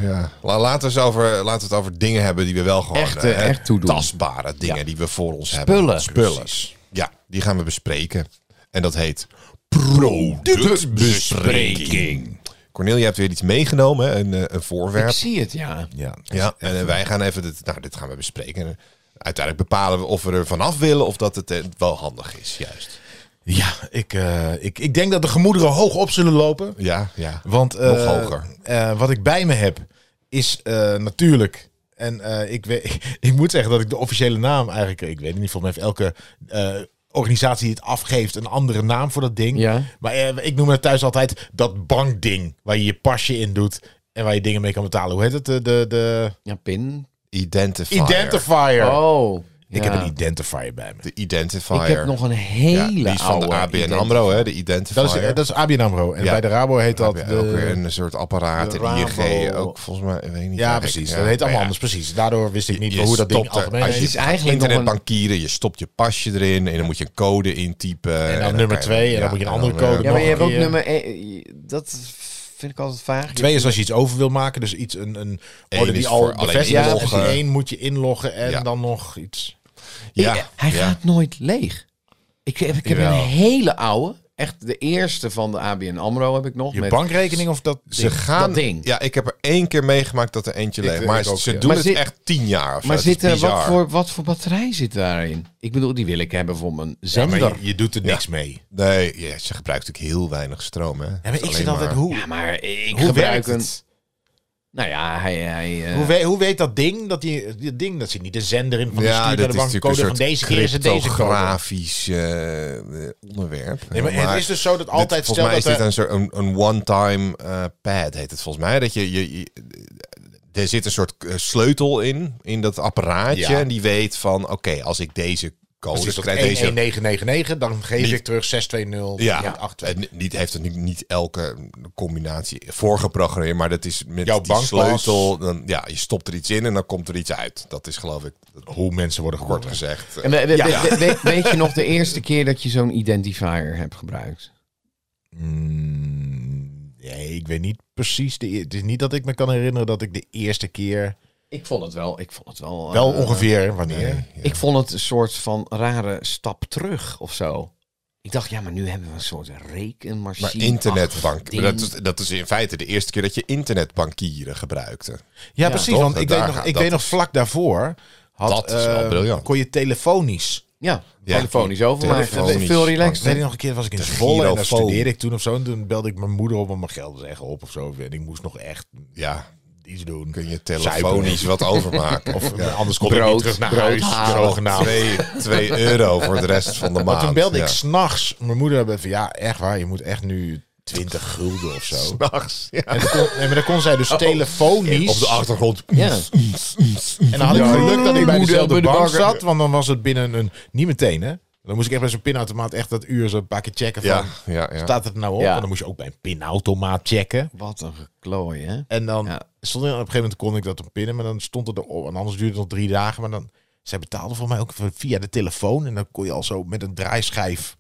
[SPEAKER 2] Ja. La- Laten, we eens over, laten we het over dingen hebben die we wel gewoon...
[SPEAKER 3] Echte-
[SPEAKER 2] eh,
[SPEAKER 3] echt toedoen.
[SPEAKER 2] Tastbare dingen die we voor ons
[SPEAKER 3] Spullen.
[SPEAKER 2] hebben. Spullen. Ja, die gaan we bespreken. En dat heet... Productbespreking. Cornel, je hebt weer iets meegenomen, hè? een, eh, een
[SPEAKER 3] Ik
[SPEAKER 2] voorwerp.
[SPEAKER 3] zie het, ja.
[SPEAKER 1] Ja.
[SPEAKER 2] Ja, en eh, wij gaan even, dit, nou, dit gaan we bespreken. En, eh, Uiteindelijk bepalen we of we er vanaf willen of dat het eh, wel handig is, juist.
[SPEAKER 1] Ja, ik, eh, ik, ik denk dat de gemoederen hoog op zullen lopen.
[SPEAKER 2] Ja, ja.
[SPEAKER 1] Want eh,
[SPEAKER 2] Nog hoger.
[SPEAKER 1] eh, wat ik bij me heb is eh, natuurlijk. En eh, ik, weet, <laughs> ik moet zeggen dat ik de officiële naam eigenlijk. Ik weet het niet, volgens mij heeft elke eh, organisatie die het afgeeft een andere naam voor dat ding.
[SPEAKER 3] Ja.
[SPEAKER 1] Maar eh, ik noem het thuis altijd dat bankding. Waar je je pasje in doet en waar je dingen mee kan betalen. Hoe heet het? De, de, de
[SPEAKER 3] Ja, pin.
[SPEAKER 2] Identifier.
[SPEAKER 1] identifier.
[SPEAKER 3] Oh.
[SPEAKER 1] Ik
[SPEAKER 3] ja.
[SPEAKER 1] heb een identifier bij me.
[SPEAKER 2] de identifier.
[SPEAKER 3] Ik heb nog een
[SPEAKER 2] Ja,
[SPEAKER 3] hele
[SPEAKER 2] die is van de
[SPEAKER 3] oude
[SPEAKER 2] ABN
[SPEAKER 3] identifier.
[SPEAKER 2] AMRO, hè, de identifier.
[SPEAKER 1] Dat is, eh, dat is ABN AMRO. En
[SPEAKER 2] Ja.
[SPEAKER 1] bij de Rabo heet dat...
[SPEAKER 2] Heb je
[SPEAKER 1] de-
[SPEAKER 2] ook weer een soort apparaat,
[SPEAKER 1] de
[SPEAKER 2] een ING,
[SPEAKER 1] Rabo.
[SPEAKER 2] ook volgens mij, ik weet niet.
[SPEAKER 1] Ja,
[SPEAKER 2] waar.
[SPEAKER 1] precies.
[SPEAKER 2] Ja,
[SPEAKER 1] dat
[SPEAKER 2] maar
[SPEAKER 1] heet allemaal
[SPEAKER 2] ja,
[SPEAKER 1] anders. Precies. Daardoor wist ik niet
[SPEAKER 2] je
[SPEAKER 1] hoe dat ding
[SPEAKER 2] stopt er-
[SPEAKER 1] algemeen
[SPEAKER 2] als
[SPEAKER 1] heet.
[SPEAKER 3] Het is eigenlijk nog een-
[SPEAKER 2] internetbankieren, je stopt je pasje erin en dan moet je een code intypen. En
[SPEAKER 1] dan nummer
[SPEAKER 2] kan je-
[SPEAKER 1] twee en dan
[SPEAKER 2] ja,
[SPEAKER 1] moet je een andere
[SPEAKER 2] dan, eh,
[SPEAKER 1] code
[SPEAKER 3] Ja, maar je
[SPEAKER 1] Nog
[SPEAKER 3] hebt
[SPEAKER 1] een
[SPEAKER 3] ook
[SPEAKER 1] keer.
[SPEAKER 3] nummer... e- Dat vind ik altijd vaag.
[SPEAKER 1] Twee is als je iets over wil maken. Dus iets, een, een
[SPEAKER 2] is
[SPEAKER 1] order die al
[SPEAKER 2] voor alleen
[SPEAKER 1] bevestigd is. En
[SPEAKER 2] inloggen.
[SPEAKER 1] die één moet je inloggen en
[SPEAKER 2] Ja.
[SPEAKER 1] dan nog iets.
[SPEAKER 2] Ja,
[SPEAKER 3] Ik- hij
[SPEAKER 2] ja.
[SPEAKER 3] gaat nooit leeg. Ik, heb- ik heb een
[SPEAKER 2] Jawel.
[SPEAKER 3] hele oude. Echt de eerste van de ABN AMRO heb ik nog.
[SPEAKER 1] Je
[SPEAKER 3] met-
[SPEAKER 1] bankrekening of dat
[SPEAKER 2] Ze gaan.
[SPEAKER 3] Dat ding.
[SPEAKER 2] Ja, ik heb er één keer meegemaakt dat er eentje leeg.
[SPEAKER 1] Ik- eh,
[SPEAKER 2] Maar
[SPEAKER 1] ik ook,
[SPEAKER 2] ze
[SPEAKER 1] ja.
[SPEAKER 2] doen
[SPEAKER 3] Maar
[SPEAKER 2] het
[SPEAKER 3] zit-
[SPEAKER 2] echt tien jaar of zo.
[SPEAKER 3] Maar
[SPEAKER 2] Het is
[SPEAKER 3] zit er, wat,
[SPEAKER 2] bizar.
[SPEAKER 3] voor, wat voor batterij zit daarin? Ik bedoel, die wil ik hebben voor mijn
[SPEAKER 1] Maar
[SPEAKER 3] zender.
[SPEAKER 1] je, je doet er niks
[SPEAKER 2] Ja.
[SPEAKER 1] mee.
[SPEAKER 2] Nee, ja, ze gebruikt natuurlijk heel weinig stroom. Hè.
[SPEAKER 1] Ja,
[SPEAKER 2] Het
[SPEAKER 1] maar
[SPEAKER 2] is
[SPEAKER 1] ik
[SPEAKER 2] alleen
[SPEAKER 1] zit altijd,
[SPEAKER 2] maar-
[SPEAKER 1] hoe,
[SPEAKER 3] ja, maar ik
[SPEAKER 1] hoe
[SPEAKER 3] gebruik
[SPEAKER 1] werkt
[SPEAKER 3] een...
[SPEAKER 1] het?
[SPEAKER 3] Nou ja, hij... hij eh,
[SPEAKER 1] Hoe, weet, hoe weet dat ding dat, die, dat ding, dat zit niet de zender in van de
[SPEAKER 2] Ja,
[SPEAKER 1] stuur naar
[SPEAKER 2] dat
[SPEAKER 1] de
[SPEAKER 2] is natuurlijk
[SPEAKER 1] bankcode
[SPEAKER 2] een
[SPEAKER 1] van
[SPEAKER 2] soort
[SPEAKER 1] deze keer is het deze code.
[SPEAKER 2] cryptografisch eh, eh, onderwerp.
[SPEAKER 1] Nee, maar het is dus zo dat
[SPEAKER 2] dit-
[SPEAKER 1] altijd
[SPEAKER 2] volgens
[SPEAKER 1] stel
[SPEAKER 2] mij
[SPEAKER 1] dat
[SPEAKER 2] is dit
[SPEAKER 1] er-
[SPEAKER 2] een soort een, een one-time eh, pad heet het volgens mij. Dat je, je, je- er zit een soort eh, sleutel in in dat apparaatje
[SPEAKER 1] Ja.
[SPEAKER 2] en die weet van oké als ik deze code
[SPEAKER 1] Precies, dat
[SPEAKER 2] krijg, deze
[SPEAKER 1] 11999, dan geef
[SPEAKER 2] Niet-
[SPEAKER 1] ik terug 620
[SPEAKER 2] Ja,
[SPEAKER 1] en 82.
[SPEAKER 2] en niet, heeft het nu niet elke combinatie voorgeprogrammeerd, maar dat is met
[SPEAKER 1] Jouw
[SPEAKER 2] die
[SPEAKER 1] bankpas.
[SPEAKER 2] sleutel. Dan, ja, je stopt er iets in en dan komt er iets uit. Dat is geloof ik, dat
[SPEAKER 1] Hoe mensen worden
[SPEAKER 2] wordt
[SPEAKER 1] geboren.
[SPEAKER 2] gezegd. eh,
[SPEAKER 3] en we- we- we- we- weet- weet je nog de eerste keer dat je zo'n identifier hebt gebruikt?
[SPEAKER 1] Mm, nee, ik weet niet precies. De, e- het is niet dat ik me kan herinneren dat ik de eerste keer
[SPEAKER 3] Ik vond het wel. Ik vond het wel.
[SPEAKER 1] Wel
[SPEAKER 3] eh,
[SPEAKER 1] ongeveer wanneer.
[SPEAKER 3] Ik vond het een soort van rare stap terug of zo. Ik dacht, ja, maar nu hebben we een soort rekenmachine.
[SPEAKER 2] Maar internetbank.
[SPEAKER 3] ding.
[SPEAKER 2] Dat is, dat is in feite de eerste keer dat je internetbankieren gebruikte.
[SPEAKER 1] Ja, precies.
[SPEAKER 2] toch?
[SPEAKER 1] Want ik,
[SPEAKER 2] Daar
[SPEAKER 1] weet nog,
[SPEAKER 2] gaat-
[SPEAKER 1] ik
[SPEAKER 2] dat
[SPEAKER 1] weet nog
[SPEAKER 2] is-
[SPEAKER 1] vlak daarvoor had,
[SPEAKER 2] Dat is wel
[SPEAKER 1] eh,
[SPEAKER 2] briljant.
[SPEAKER 1] kon je telefonisch
[SPEAKER 3] Ja,
[SPEAKER 2] Ja,
[SPEAKER 3] telefonisch overmaken.
[SPEAKER 2] telefonisch.
[SPEAKER 3] Veel
[SPEAKER 1] Ik weet
[SPEAKER 3] relaxed.
[SPEAKER 1] ik nog een keer was ik in
[SPEAKER 2] De
[SPEAKER 1] Zwolle en daar
[SPEAKER 2] Girofoon.
[SPEAKER 1] studeerde ik toen of zo. En toen belde ik mijn moeder op om mijn geld eens echt op of zo. En ik moest nog echt
[SPEAKER 2] Ja,
[SPEAKER 1] iets doen.
[SPEAKER 2] kun je telefonisch wat overmaken. Of
[SPEAKER 1] Of, Anders kon ik
[SPEAKER 3] Brood,
[SPEAKER 1] niet terug naar
[SPEAKER 3] brood
[SPEAKER 1] huis,
[SPEAKER 3] halen.
[SPEAKER 1] zogenaamd.
[SPEAKER 2] 2 euro voor de rest van de maand.
[SPEAKER 1] Maar toen belde ik
[SPEAKER 2] Ja.
[SPEAKER 1] s'nachts mijn moeder hebben van ja, echt waar, je moet echt nu 20 gulden of zo.
[SPEAKER 2] <laughs> S'nachts. Ja.
[SPEAKER 1] En dan kon, nee, maar dan kon zij dus telefonisch.
[SPEAKER 2] Oh, Op de achtergrond.
[SPEAKER 3] Ja.
[SPEAKER 1] en dan had ik
[SPEAKER 3] Ja,
[SPEAKER 1] geluk dat ik bij
[SPEAKER 3] moeder
[SPEAKER 1] dezelfde
[SPEAKER 3] bij de
[SPEAKER 1] bank
[SPEAKER 3] bakker.
[SPEAKER 1] zat, want dan was het binnen een. Niet meteen hè. Dan moest ik echt bij zo'n pinautomaat echt dat uur zo een paar keer checken van.
[SPEAKER 2] Ja, ja, ja.
[SPEAKER 1] Staat het er nou op?
[SPEAKER 3] Ja.
[SPEAKER 1] En dan moest je ook bij een pinautomaat checken.
[SPEAKER 3] Wat een geklooi, hè?
[SPEAKER 1] En dan
[SPEAKER 3] Ja.
[SPEAKER 1] stond er, op een gegeven moment kon ik dat op pinnen, maar dan stond het erop. En anders duurde het nog drie dagen. Maar dan, zij betaalde voor mij ook via de telefoon. En dan kon je al zo met een draaischijf.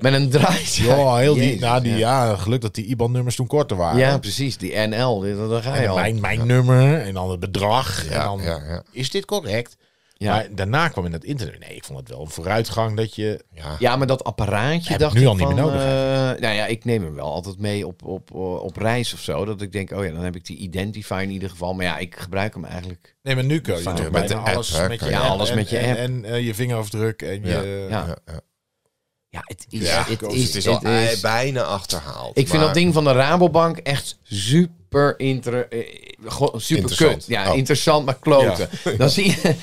[SPEAKER 3] Met een draai.
[SPEAKER 1] Ja, heel die,
[SPEAKER 3] Jezus,
[SPEAKER 1] nou, die,
[SPEAKER 3] ja.
[SPEAKER 1] ja. geluk dat die IBAN-nummers toen korter waren.
[SPEAKER 3] Ja, precies. Die NL, dit- daar ga
[SPEAKER 1] En
[SPEAKER 3] je
[SPEAKER 1] dan
[SPEAKER 3] al.
[SPEAKER 1] mijn, mijn nummer en dan het bedrag. en
[SPEAKER 2] Ja,
[SPEAKER 1] dan,
[SPEAKER 2] ja, ja.
[SPEAKER 1] is dit correct?
[SPEAKER 3] Ja.
[SPEAKER 1] Maar daarna kwam in het internet. Nee, ik vond het wel een vooruitgang dat je...
[SPEAKER 2] Ja.
[SPEAKER 3] ja, maar dat apparaatje
[SPEAKER 1] Heb ik
[SPEAKER 3] dacht
[SPEAKER 1] nu
[SPEAKER 3] ik
[SPEAKER 1] al niet meer
[SPEAKER 3] van,
[SPEAKER 1] nodig,
[SPEAKER 3] eh, nou ja, ik neem hem wel altijd mee op, op, op reis of zo. Dat ik denk, oh ja, dan heb ik die Identify in ieder geval. Maar ja, ik gebruik hem eigenlijk.
[SPEAKER 1] Nee, maar nu kun je
[SPEAKER 3] Vaak.
[SPEAKER 1] toch
[SPEAKER 2] Met
[SPEAKER 1] bijna
[SPEAKER 2] de app,
[SPEAKER 1] alles
[SPEAKER 2] hè,
[SPEAKER 1] met je
[SPEAKER 2] kan
[SPEAKER 3] je- Ja,
[SPEAKER 1] app
[SPEAKER 3] alles
[SPEAKER 1] en-
[SPEAKER 3] met je
[SPEAKER 1] en-
[SPEAKER 3] app.
[SPEAKER 1] En, eh, je vingerafdruk en
[SPEAKER 2] Ja,
[SPEAKER 1] je...
[SPEAKER 3] Ja.
[SPEAKER 2] Ja, ja.
[SPEAKER 3] Ja, het is...
[SPEAKER 2] Ja,
[SPEAKER 3] het
[SPEAKER 2] het
[SPEAKER 3] is,
[SPEAKER 2] is al
[SPEAKER 3] het is-
[SPEAKER 2] bijna achterhaald.
[SPEAKER 3] Ik vind
[SPEAKER 2] maar-
[SPEAKER 3] dat ding van de Rabobank echt super, inter, eh, gewoon super
[SPEAKER 2] Interessant.
[SPEAKER 3] kut. Ja,
[SPEAKER 2] Oh.
[SPEAKER 3] interessant, maar kloten.
[SPEAKER 1] <laughs>
[SPEAKER 3] Dan, zie je,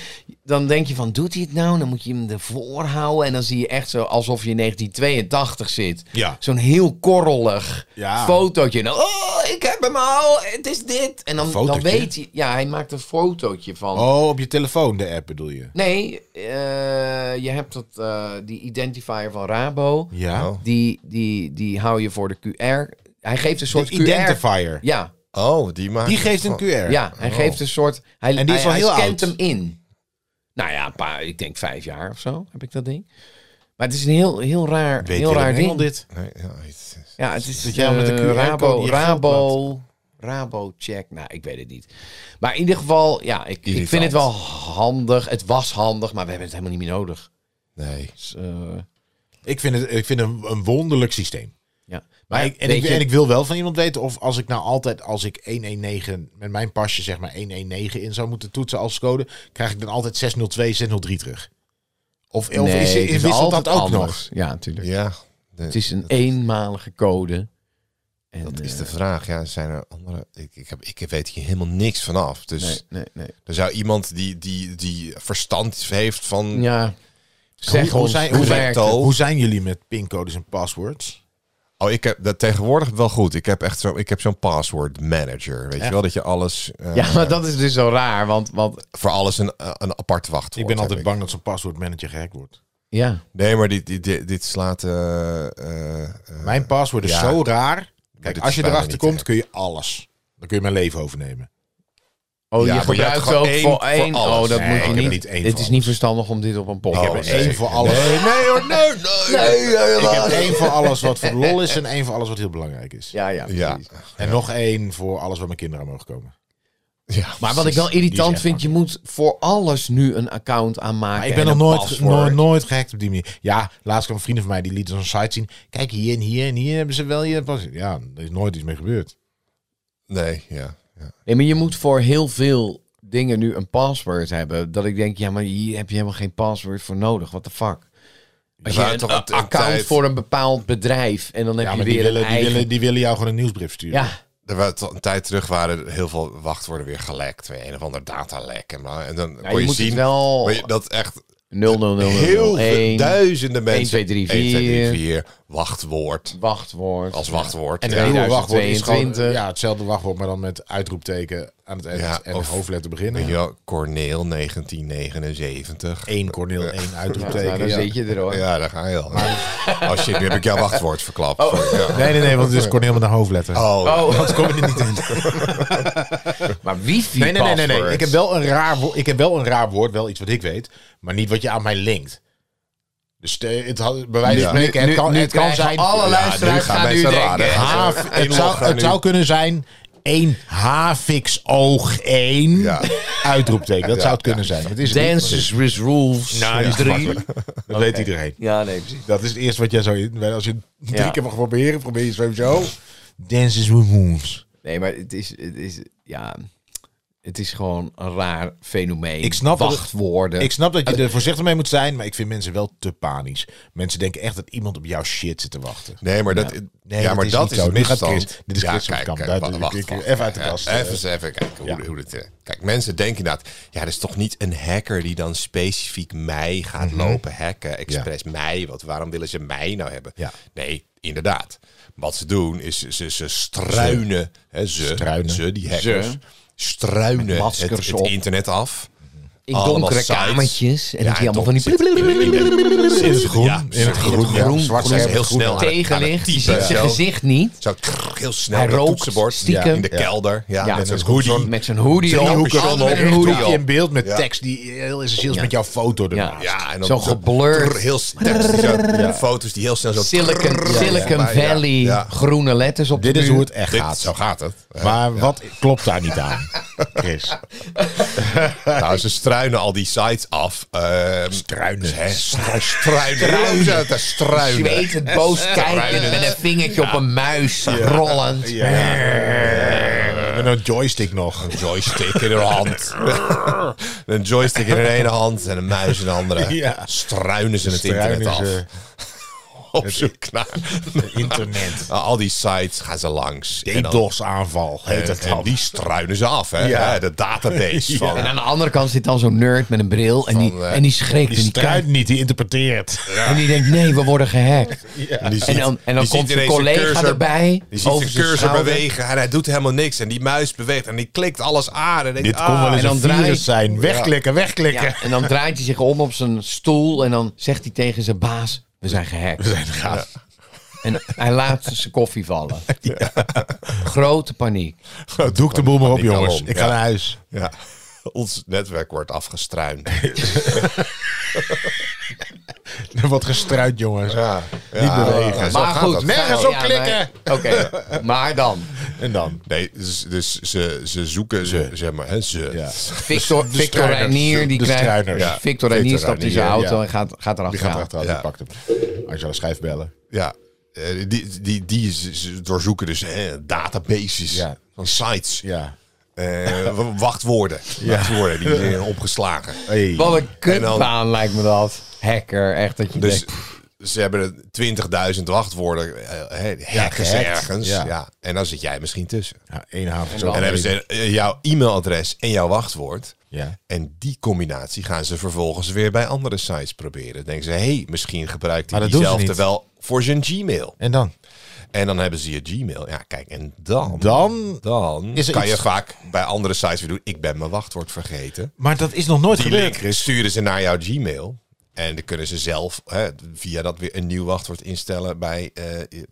[SPEAKER 3] dan denk je van, doet hij het nou? Dan moet je hem ervoor houden. En dan zie je echt zo alsof je in 1982 zit.
[SPEAKER 1] Ja.
[SPEAKER 3] Zo'n heel korrelig
[SPEAKER 1] Ja.
[SPEAKER 3] fotootje. En dan, oh, ik heb hem al, het is dit. En dan, dan
[SPEAKER 1] fotootje?
[SPEAKER 3] weet hij, ja, hij maakt een fotootje van.
[SPEAKER 1] Oh, op je telefoon, de app bedoel je?
[SPEAKER 3] Nee, eh, je hebt dat, eh, die identifier van Rabo.
[SPEAKER 1] Ja.
[SPEAKER 2] Oh.
[SPEAKER 3] Die, die, die hou je voor de QR. Hij geeft een
[SPEAKER 1] De
[SPEAKER 3] soort QR.
[SPEAKER 1] identifier.
[SPEAKER 3] Ja,
[SPEAKER 2] Oh, die maakt...
[SPEAKER 1] Die geeft een Oh.
[SPEAKER 2] van-
[SPEAKER 1] QR.
[SPEAKER 3] ja, hij geeft een soort. Hij,
[SPEAKER 1] En die is
[SPEAKER 3] hij,
[SPEAKER 1] wel heel
[SPEAKER 3] hij scant
[SPEAKER 1] oud.
[SPEAKER 3] hem in. Nou ja, een paar, ik denk vijf jaar of zo heb ik dat ding. Maar het is een heel, heel raar,
[SPEAKER 1] Weet
[SPEAKER 3] heel
[SPEAKER 1] Willem
[SPEAKER 3] raar
[SPEAKER 1] Engel
[SPEAKER 3] ding.
[SPEAKER 1] dit?
[SPEAKER 2] Nee, ja, het is-
[SPEAKER 3] Ja, het is
[SPEAKER 1] Dat jij met een
[SPEAKER 3] eh,
[SPEAKER 1] QR-code
[SPEAKER 3] Rabo,
[SPEAKER 1] je geld
[SPEAKER 3] Rabo, Rabo check. Nou, ik weet het niet. Maar in ieder geval, ja, ik, ik
[SPEAKER 2] Irritant.
[SPEAKER 3] vind het wel handig. Het was handig, maar we hebben het helemaal niet meer nodig.
[SPEAKER 2] Nee.
[SPEAKER 3] Dus, eh,
[SPEAKER 1] Ik vind het ik vind een, een wonderlijk systeem.
[SPEAKER 3] ja.
[SPEAKER 1] Maar ik, en,
[SPEAKER 3] weet
[SPEAKER 1] ik,
[SPEAKER 3] je-
[SPEAKER 1] en ik wil wel van iemand weten of als ik nou altijd, als ik 119 met mijn pasje zeg maar 119 in zou moeten toetsen als code, krijg ik dan altijd 602, 603 terug. Of, of
[SPEAKER 3] Nee,
[SPEAKER 1] is,
[SPEAKER 3] het is
[SPEAKER 1] wisselt dat
[SPEAKER 3] altijd
[SPEAKER 1] ook
[SPEAKER 3] anders. Ja, natuurlijk.
[SPEAKER 2] Ja. de-
[SPEAKER 3] Het is een eenmalige code. En,
[SPEAKER 2] dat is
[SPEAKER 3] eh,
[SPEAKER 2] de vraag. Ja, zijn er andere... Ik, ik, heb, ik weet hier helemaal niks vanaf. Dus
[SPEAKER 3] Nee, eh, nee, nee.
[SPEAKER 2] er zou iemand die, die, die verstand heeft van...
[SPEAKER 3] Ja. Zeg
[SPEAKER 1] hoe
[SPEAKER 3] ons,
[SPEAKER 1] zijn-
[SPEAKER 3] hoe,
[SPEAKER 1] hoe
[SPEAKER 3] werkt
[SPEAKER 2] werkt
[SPEAKER 3] het?
[SPEAKER 1] nog?
[SPEAKER 2] Oh.
[SPEAKER 1] Hoe zijn jullie met pincodes en passwords?
[SPEAKER 2] Oh, ik heb dat tegenwoordig wel goed. Ik heb echt zo, ik heb zo'n password manager. Weet je wel, dat je alles... eh,
[SPEAKER 3] Ja, maar dat is dus zo raar, want... want
[SPEAKER 2] Voor alles een, eh, een apart wachtwoord
[SPEAKER 1] Ik ben
[SPEAKER 2] heb
[SPEAKER 1] altijd bang dat zo'n paswoordmanager gehackt wordt.
[SPEAKER 3] ja.
[SPEAKER 2] Nee, maar dit, dit- dit, dit slaat... eh, eh, eh,
[SPEAKER 1] Mijn paswoord is
[SPEAKER 2] ja.
[SPEAKER 1] zo raar.
[SPEAKER 2] dit
[SPEAKER 1] Kijk,
[SPEAKER 2] is
[SPEAKER 1] als je
[SPEAKER 2] bijna
[SPEAKER 1] erachter
[SPEAKER 2] niet te
[SPEAKER 1] komt, kun je alles. Dan kun je mijn leven overnemen.
[SPEAKER 3] Oh,
[SPEAKER 2] Ja,
[SPEAKER 3] je
[SPEAKER 2] maar je hebt
[SPEAKER 3] gebruikt ze
[SPEAKER 2] gewoon
[SPEAKER 3] ook
[SPEAKER 2] één
[SPEAKER 3] voor
[SPEAKER 2] voor
[SPEAKER 3] één.
[SPEAKER 2] alles.
[SPEAKER 3] oh, dat
[SPEAKER 2] Nee,
[SPEAKER 1] ik
[SPEAKER 3] moet je
[SPEAKER 1] heb
[SPEAKER 3] niet.
[SPEAKER 1] niet één
[SPEAKER 3] dit
[SPEAKER 1] voor
[SPEAKER 3] is
[SPEAKER 1] alles.
[SPEAKER 3] niet verstandig om dit op een
[SPEAKER 1] Ik
[SPEAKER 3] podcast
[SPEAKER 1] heb
[SPEAKER 3] te
[SPEAKER 1] er één
[SPEAKER 2] zeker.
[SPEAKER 1] voor alles.
[SPEAKER 2] Nee hoor, nee, nee, nee.
[SPEAKER 1] Ik heb één voor alles wat voor de lol
[SPEAKER 2] <laughs>
[SPEAKER 1] is en één voor alles wat heel belangrijk is.
[SPEAKER 3] Ja, ja.
[SPEAKER 2] Ja.
[SPEAKER 3] precies.
[SPEAKER 1] En nog één voor alles waar mijn kinderen aan mogen komen.
[SPEAKER 2] ja.
[SPEAKER 3] Maar wat ik wel
[SPEAKER 1] Die
[SPEAKER 3] irritant
[SPEAKER 1] is
[SPEAKER 3] vind, je moet voor alles nu een account aanmaken.
[SPEAKER 1] Maar ik ben
[SPEAKER 3] en
[SPEAKER 1] nog
[SPEAKER 3] een
[SPEAKER 1] nooit,
[SPEAKER 3] paswoord.
[SPEAKER 1] nooit, nooit gehackt op die manier. Ja, laatst kwam een vrienden van mij die liet zo'n site zien. Kijk, hier en hier en hier hebben ze wel je pas. Ja, er is nooit iets mee gebeurd.
[SPEAKER 2] Nee, ja. ja.
[SPEAKER 3] Nee, maar je moet voor heel veel dingen nu een paswoord hebben. Dat ik denk, ja, maar hier heb je helemaal geen paswoord voor nodig. What the fuck? Als je
[SPEAKER 2] Ja, maar
[SPEAKER 3] een,
[SPEAKER 2] toch
[SPEAKER 3] een
[SPEAKER 2] een- een
[SPEAKER 3] account
[SPEAKER 2] tijd-
[SPEAKER 3] voor een bepaald bedrijf en dan heb
[SPEAKER 1] Ja,
[SPEAKER 3] je
[SPEAKER 1] maar die
[SPEAKER 3] weer
[SPEAKER 1] willen,
[SPEAKER 3] een
[SPEAKER 1] die,
[SPEAKER 3] eigen...
[SPEAKER 1] willen, die willen jou gewoon een nieuwsbrief sturen.
[SPEAKER 3] ja,
[SPEAKER 2] Er waren tot een tijd terug waren er heel veel wachtwoorden weer gelekt. Weer een of ander datalek. En, maar, en dan
[SPEAKER 3] ja,
[SPEAKER 2] kon
[SPEAKER 3] je
[SPEAKER 2] je,
[SPEAKER 3] moet
[SPEAKER 2] zien
[SPEAKER 3] het wel...
[SPEAKER 2] maar je- dat echt
[SPEAKER 3] 0, 0, 0,
[SPEAKER 2] heel veel duizenden mensen...
[SPEAKER 3] 1, 2, 3,
[SPEAKER 2] 4, wachtwoord.
[SPEAKER 3] wachtwoord. Nou,
[SPEAKER 2] Als wachtwoord.
[SPEAKER 1] En
[SPEAKER 2] ja.
[SPEAKER 1] een nieuwe wachtwoord is gewoon
[SPEAKER 3] 2022.
[SPEAKER 1] ja, hetzelfde wachtwoord, maar dan met uitroepteken aan het eind
[SPEAKER 2] Ja,
[SPEAKER 1] en
[SPEAKER 2] of-
[SPEAKER 1] hoofdletter
[SPEAKER 2] Weet
[SPEAKER 1] beginnen.
[SPEAKER 2] je wel, Corneel 1979.
[SPEAKER 1] Eén Corneel, één uitroepteken.
[SPEAKER 3] nou, dan
[SPEAKER 1] ja.
[SPEAKER 3] zit je er hoor.
[SPEAKER 2] Ja, daar ga je al. Oh shit, nu heb ik jouw wachtwoord verklapt. Sorry, ja.
[SPEAKER 1] Nee, nee, nee, want het is Corneel met een hoofdletter.
[SPEAKER 2] Oh,
[SPEAKER 3] Oh,
[SPEAKER 1] Dat <laughs> kom je er niet in.
[SPEAKER 3] <laughs> maar wifi
[SPEAKER 1] Nee, nee, nee, nee, nee.
[SPEAKER 3] passwords.
[SPEAKER 1] Ik heb, wel een raar woord, ik heb wel een raar woord, wel iets wat ik weet, maar niet wat je aan mij linkt. Dus eh, het had, bij wijze van
[SPEAKER 2] Ja.
[SPEAKER 1] spreken, het
[SPEAKER 3] Nu-
[SPEAKER 1] kan,
[SPEAKER 3] nu
[SPEAKER 1] het kan
[SPEAKER 3] krijgen
[SPEAKER 1] zijn...
[SPEAKER 3] alle
[SPEAKER 2] Ja, nu
[SPEAKER 3] luisteraars
[SPEAKER 2] gaan
[SPEAKER 3] gaan nu
[SPEAKER 2] mensen
[SPEAKER 3] denken...
[SPEAKER 2] raden.
[SPEAKER 3] "Ah,
[SPEAKER 1] Haaf, het, zou,
[SPEAKER 2] inloggen
[SPEAKER 1] het
[SPEAKER 2] nu.
[SPEAKER 1] zou kunnen zijn 1,5 één havix oog één
[SPEAKER 2] Ja.
[SPEAKER 1] uitroepteken. Dat zou het kunnen zijn. Het is het niet, maar-
[SPEAKER 3] Dances with rules.
[SPEAKER 1] Nou, die is te
[SPEAKER 3] Drie.
[SPEAKER 1] makkelijk. Dat weet iedereen.
[SPEAKER 3] Ja, nee, precies.
[SPEAKER 1] Dat is het eerste wat jij zou in. Als je drie
[SPEAKER 3] Ja.
[SPEAKER 1] keer mag proberen, probeer je sowieso. Dances with moves.
[SPEAKER 3] Nee, maar het is, het is, ja, het is gewoon een raar fenomeen.
[SPEAKER 1] Ik snap dat-
[SPEAKER 3] Wachtwoorden.
[SPEAKER 1] Ik snap dat je er voorzichtig mee moet zijn, maar ik vind mensen wel te panisch. Mensen denken echt dat iemand op jouw shit zit te wachten.
[SPEAKER 2] Nee, maar dat,
[SPEAKER 1] Nee,
[SPEAKER 2] ja,
[SPEAKER 1] dat
[SPEAKER 2] maar
[SPEAKER 1] is
[SPEAKER 2] dat
[SPEAKER 1] niet
[SPEAKER 2] is
[SPEAKER 1] zo.
[SPEAKER 2] een
[SPEAKER 1] Nu gaat
[SPEAKER 2] misstand.
[SPEAKER 1] Chris- dit is Chris van Kamp. Daar doe ik- ik- even uit de
[SPEAKER 2] Ja,
[SPEAKER 1] kast, eh.
[SPEAKER 2] Even, eens even kijken
[SPEAKER 1] Ja.
[SPEAKER 2] hoe, hoe dit... eh, Kijk, mensen denken inderdaad... Ja, dat is toch niet een hacker die dan specifiek mij
[SPEAKER 1] Mhm.
[SPEAKER 2] gaat lopen hacken. Expres mij. Want waarom willen ze mij nou hebben?
[SPEAKER 1] Ja.
[SPEAKER 2] Nee, inderdaad. Wat ze doen is ze, ze struinen. Hè, ze,
[SPEAKER 1] Struinen.
[SPEAKER 2] ze, die hackers.
[SPEAKER 3] Ze.
[SPEAKER 2] Struinen
[SPEAKER 3] Met
[SPEAKER 2] het,
[SPEAKER 3] maskers
[SPEAKER 2] het
[SPEAKER 3] op.
[SPEAKER 2] internet af.
[SPEAKER 3] in
[SPEAKER 2] allemaal
[SPEAKER 3] donkere
[SPEAKER 2] sites.
[SPEAKER 3] kamertjes. En
[SPEAKER 2] Ja,
[SPEAKER 3] dat die
[SPEAKER 2] en
[SPEAKER 3] allemaal van die...
[SPEAKER 2] toch zit-
[SPEAKER 1] In het groen.
[SPEAKER 2] Ja,
[SPEAKER 1] in het groen.
[SPEAKER 2] groen.
[SPEAKER 1] ja.
[SPEAKER 2] Zwart
[SPEAKER 1] groen.
[SPEAKER 2] zijn heel snel aan het- aan het
[SPEAKER 3] Tegenlicht. Je
[SPEAKER 2] typen.
[SPEAKER 3] ziet zijn
[SPEAKER 2] Zo.
[SPEAKER 3] gezicht niet.
[SPEAKER 2] Zo krrr, heel snel
[SPEAKER 3] Hij
[SPEAKER 2] op het
[SPEAKER 3] rookt
[SPEAKER 2] toetsenbord.
[SPEAKER 3] stiekem.
[SPEAKER 2] Ja, in de
[SPEAKER 1] Ja.
[SPEAKER 2] kelder. Ja,
[SPEAKER 3] Ja.
[SPEAKER 2] met
[SPEAKER 3] En
[SPEAKER 2] een
[SPEAKER 1] dan komt
[SPEAKER 2] hoodie.
[SPEAKER 1] zo'n-
[SPEAKER 3] Met zijn hoodie op. Altijd
[SPEAKER 2] hoeken eronder.
[SPEAKER 3] met een
[SPEAKER 2] hoodie
[SPEAKER 1] Hoedje
[SPEAKER 2] op.
[SPEAKER 1] in beeld met
[SPEAKER 2] Ja.
[SPEAKER 1] tekst die heel essentieel is met jouw foto ernaast.
[SPEAKER 2] Ja, en dan
[SPEAKER 3] Zo
[SPEAKER 2] zo-
[SPEAKER 3] geblurred.
[SPEAKER 2] trrr, Heel s- tekst, die zo- Foto's die heel snel zo...
[SPEAKER 3] Silicon,
[SPEAKER 2] trrr,
[SPEAKER 3] Silicon
[SPEAKER 2] ja, ja.
[SPEAKER 3] Valley,
[SPEAKER 2] Ja.
[SPEAKER 3] groene letters op
[SPEAKER 1] Dit
[SPEAKER 3] de
[SPEAKER 1] is
[SPEAKER 3] muur.
[SPEAKER 1] hoe het echt
[SPEAKER 2] Dit-
[SPEAKER 1] gaat.
[SPEAKER 2] zo gaat het. Ja.
[SPEAKER 1] Maar wat klopt daar niet aan, <laughs> Chris?
[SPEAKER 2] <laughs> Nou, ze struinen al die sites af. ehm,
[SPEAKER 1] Struinen.
[SPEAKER 2] hè, stru- struinen. Struinen. te struinen.
[SPEAKER 3] Zwetend,
[SPEAKER 2] <laughs>
[SPEAKER 3] boos kijkend,
[SPEAKER 2] Struinen.
[SPEAKER 3] met een vingertje op een muis, rollend.
[SPEAKER 1] Met een nou joystick nog.
[SPEAKER 2] Een joystick in haar hand. een joystick in de ene hand en een muis in de andere.
[SPEAKER 1] Ja.
[SPEAKER 2] Struinen ze het
[SPEAKER 1] Struinen
[SPEAKER 2] internet
[SPEAKER 1] ze-
[SPEAKER 2] af. <laughs> Op zoek naar...
[SPEAKER 1] eh,
[SPEAKER 2] Nou,
[SPEAKER 1] Internet.
[SPEAKER 2] Al die sites gaan ze langs. <laughs> En dan-
[SPEAKER 1] DDoS-aanval heet dat
[SPEAKER 2] en
[SPEAKER 1] dan.
[SPEAKER 2] die struinen ze af, hè?
[SPEAKER 1] Ja.
[SPEAKER 2] Ja, de database van.
[SPEAKER 3] En aan de andere kant zit dan zo'n nerd met een bril en die,
[SPEAKER 2] Van, eh,
[SPEAKER 3] en die schrikt
[SPEAKER 1] Die
[SPEAKER 3] en die kijkt.
[SPEAKER 1] struint niet, die interpreteert.
[SPEAKER 3] En die denkt, nee, we worden gehackt.
[SPEAKER 2] En die ziet-
[SPEAKER 3] En dan, en dan
[SPEAKER 2] die
[SPEAKER 3] komt
[SPEAKER 2] ziet
[SPEAKER 3] een
[SPEAKER 2] ineens
[SPEAKER 3] collega
[SPEAKER 2] cursor-
[SPEAKER 3] erbij.
[SPEAKER 2] Die ziet
[SPEAKER 3] over
[SPEAKER 2] zijn cursor
[SPEAKER 3] schouder.
[SPEAKER 2] bewegen en hij doet helemaal niks. En die muis beweegt en die klikt alles aan. En denkt,
[SPEAKER 1] Dit
[SPEAKER 2] ah,
[SPEAKER 1] kon wel eens
[SPEAKER 3] en dan
[SPEAKER 1] een
[SPEAKER 3] draai-
[SPEAKER 1] virus zijn. Wegklikken, wegklikken.
[SPEAKER 3] Ja, en dan draait hij zich om op zijn stoel en dan zegt hij tegen zijn baas, we zijn gehackt.
[SPEAKER 1] Ja.
[SPEAKER 3] En hij laat zijn koffie
[SPEAKER 2] <laughs>
[SPEAKER 3] vallen. Grote paniek.
[SPEAKER 1] <laughs> Doe ik de boel maar op,
[SPEAKER 2] Ik kan
[SPEAKER 1] jongens.
[SPEAKER 2] om,
[SPEAKER 1] Ik ga
[SPEAKER 2] ja.
[SPEAKER 1] naar huis.
[SPEAKER 2] Ja. Ons netwerk wordt afgestruind.
[SPEAKER 1] <laughs> Er wordt gestruit, jongens. Ah,
[SPEAKER 2] Ja.
[SPEAKER 1] Niet bewegen.
[SPEAKER 2] zo
[SPEAKER 3] maar
[SPEAKER 2] gaat
[SPEAKER 3] goed, nou,
[SPEAKER 2] dat.
[SPEAKER 1] Nergens op klikken.
[SPEAKER 3] maar- Oké, maar dan.
[SPEAKER 1] En dan?
[SPEAKER 2] Nee, dus, dus ze, ze zoeken, ze, zeg maar, hè, ze.
[SPEAKER 1] Ja.
[SPEAKER 3] Victor, Victor
[SPEAKER 1] struiners.
[SPEAKER 3] Reinier, die
[SPEAKER 1] De
[SPEAKER 3] krijgt...
[SPEAKER 1] struiners.
[SPEAKER 2] Ja.
[SPEAKER 3] Victor Reinier
[SPEAKER 2] Victor
[SPEAKER 3] stapt in zijn
[SPEAKER 2] Reinier,
[SPEAKER 3] auto
[SPEAKER 1] ja.
[SPEAKER 3] en gaat, gaat
[SPEAKER 1] Die
[SPEAKER 3] erachteraan.
[SPEAKER 1] gaat erachteraan,
[SPEAKER 2] Ja.
[SPEAKER 1] die pakt hem. Ah, Angela Schijf bellen.
[SPEAKER 2] Ja. Eh, die, die, die z- z- doorzoeken dus hè, databases
[SPEAKER 1] Ja.
[SPEAKER 2] van sites.
[SPEAKER 1] Ja.
[SPEAKER 2] Eh, w-
[SPEAKER 1] <laughs>
[SPEAKER 2] wachtwoorden. Wachtwoorden die zijn opgeslagen.
[SPEAKER 1] Hey.
[SPEAKER 3] Wat een
[SPEAKER 2] En dan-
[SPEAKER 3] kutbaan lijkt me dat. Hacker, echt dat je
[SPEAKER 2] Dus
[SPEAKER 3] denkt...
[SPEAKER 2] ze hebben 20.000 wachtwoorden. Uh, hackers
[SPEAKER 1] gehackt.
[SPEAKER 2] ergens.
[SPEAKER 1] Ja.
[SPEAKER 2] Ja. En dan zit jij misschien tussen.
[SPEAKER 1] Ja, één haven.
[SPEAKER 3] dan-
[SPEAKER 2] En dan hebben ze eh, jouw e-mailadres en jouw wachtwoord.
[SPEAKER 1] Ja.
[SPEAKER 2] En die combinatie gaan ze vervolgens weer bij andere sites proberen. Dan denken ze, hé, hey, misschien gebruikt
[SPEAKER 1] Maar
[SPEAKER 2] hij
[SPEAKER 1] dat doen ze
[SPEAKER 2] diezelfde
[SPEAKER 1] niet.
[SPEAKER 2] wel voor zijn Gmail.
[SPEAKER 1] En dan?
[SPEAKER 2] En dan hebben ze je Gmail. Ja, kijk, en dan,
[SPEAKER 1] Dan?
[SPEAKER 2] dan
[SPEAKER 1] Is er
[SPEAKER 2] kan je
[SPEAKER 1] iets-
[SPEAKER 2] vaak bij andere sites weer doen. Ik ben mijn wachtwoord vergeten.
[SPEAKER 1] Maar dat is nog nooit
[SPEAKER 2] Die
[SPEAKER 1] gebeurd.
[SPEAKER 2] link sturen ze naar jouw Gmail. En dan kunnen ze zelf hè, via dat weer een nieuw wachtwoord instellen bij, eh,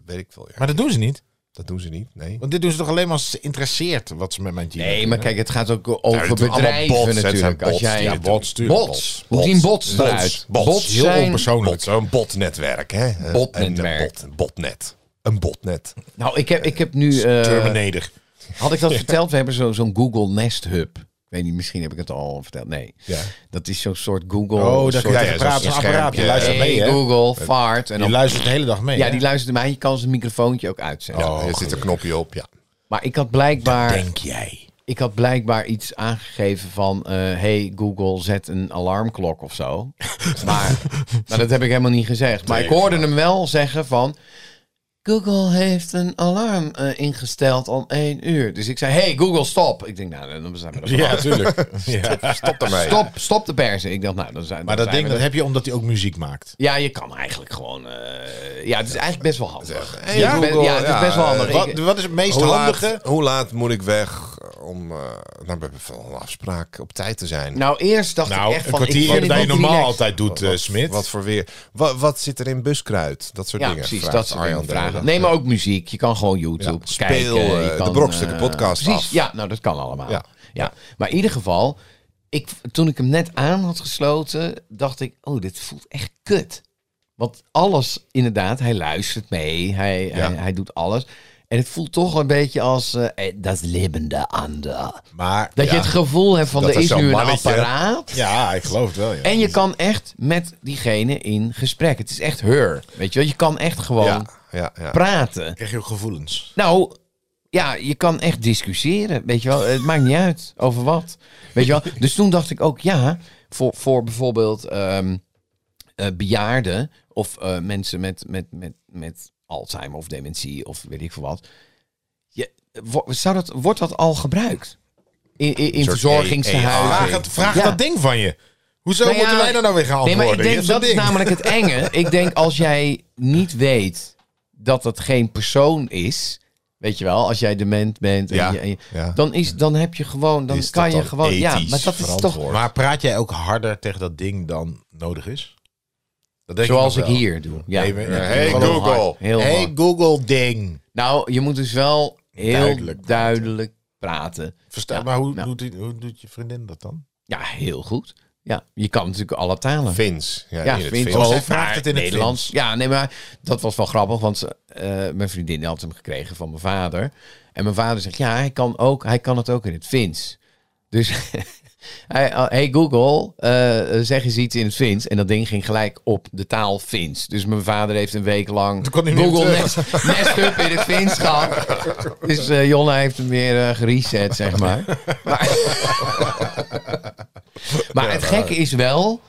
[SPEAKER 2] weet ik veel. Ja,
[SPEAKER 1] Maar dat doen ze niet.
[SPEAKER 2] dat doen ze niet, nee.
[SPEAKER 1] Want dit doen ze toch alleen maar als ze interesseert wat ze met mijn Gmail
[SPEAKER 3] Nee, maar
[SPEAKER 1] doen, hè?
[SPEAKER 3] kijk, het gaat ook
[SPEAKER 2] Ja,
[SPEAKER 3] over
[SPEAKER 2] het doen allemaal
[SPEAKER 3] bedrijven
[SPEAKER 2] bots, hè. Het zijn
[SPEAKER 3] natuurlijk. Als
[SPEAKER 2] bots
[SPEAKER 3] jij,
[SPEAKER 2] die
[SPEAKER 1] Ja,
[SPEAKER 2] dit
[SPEAKER 1] bots,
[SPEAKER 2] doen.
[SPEAKER 1] tuurlijk.
[SPEAKER 3] Bots. Hoe zien bots eruit?
[SPEAKER 2] Bots.
[SPEAKER 3] Bots
[SPEAKER 1] Heel
[SPEAKER 3] zijn-
[SPEAKER 1] onpersoonlijk.
[SPEAKER 2] Bot, een botnetwerk, hè? Een-
[SPEAKER 3] Botnetwerk.
[SPEAKER 2] Een bot, botnet. Een botnet.
[SPEAKER 3] Nou, ik heb, ik heb
[SPEAKER 2] Dus
[SPEAKER 3] nu... eh,
[SPEAKER 1] Terminator.
[SPEAKER 3] had
[SPEAKER 1] <laughs>
[SPEAKER 3] ik dat verteld? We hebben zo- zo'n Google Nest Hub. Ik weet niet, misschien heb ik het al verteld. Nee.
[SPEAKER 2] Ja.
[SPEAKER 3] Dat is zo'n soort Google...
[SPEAKER 1] Oh, daar kun
[SPEAKER 3] soort,
[SPEAKER 2] ja,
[SPEAKER 1] je
[SPEAKER 2] ja,
[SPEAKER 1] tegen praten.
[SPEAKER 2] zo'n
[SPEAKER 1] Een apparaat. Je
[SPEAKER 2] schermpje.
[SPEAKER 1] luistert
[SPEAKER 3] Hey,
[SPEAKER 1] mee, hè?
[SPEAKER 3] Google, fart. En
[SPEAKER 1] Je
[SPEAKER 3] dan,
[SPEAKER 1] luistert de hele dag mee.
[SPEAKER 3] ja,
[SPEAKER 1] hè?
[SPEAKER 3] die luistert naar mij. Je kan zijn microfoontje ook uitzetten.
[SPEAKER 2] ja, er zit een knopje op, ja.
[SPEAKER 3] Maar ik had blijkbaar...
[SPEAKER 1] Oh. Denk jij?
[SPEAKER 3] ik had blijkbaar iets aangegeven van... eh, hey Google, zet een alarmklok of
[SPEAKER 1] <laughs>
[SPEAKER 3] zo. maar, maar dat heb ik helemaal niet gezegd. Maar ik hoorde hem wel zeggen van... Google heeft een alarm eh, ingesteld om één uur. Dus ik zei, hey Google, stop. Ik denk, nou, dan zijn we er
[SPEAKER 1] Ja,
[SPEAKER 3] vanaf.
[SPEAKER 1] tuurlijk. <laughs> Ja.
[SPEAKER 2] Stop ermee.
[SPEAKER 3] Stop, stop de persen. Ik dacht, nou, dan zijn
[SPEAKER 1] Maar dat
[SPEAKER 3] dan zijn
[SPEAKER 1] ding
[SPEAKER 3] we
[SPEAKER 1] dat
[SPEAKER 3] er.
[SPEAKER 1] heb je omdat hij ook muziek maakt.
[SPEAKER 3] Ja, je kan eigenlijk gewoon... eh, ja, het is eigenlijk best wel handig.
[SPEAKER 2] Hey,
[SPEAKER 3] ja,
[SPEAKER 2] Google,
[SPEAKER 3] be- ja, het is
[SPEAKER 2] ja,
[SPEAKER 3] best wel handig.
[SPEAKER 1] Wat,
[SPEAKER 3] Ik-
[SPEAKER 1] wat is het meest
[SPEAKER 2] Hoe
[SPEAKER 1] handige?
[SPEAKER 2] laat, hoe laat moet ik weg om eh naar een afspraak op tijd te zijn?
[SPEAKER 3] nou, eerst dacht
[SPEAKER 1] Nou,
[SPEAKER 3] ik echt
[SPEAKER 1] een
[SPEAKER 3] van... ik
[SPEAKER 1] kwartier
[SPEAKER 3] vind
[SPEAKER 1] dat je
[SPEAKER 3] het
[SPEAKER 1] normaal
[SPEAKER 3] relaxed.
[SPEAKER 1] altijd doet, eh,
[SPEAKER 2] Wat-
[SPEAKER 1] Smit.
[SPEAKER 2] Wat voor weer? Wat, wat zit er in buskruid? Dat soort
[SPEAKER 3] Ja,
[SPEAKER 2] dingen.
[SPEAKER 3] precies.
[SPEAKER 2] vraagt
[SPEAKER 3] Dat soort dingen
[SPEAKER 2] Arjan de hele
[SPEAKER 3] vragen.
[SPEAKER 2] dag.
[SPEAKER 3] Nee, maar ook muziek. Je kan gewoon YouTube
[SPEAKER 2] Ja,
[SPEAKER 3] kijken.
[SPEAKER 2] speel,
[SPEAKER 3] je
[SPEAKER 2] eh, de
[SPEAKER 3] kan,
[SPEAKER 2] Brokstukken
[SPEAKER 3] eh,
[SPEAKER 2] podcast
[SPEAKER 3] Precies,
[SPEAKER 2] af.
[SPEAKER 3] ja. Nou, dat kan allemaal. Ja.
[SPEAKER 2] Ja.
[SPEAKER 3] Maar in ieder geval, ik, toen ik hem net aan had gesloten, dacht ik... Oh, dit voelt echt kut. Want alles, inderdaad, hij luistert mee. Hij, hij, hij doet alles. En het voelt toch een beetje als eh, eh, dat levende ander.
[SPEAKER 2] Maar
[SPEAKER 3] Dat
[SPEAKER 2] ja,
[SPEAKER 3] je het gevoel hebt van
[SPEAKER 2] Dat
[SPEAKER 3] er
[SPEAKER 2] is
[SPEAKER 3] is
[SPEAKER 2] zo'n
[SPEAKER 3] nu een
[SPEAKER 2] mannetje.
[SPEAKER 3] apparaat.
[SPEAKER 1] Ja, ik geloof het wel. Ja.
[SPEAKER 3] En je kan echt met diegene in gesprek. Het is echt her. Weet je wel, je kan echt gewoon
[SPEAKER 2] ja, ja, ja.
[SPEAKER 3] praten.
[SPEAKER 1] krijg je ook gevoelens.
[SPEAKER 3] Nou, ja, je kan echt discussiëren. Weet je wel, het maakt niet uit over wat. Weet je wel, dus toen dacht ik ook, ja, voor, voor bijvoorbeeld ehm, eh, bejaarden of eh, mensen met, met, met, met Alzheimer of dementie of weet ik veel wat. Je, wo- zou dat, wordt dat al gebruikt? In, in, in
[SPEAKER 2] soort
[SPEAKER 3] verzorgingshuizen.
[SPEAKER 1] Vraag, het, vraag
[SPEAKER 3] Ja.
[SPEAKER 1] dat ding van je. Hoezo
[SPEAKER 3] Nou ja,
[SPEAKER 1] moeten wij daar nou weer gaan
[SPEAKER 3] Nee,
[SPEAKER 1] antwoorden?
[SPEAKER 3] maar ik denk,
[SPEAKER 1] Je hebt
[SPEAKER 3] dat is
[SPEAKER 1] zo'n ding.
[SPEAKER 3] namelijk het
[SPEAKER 1] <laughs>
[SPEAKER 3] enge. Ik denk als jij niet weet dat het geen persoon is. Weet je wel, als jij dement bent. En
[SPEAKER 2] Ja,
[SPEAKER 3] je, en je-
[SPEAKER 2] ja.
[SPEAKER 3] dan, is, dan heb je gewoon. Dan
[SPEAKER 2] Is dat
[SPEAKER 3] kan je
[SPEAKER 2] dan
[SPEAKER 3] gewoon. Ja,
[SPEAKER 2] ethisch
[SPEAKER 3] maar dat is toch.
[SPEAKER 2] verantwoord?
[SPEAKER 1] Maar praat jij ook harder tegen dat ding dan nodig is? Dat denk
[SPEAKER 3] Zoals ik
[SPEAKER 1] nog wel.
[SPEAKER 3] hier doe. Ja.
[SPEAKER 1] Nee, maar-
[SPEAKER 2] Hey,
[SPEAKER 1] Gewoon
[SPEAKER 3] Heel
[SPEAKER 2] Google.
[SPEAKER 3] hard, Heel
[SPEAKER 1] hey
[SPEAKER 3] hard.
[SPEAKER 1] Google ding.
[SPEAKER 3] Nou, je moet dus wel heel
[SPEAKER 1] Duidelijk
[SPEAKER 3] duidelijk
[SPEAKER 1] praten.
[SPEAKER 3] praten.
[SPEAKER 1] Versta-
[SPEAKER 3] Ja,
[SPEAKER 1] maar hoe,
[SPEAKER 3] nou.
[SPEAKER 1] doet, hoe doet je vriendin dat dan?
[SPEAKER 3] Ja, heel goed. Ja, je kan natuurlijk alle talen.
[SPEAKER 2] Fins. Ja,
[SPEAKER 3] Ja,
[SPEAKER 2] in het
[SPEAKER 3] Fins.
[SPEAKER 2] Fins.
[SPEAKER 1] Oh, zij
[SPEAKER 3] ook,
[SPEAKER 1] vraagt
[SPEAKER 3] maar
[SPEAKER 1] het in het
[SPEAKER 3] Nederlands. Ja, nee, maar dat was wel grappig, want ze, eh, mijn vriendin had hem gekregen van mijn vader. En mijn vader zegt, ja, hij kan, ook, hij kan het ook in het Fins. Dus <laughs> hij, eh, hey Google, eh, zeg eens iets in het Fins. En dat ding ging gelijk op de taal Fins. Dus mijn vader heeft een week lang
[SPEAKER 1] kon hij niet
[SPEAKER 3] Google
[SPEAKER 1] terug.
[SPEAKER 3] Nest, Nest Hub in het Fins gehad. Dus eh, Jonna heeft hem weer eh, gereset, zeg maar. Maar, <laughs> maar het gekke is wel,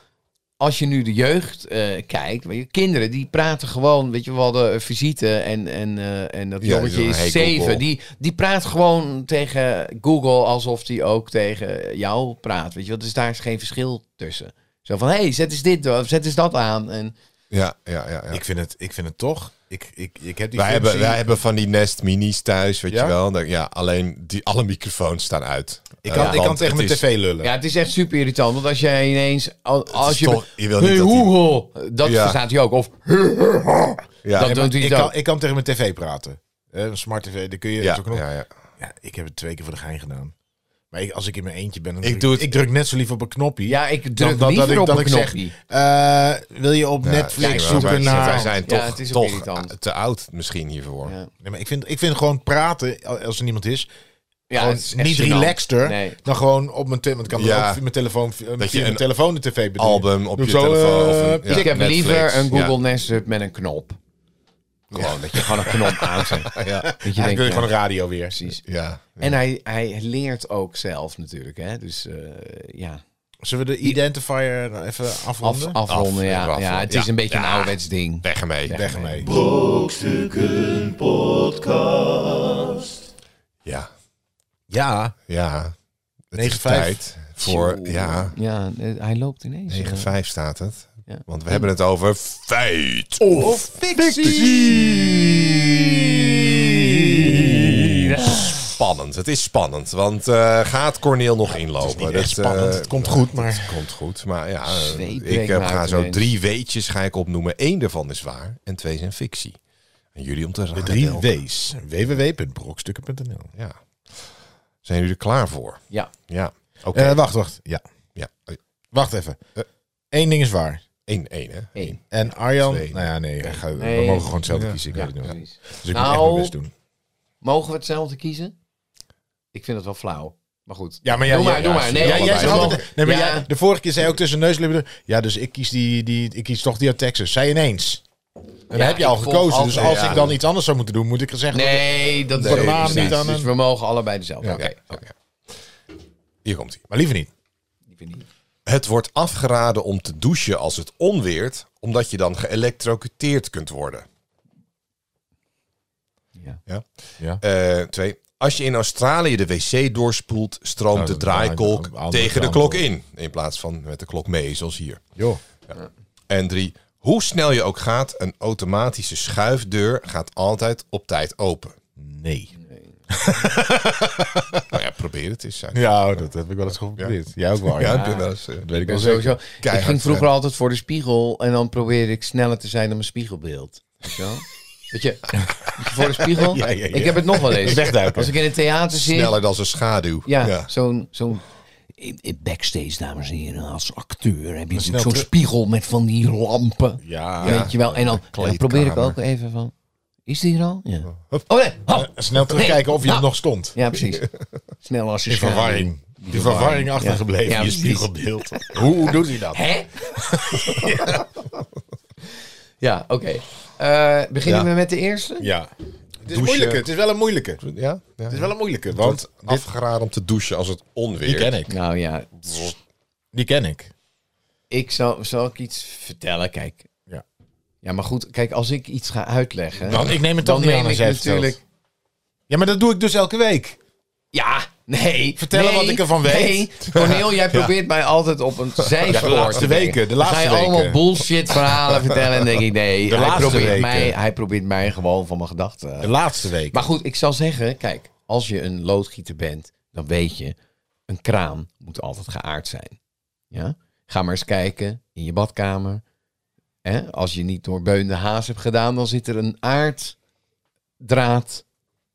[SPEAKER 3] als je nu de jeugd eh kijkt, maar je kinderen die praten gewoon, weet je, we hadden eh, visite en, en, eh, en dat
[SPEAKER 2] Ja,
[SPEAKER 3] jongetje
[SPEAKER 2] die doen,
[SPEAKER 3] is
[SPEAKER 2] "Hey, Google."
[SPEAKER 3] zeven, die, die praat gewoon tegen Google alsof die ook tegen jou praat, weet je, wel. dus daar is geen verschil tussen. Zo van, hé, hey, zet eens dit, door, of zet eens dat aan. En,
[SPEAKER 2] Ja, ja, ja. ja.
[SPEAKER 1] Ik, vind het, ik vind het toch. Ik, ik, ik heb die
[SPEAKER 2] wij,
[SPEAKER 1] functie.
[SPEAKER 2] hebben, wij hebben van die Nest Minis thuis, weet
[SPEAKER 1] Ja?
[SPEAKER 2] je wel. Dan- Ja, alleen die, alle microfoons staan uit.
[SPEAKER 1] ik kan,
[SPEAKER 2] Eh,
[SPEAKER 1] ik kan
[SPEAKER 2] want
[SPEAKER 1] tegen
[SPEAKER 2] het is-
[SPEAKER 1] mijn tv lullen.
[SPEAKER 3] ja, het is echt super irritant, want als jij ineens, al- als je...
[SPEAKER 2] toch- je wil
[SPEAKER 3] "Hey,
[SPEAKER 2] niet dat die-
[SPEAKER 3] Google," dat
[SPEAKER 2] Ja.
[SPEAKER 3] verstaat hij ook, of...
[SPEAKER 2] Ja,
[SPEAKER 3] dat doet hij
[SPEAKER 1] ik,
[SPEAKER 3] het
[SPEAKER 1] kan,
[SPEAKER 3] ook.
[SPEAKER 1] ik kan tegen mijn tv praten. Hè, Een smart tv, daar kun je
[SPEAKER 2] ja,
[SPEAKER 1] zo'n knop.
[SPEAKER 2] ja, ja.
[SPEAKER 1] Ja, ik heb het twee keer voor de gein gedaan. Maar ik, als ik in mijn eentje ben, dan
[SPEAKER 2] Ik
[SPEAKER 1] druk-
[SPEAKER 2] doe het-
[SPEAKER 1] ik druk net zo lief op een knopje.
[SPEAKER 3] Ja, ik druk
[SPEAKER 1] dat- dat
[SPEAKER 3] liever
[SPEAKER 1] ik-
[SPEAKER 3] op
[SPEAKER 1] dat
[SPEAKER 3] een
[SPEAKER 1] ik zeg,
[SPEAKER 3] knopje.
[SPEAKER 1] Eh, wil je op Netflix
[SPEAKER 3] ja,
[SPEAKER 1] zoeken
[SPEAKER 2] wij,
[SPEAKER 1] naar...
[SPEAKER 2] Wij zijn
[SPEAKER 3] Ja,
[SPEAKER 2] toch,
[SPEAKER 3] het is ook
[SPEAKER 2] toch
[SPEAKER 3] irritant.
[SPEAKER 2] eh, te oud misschien hiervoor.
[SPEAKER 3] Ja.
[SPEAKER 1] Nee, maar ik, vind, ik vind gewoon praten, als er niemand is,
[SPEAKER 3] Ja,
[SPEAKER 1] gewoon
[SPEAKER 3] Oh, het is echt
[SPEAKER 1] niet
[SPEAKER 3] gênant.
[SPEAKER 1] relaxter
[SPEAKER 3] Nee.
[SPEAKER 1] dan gewoon op mijn, te- want ik kan
[SPEAKER 2] Ja.
[SPEAKER 1] ook via mijn telefoon, via
[SPEAKER 2] je
[SPEAKER 1] mijn
[SPEAKER 2] een
[SPEAKER 1] telefoon de tv bedienen.
[SPEAKER 2] Album op
[SPEAKER 1] Doe
[SPEAKER 2] je
[SPEAKER 1] zo,
[SPEAKER 2] telefoon. of
[SPEAKER 1] eh,
[SPEAKER 2] een, ja,
[SPEAKER 3] Dus ik heb
[SPEAKER 2] Netflix.
[SPEAKER 3] liever een
[SPEAKER 2] Ja.
[SPEAKER 3] Google Nest Hub met een knop. Gewoon, dat je gewoon een knop
[SPEAKER 1] <laughs>
[SPEAKER 3] aanzet. Dat je
[SPEAKER 1] Dan
[SPEAKER 3] denkt,
[SPEAKER 1] kun je
[SPEAKER 3] ja,
[SPEAKER 1] gewoon radio weer.
[SPEAKER 3] precies.
[SPEAKER 2] Ja.
[SPEAKER 3] En hij, hij leert ook zelf natuurlijk, hè. Dus eh, ja,
[SPEAKER 1] Zullen we de identifier nou even
[SPEAKER 3] Af,
[SPEAKER 1] afronden?
[SPEAKER 3] afronden, ja.
[SPEAKER 2] afronden.
[SPEAKER 3] ja. Het is
[SPEAKER 2] Ja.
[SPEAKER 3] een beetje
[SPEAKER 2] Ja.
[SPEAKER 3] een ouderwets ding.
[SPEAKER 2] Weg ermee.
[SPEAKER 1] Weg ermee.
[SPEAKER 2] Ja.
[SPEAKER 1] Ja,
[SPEAKER 2] Ja. Het is
[SPEAKER 1] 9-5.
[SPEAKER 2] tijd voor... Ja,
[SPEAKER 3] Ja, eh, hij loopt ineens. eh.
[SPEAKER 2] 9-5
[SPEAKER 3] Ja.
[SPEAKER 2] staat het.
[SPEAKER 3] Ja.
[SPEAKER 2] Want we hebben het over feit of Spannend, het is spannend. Want eh, gaat Corneel nog inlopen?
[SPEAKER 1] niet echt
[SPEAKER 2] eh,
[SPEAKER 1] spannend. Het komt goed, maar-
[SPEAKER 2] Het komt goed, maar ja. eh,
[SPEAKER 3] Zweetbreek
[SPEAKER 2] Ik eh,
[SPEAKER 3] maakt
[SPEAKER 2] ga zo
[SPEAKER 3] ineens.
[SPEAKER 2] drie weetjes ga ik opnoemen. Eén daarvan is waar en twee zijn fictie. En jullie om te raden.
[SPEAKER 1] de drie
[SPEAKER 2] welke.
[SPEAKER 1] W's. www.brokstukken.nl
[SPEAKER 2] Ja. Zijn jullie er klaar voor?
[SPEAKER 3] Ja.
[SPEAKER 2] Ja. Oké.
[SPEAKER 1] Eh, Wacht, wacht. Ja,
[SPEAKER 2] ja.
[SPEAKER 1] wacht even.
[SPEAKER 2] Eh.
[SPEAKER 1] Eén ding is waar.
[SPEAKER 2] Eén, één, hè?
[SPEAKER 3] Eén.
[SPEAKER 1] En Arjan...
[SPEAKER 2] Twee.
[SPEAKER 1] Nou ja, nee, hij gaat- we
[SPEAKER 3] Nee.
[SPEAKER 1] mogen gewoon hetzelfde
[SPEAKER 2] Ja.
[SPEAKER 1] kiezen. Ik
[SPEAKER 3] Ja,
[SPEAKER 1] weet het niet.
[SPEAKER 3] precies.
[SPEAKER 1] Dus ik moet echt mijn
[SPEAKER 3] Nou,
[SPEAKER 1] best doen.
[SPEAKER 3] Mogen we hetzelfde kiezen? Ik vind het wel flauw. Maar goed.
[SPEAKER 1] Ja, maar jij,
[SPEAKER 3] Doe maar,
[SPEAKER 1] ja,
[SPEAKER 3] doe
[SPEAKER 1] ja,
[SPEAKER 3] maar. Nee,
[SPEAKER 1] ja, jij
[SPEAKER 3] allebei.
[SPEAKER 1] zegt altijd, nee, maar
[SPEAKER 3] Ja.
[SPEAKER 1] jij, de vorige keer zei je ook tussen neus en lippen door, Ja, dus ik kies, die, die, ik kies toch die uit Texas. Zij ineens. En dan
[SPEAKER 3] Ja,
[SPEAKER 1] heb je al
[SPEAKER 3] ik volg
[SPEAKER 1] gekozen. Dus
[SPEAKER 3] altijd,
[SPEAKER 1] als
[SPEAKER 3] ja.
[SPEAKER 1] ik dan iets anders zou moeten doen, moet ik gezegd worden.
[SPEAKER 3] Nee, dat
[SPEAKER 1] Voor de maan
[SPEAKER 3] precies.
[SPEAKER 1] niet aan
[SPEAKER 3] Dus
[SPEAKER 1] een-
[SPEAKER 3] we mogen allebei dezelfde.
[SPEAKER 1] Ja.
[SPEAKER 3] Oké,
[SPEAKER 2] Oké, oké. Hier komt hij.
[SPEAKER 1] Maar liever niet.
[SPEAKER 3] die vind ik niet.
[SPEAKER 2] Het wordt afgeraden om te douchen als het onweert, omdat je dan geëlektrocuteerd kunt worden.
[SPEAKER 3] Ja.
[SPEAKER 2] Ja.
[SPEAKER 1] Ja.
[SPEAKER 2] Eh, twee. Als je in Australië de wc doorspoelt, stroomt
[SPEAKER 1] Nou,
[SPEAKER 2] de
[SPEAKER 1] dan draait
[SPEAKER 2] draaikolk
[SPEAKER 1] de andere
[SPEAKER 2] tegen de
[SPEAKER 1] kant
[SPEAKER 2] klok
[SPEAKER 1] op.
[SPEAKER 2] in. In plaats van met de klok mee, zoals hier.
[SPEAKER 1] Joh.
[SPEAKER 2] En drie. Hoe snel je ook gaat, een automatische schuifdeur gaat altijd op tijd open.
[SPEAKER 1] Nee.
[SPEAKER 2] Nou ja, probeer het eens. Zijn.
[SPEAKER 1] Ja, oh, dat heb ik wel eens geprobeerd. Jij ook wel.
[SPEAKER 2] Ja,
[SPEAKER 1] Ja,
[SPEAKER 2] ik ben wel eens, eh,
[SPEAKER 1] dat weet ik
[SPEAKER 3] Ik,
[SPEAKER 1] wel
[SPEAKER 3] ben
[SPEAKER 1] zeker.
[SPEAKER 3] sowieso, ik
[SPEAKER 2] Keihard,
[SPEAKER 3] ging vroeger
[SPEAKER 2] ja.
[SPEAKER 3] altijd voor de spiegel en dan probeerde ik sneller te zijn dan mijn spiegelbeeld. Weet
[SPEAKER 1] <laughs>
[SPEAKER 3] je wel? Weet je, voor de spiegel?
[SPEAKER 1] Ja, ja, ja.
[SPEAKER 3] Ik heb het nog wel eens.
[SPEAKER 1] <laughs> Wegduiken.
[SPEAKER 3] Als ik in het theater zit,
[SPEAKER 2] sneller dan zijn schaduw.
[SPEAKER 3] ja, zo'n... zo'n in, in backstage, dames en heren, als acteur heb je natuurlijk zo'n
[SPEAKER 1] terug.
[SPEAKER 3] spiegel met van die lampen.
[SPEAKER 1] Ja.
[SPEAKER 3] weet je wel. En dan, dan probeer ik ook even van... Is die er al? Ja. Oh nee, hop.
[SPEAKER 1] Snel terugkijken of je er
[SPEAKER 3] Nou.
[SPEAKER 1] nog stond.
[SPEAKER 3] Ja,
[SPEAKER 1] <laughs>
[SPEAKER 3] precies. Snel als je
[SPEAKER 1] In
[SPEAKER 3] schaamt.
[SPEAKER 1] verwarring. Die verwarring achtergebleven,
[SPEAKER 3] Ja,
[SPEAKER 1] je
[SPEAKER 3] precies.
[SPEAKER 1] spiegelbeeld. Hoe, hoe doet hij dat?
[SPEAKER 3] Hè? <laughs> ja, oké. Eh, beginnen
[SPEAKER 2] Ja.
[SPEAKER 3] we met de eerste?
[SPEAKER 1] Ja. Het is
[SPEAKER 2] Douchen.
[SPEAKER 1] moeilijke, het is wel een moeilijke. Het
[SPEAKER 2] Ja? ja.
[SPEAKER 1] is wel een moeilijke,
[SPEAKER 2] Want
[SPEAKER 1] want dit,
[SPEAKER 2] afgeraden om te douchen als het onweer.
[SPEAKER 1] die ken ik.
[SPEAKER 3] Nou ja,
[SPEAKER 1] Die ken ik.
[SPEAKER 3] ik zal, zal ik iets vertellen. Kijk.
[SPEAKER 1] Ja.
[SPEAKER 3] Ja, maar goed. Kijk, als ik iets ga uitleggen...
[SPEAKER 1] Want ik neem het toch
[SPEAKER 3] dan
[SPEAKER 1] niet aan
[SPEAKER 3] neem
[SPEAKER 1] als
[SPEAKER 3] ik
[SPEAKER 1] jij het vertelt.
[SPEAKER 3] natuurlijk...
[SPEAKER 1] Ja, maar dat doe ik dus elke week.
[SPEAKER 3] Ja, nee.
[SPEAKER 1] Vertellen
[SPEAKER 3] nee,
[SPEAKER 1] wat ik ervan weet.
[SPEAKER 3] Nee, Cornel,
[SPEAKER 1] <laughs>
[SPEAKER 3] jij probeert mij altijd op een zijspoor
[SPEAKER 1] de laatste
[SPEAKER 3] te brengen.
[SPEAKER 1] weken, de
[SPEAKER 3] Dan ga
[SPEAKER 1] laatste
[SPEAKER 3] je
[SPEAKER 1] weken.
[SPEAKER 3] allemaal bullshit verhalen vertellen en denk ik, nee,
[SPEAKER 1] De
[SPEAKER 3] hij
[SPEAKER 1] laatste
[SPEAKER 3] probeert,
[SPEAKER 1] weken.
[SPEAKER 3] mij, hij probeert mij gewoon van mijn gedachten. eh,
[SPEAKER 1] De laatste week.
[SPEAKER 3] Maar goed, ik zal zeggen, kijk, als je een loodgieter bent, dan weet je, een kraan moet altijd geaard zijn. Ja? Ga maar eens kijken in je badkamer. Hè? Als je niet door beunde haas hebt gedaan, dan zit er een aarddraad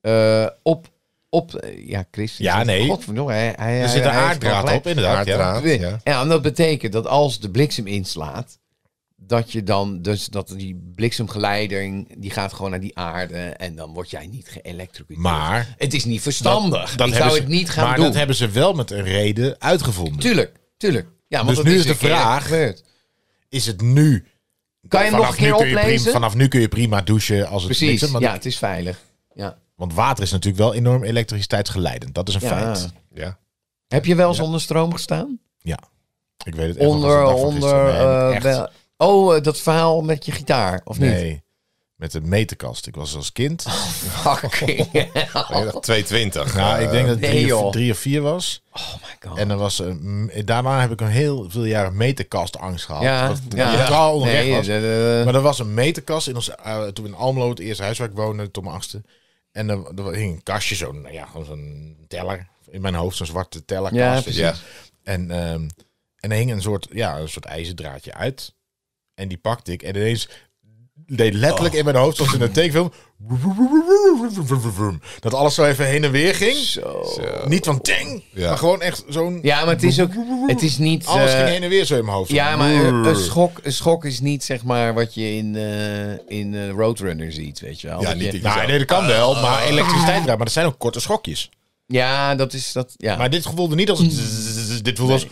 [SPEAKER 3] eh, op, op. eh, Ja, Chris.
[SPEAKER 1] Ja, nee.
[SPEAKER 3] Godverdomme, hij, hij,
[SPEAKER 1] er zit een aarddraad op, inderdaad.
[SPEAKER 2] Aarddraad.
[SPEAKER 1] Ja.
[SPEAKER 2] ja.
[SPEAKER 3] Ja. en dat betekent dat als de bliksem inslaat, dat je dan dus dat die bliksemgeleiding die gaat gewoon naar die aarde en dan word jij niet geëlektrocuteerd.
[SPEAKER 1] Maar
[SPEAKER 3] Het is niet verstandig.
[SPEAKER 1] dat
[SPEAKER 3] ik
[SPEAKER 1] hebben
[SPEAKER 3] zou
[SPEAKER 1] ze-
[SPEAKER 3] het niet gaan
[SPEAKER 1] maar
[SPEAKER 3] doen.
[SPEAKER 1] dat hebben ze wel met een reden uitgevonden.
[SPEAKER 3] Tuurlijk, tuurlijk. Ja, want
[SPEAKER 1] Dus
[SPEAKER 3] dat
[SPEAKER 1] nu is
[SPEAKER 3] een
[SPEAKER 1] de
[SPEAKER 3] keer
[SPEAKER 1] vraag-
[SPEAKER 3] gebeurd.
[SPEAKER 1] Is het nu...
[SPEAKER 3] Kan je hem nog een
[SPEAKER 1] nu
[SPEAKER 3] keer
[SPEAKER 1] kun je prima,
[SPEAKER 3] oplezen?
[SPEAKER 1] vanaf nu kun je prima douchen als het
[SPEAKER 3] Precies,
[SPEAKER 1] bliksem, maar
[SPEAKER 3] ja, het is veilig. Ja.
[SPEAKER 1] Want water is natuurlijk wel enorm elektriciteitsgeleidend. Dat is een
[SPEAKER 3] Ja.
[SPEAKER 1] feit.
[SPEAKER 2] Ja.
[SPEAKER 3] Heb je wel eens onder stroom gestaan?
[SPEAKER 1] Ja. Ik weet het echt nog als
[SPEAKER 3] Onder,
[SPEAKER 1] de dag van
[SPEAKER 3] onder.
[SPEAKER 1] gisteren. Nee,
[SPEAKER 3] eh,
[SPEAKER 1] echt.
[SPEAKER 3] wel- oh, eh, dat verhaal met je gitaar, of eh, niet? Oh.
[SPEAKER 1] Nee. Met de meterkast. Ik was als kind.
[SPEAKER 3] <laughs>
[SPEAKER 1] <laughs>
[SPEAKER 3] Fucking hell.
[SPEAKER 2] Ja, 220.
[SPEAKER 1] Nou,
[SPEAKER 2] eh,
[SPEAKER 1] ik denk dat het
[SPEAKER 3] nee,
[SPEAKER 1] drie,
[SPEAKER 3] joh.
[SPEAKER 1] of, drie of vier was.
[SPEAKER 3] Oh my god.
[SPEAKER 1] En er was, eh, m- daarna heb ik een heel veel jaren meterkastangst gehad.
[SPEAKER 3] ja,
[SPEAKER 1] Dat het
[SPEAKER 3] ja.
[SPEAKER 1] totaal onrecht
[SPEAKER 3] Nee,
[SPEAKER 1] was.
[SPEAKER 3] dat, eh,
[SPEAKER 1] Maar er was een meterkast in ons, eh, toen we in Almelo het eerste huis waar ik woonde, tot mijn achtste. En er, er hing een kastje, zo'n nou ja, gewoon zo'n teller. In mijn hoofd zo'n zwarte
[SPEAKER 3] Ja,
[SPEAKER 1] tellerkast.
[SPEAKER 3] precies.
[SPEAKER 2] Ja.
[SPEAKER 1] En, ehm, en er hing een soort, ja, een soort ijzerdraadje uit. En die pakte ik. En ineens deed
[SPEAKER 3] Oh.
[SPEAKER 1] letterlijk in mijn hoofd, zoals in een tekenfilm... Dat alles zo even heen en weer ging. Niet van ting,
[SPEAKER 2] Ja.
[SPEAKER 1] maar gewoon echt zo'n...
[SPEAKER 3] Ja, maar het is ook. Het is niet.
[SPEAKER 1] Alles
[SPEAKER 3] eh,
[SPEAKER 1] ging heen en weer zo in mijn hoofd. Zo.
[SPEAKER 3] ja, maar eh, een schok, een schok is niet zeg maar wat je in, eh, in eh, Roadrunner ziet, weet je wel.
[SPEAKER 2] Ja,
[SPEAKER 3] Dat
[SPEAKER 2] niet
[SPEAKER 3] je-
[SPEAKER 2] die-
[SPEAKER 1] Nou, nee, dat kan
[SPEAKER 2] Eh,
[SPEAKER 1] wel, maar elektriciteit draait. Maar dat zijn ook korte schokjes.
[SPEAKER 3] ja, dat is dat. Ja.
[SPEAKER 1] Maar dit voelde niet als... Dit voelde als...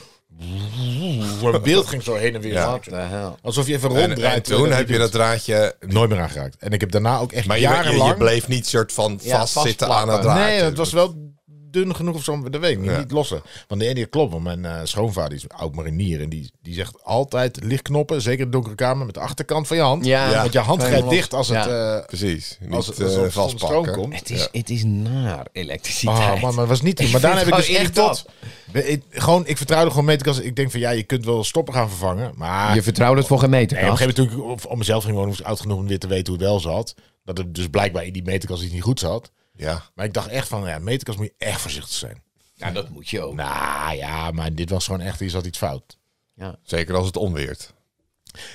[SPEAKER 1] Mijn beeld ging zo heen en weer.
[SPEAKER 3] What the hell?
[SPEAKER 1] Alsof je even
[SPEAKER 2] En,
[SPEAKER 1] ronddraait. eh,
[SPEAKER 2] en toen heb je dat draadje...
[SPEAKER 1] nooit meer aangeraakt. En ik heb daarna ook echt
[SPEAKER 2] Maar je, je-
[SPEAKER 1] jarenlang...
[SPEAKER 2] je bleef niet soort van
[SPEAKER 3] Ja,
[SPEAKER 2] vastzitten
[SPEAKER 3] vastplakken.
[SPEAKER 2] aan het draadje.
[SPEAKER 1] Nee, het was wel dun genoeg of zo. Dat weet ik niet.
[SPEAKER 2] Ja.
[SPEAKER 1] Niet lossen. Want de ene klopt. Want mijn eh, schoonvader is oud marinier. En die, die zegt altijd lichtknoppen. Zeker in de donkere kamer. Met de achterkant van je hand.
[SPEAKER 3] Ja. Ja.
[SPEAKER 1] Want je hand
[SPEAKER 3] Kan je
[SPEAKER 1] grijpt
[SPEAKER 3] los.
[SPEAKER 1] dicht als het...
[SPEAKER 3] Ja.
[SPEAKER 1] eh,
[SPEAKER 2] Precies. Niet
[SPEAKER 1] als het
[SPEAKER 2] eh,
[SPEAKER 1] als het van de stroom
[SPEAKER 2] vastpakken.
[SPEAKER 1] komt.
[SPEAKER 3] Het is, het is naar elektriciteit.
[SPEAKER 1] Oh man, maar dat was
[SPEAKER 3] <laughs>
[SPEAKER 1] niet
[SPEAKER 3] Ik
[SPEAKER 1] Maar daarna heb
[SPEAKER 3] vind
[SPEAKER 1] ik
[SPEAKER 3] het
[SPEAKER 1] dus echt
[SPEAKER 3] gewoon
[SPEAKER 1] tot... Ik, gewoon, ik vertrouwde gewoon meterkast. Ik denk van ja, je kunt wel stoppen gaan vervangen. Maar
[SPEAKER 3] Je vertrouwt het voor geen meter.
[SPEAKER 1] Nee, op een
[SPEAKER 3] Kas.
[SPEAKER 1] gegeven moment toen ik op, op mezelf ging wonen, was ik oud genoeg om weer te weten hoe het wel zat. Dat het dus blijkbaar in die meterkast iets niet goed zat.
[SPEAKER 2] Ja.
[SPEAKER 1] Maar ik dacht echt van, ja, meterkast moet je echt voorzichtig zijn.
[SPEAKER 3] Nou, dat moet je ook.
[SPEAKER 1] Nou ja, maar dit was gewoon echt, hier zat iets fout.
[SPEAKER 3] Ja.
[SPEAKER 2] Zeker als het onweert.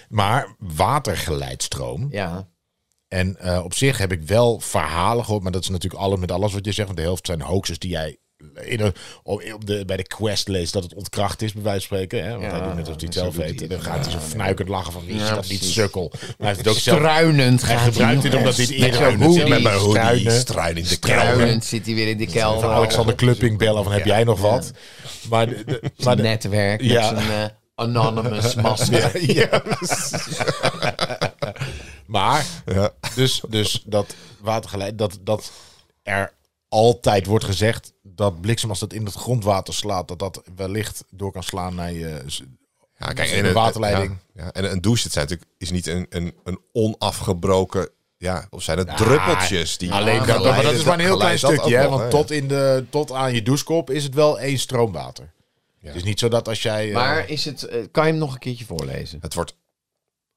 [SPEAKER 1] Maar watergeleidstroom.
[SPEAKER 3] ja.
[SPEAKER 1] En eh, op zich heb ik wel verhalen gehoord, maar dat is natuurlijk alle, met alles wat je zegt. Want de helft zijn hoaxes die jij in een- op op de, bij de quest leest dat het ontkracht is, bij wijze van spreken. Hè? Want
[SPEAKER 3] Ja,
[SPEAKER 1] hij doet net alsof hij het
[SPEAKER 3] zo
[SPEAKER 1] zelf
[SPEAKER 3] doet hij
[SPEAKER 1] weet. En
[SPEAKER 3] het.
[SPEAKER 1] dan gaat hij zo fnuikend lachen van, is
[SPEAKER 3] Ja,
[SPEAKER 1] dat niet
[SPEAKER 3] precies.
[SPEAKER 1] sukkel? Maar hij heeft het ook zelf
[SPEAKER 3] Struinend gaat
[SPEAKER 1] Hij gebruikt dit
[SPEAKER 3] nog
[SPEAKER 1] omdat dit
[SPEAKER 3] eens met
[SPEAKER 1] eerder
[SPEAKER 3] zo'n
[SPEAKER 1] aan het
[SPEAKER 3] hoodie.
[SPEAKER 1] met mijn hoodie.
[SPEAKER 2] Struinen.
[SPEAKER 1] Struinen.
[SPEAKER 2] Struinen in de
[SPEAKER 1] Struinen.
[SPEAKER 2] kelder.
[SPEAKER 3] Struinend zit hij weer in de kelder.
[SPEAKER 1] van Alexander Klupping bellen van heb jij nog wat? Maar, de, de- maar de-
[SPEAKER 3] netwerk met
[SPEAKER 1] Ja.
[SPEAKER 3] zijn eh,
[SPEAKER 1] <laughs>
[SPEAKER 3] anonymous masker.
[SPEAKER 1] <laughs> ja, precies. maar
[SPEAKER 2] Ja.
[SPEAKER 1] dus, dus dat watergeleid dat, dat er altijd wordt gezegd dat bliksem als dat in het grondwater slaat dat dat wellicht door kan slaan naar je z-
[SPEAKER 2] Ja, kijk,
[SPEAKER 1] Een
[SPEAKER 2] een-
[SPEAKER 1] waterleiding.
[SPEAKER 2] Ja, ja. En een douche, het zijn natuurlijk, is niet een, een, een onafgebroken... Ja, of zijn het druppeltjes die...
[SPEAKER 1] Ah, alleen dat,
[SPEAKER 2] geleiden-
[SPEAKER 1] maar dat is maar een heel klein
[SPEAKER 2] geleid dat
[SPEAKER 1] stukje
[SPEAKER 2] ook
[SPEAKER 1] hè,
[SPEAKER 2] nog,
[SPEAKER 1] want
[SPEAKER 2] hè,
[SPEAKER 1] tot in de tot aan je douchekop is het wel één stroomwater het is niet zo dat als jij eh,
[SPEAKER 3] Maar is het, eh, kan je hem nog een keertje voorlezen?
[SPEAKER 2] Het wordt,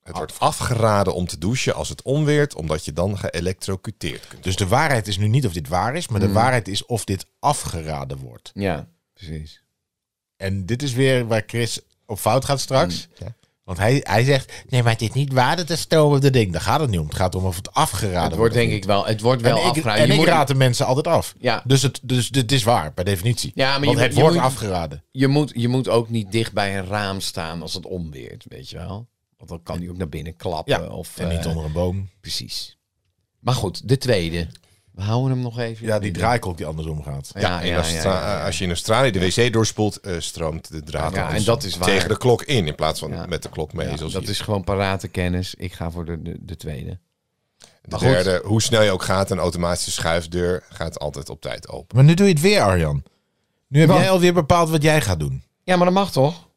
[SPEAKER 2] het wordt afgeraden om te douchen als het onweert, omdat je dan geëlektrocuteerd kunt.
[SPEAKER 1] Dus de waarheid is nu niet of dit waar is,
[SPEAKER 2] Mm.
[SPEAKER 1] maar de waarheid is of dit afgeraden wordt.
[SPEAKER 3] Ja, precies.
[SPEAKER 1] En dit is weer waar Chris op fout gaat straks.
[SPEAKER 3] Mm,
[SPEAKER 1] Want hij, hij zegt, nee, maar het is niet waar dat er stroom op de ding. Daar gaat het niet om. Het gaat om of het afgeraden
[SPEAKER 3] Het wordt denk ik wel, het wordt wel
[SPEAKER 1] en ik,
[SPEAKER 3] afgeraden.
[SPEAKER 1] en
[SPEAKER 3] Je
[SPEAKER 1] ik
[SPEAKER 3] moet-
[SPEAKER 1] raad de mensen altijd af.
[SPEAKER 3] Ja.
[SPEAKER 1] Dus, het, dus dit is waar, per definitie.
[SPEAKER 3] Ja, maar je
[SPEAKER 1] Want
[SPEAKER 3] moet-
[SPEAKER 1] het
[SPEAKER 3] je
[SPEAKER 1] wordt
[SPEAKER 3] moet-
[SPEAKER 1] afgeraden.
[SPEAKER 3] je, moet, je moet ook niet dicht bij een raam staan als het onweert, weet je wel. Want dan kan hij ook naar binnen klappen.
[SPEAKER 1] Ja,
[SPEAKER 3] of,
[SPEAKER 1] en
[SPEAKER 3] eh,
[SPEAKER 1] niet onder een boom.
[SPEAKER 3] Precies. Maar goed, de tweede. We houden hem nog even.
[SPEAKER 1] Ja, die draaikolk die andersom gaat.
[SPEAKER 3] Ja, ja,
[SPEAKER 2] in
[SPEAKER 3] Ah, ja,
[SPEAKER 2] Austra-
[SPEAKER 3] ja, ja.
[SPEAKER 2] Als je in Australië de wc doorspoelt, eh, stroomt de draad
[SPEAKER 3] Ja, en
[SPEAKER 2] dus
[SPEAKER 3] dat is waar.
[SPEAKER 2] tegen de klok in in plaats van
[SPEAKER 3] Ja.
[SPEAKER 2] met de klok mee.
[SPEAKER 3] Ja,
[SPEAKER 2] zoals
[SPEAKER 3] dat
[SPEAKER 2] hier.
[SPEAKER 3] is gewoon parate kennis. Ik ga voor de, de, de tweede.
[SPEAKER 2] de
[SPEAKER 3] maar goed.
[SPEAKER 2] derde, hoe snel je ook gaat, een automatische schuifdeur gaat altijd op tijd open.
[SPEAKER 1] Maar nu doe je het weer, Arjan. Nu heb
[SPEAKER 3] Wat?
[SPEAKER 1] jij alweer bepaald wat jij gaat doen.
[SPEAKER 3] Ja, maar dat mag toch?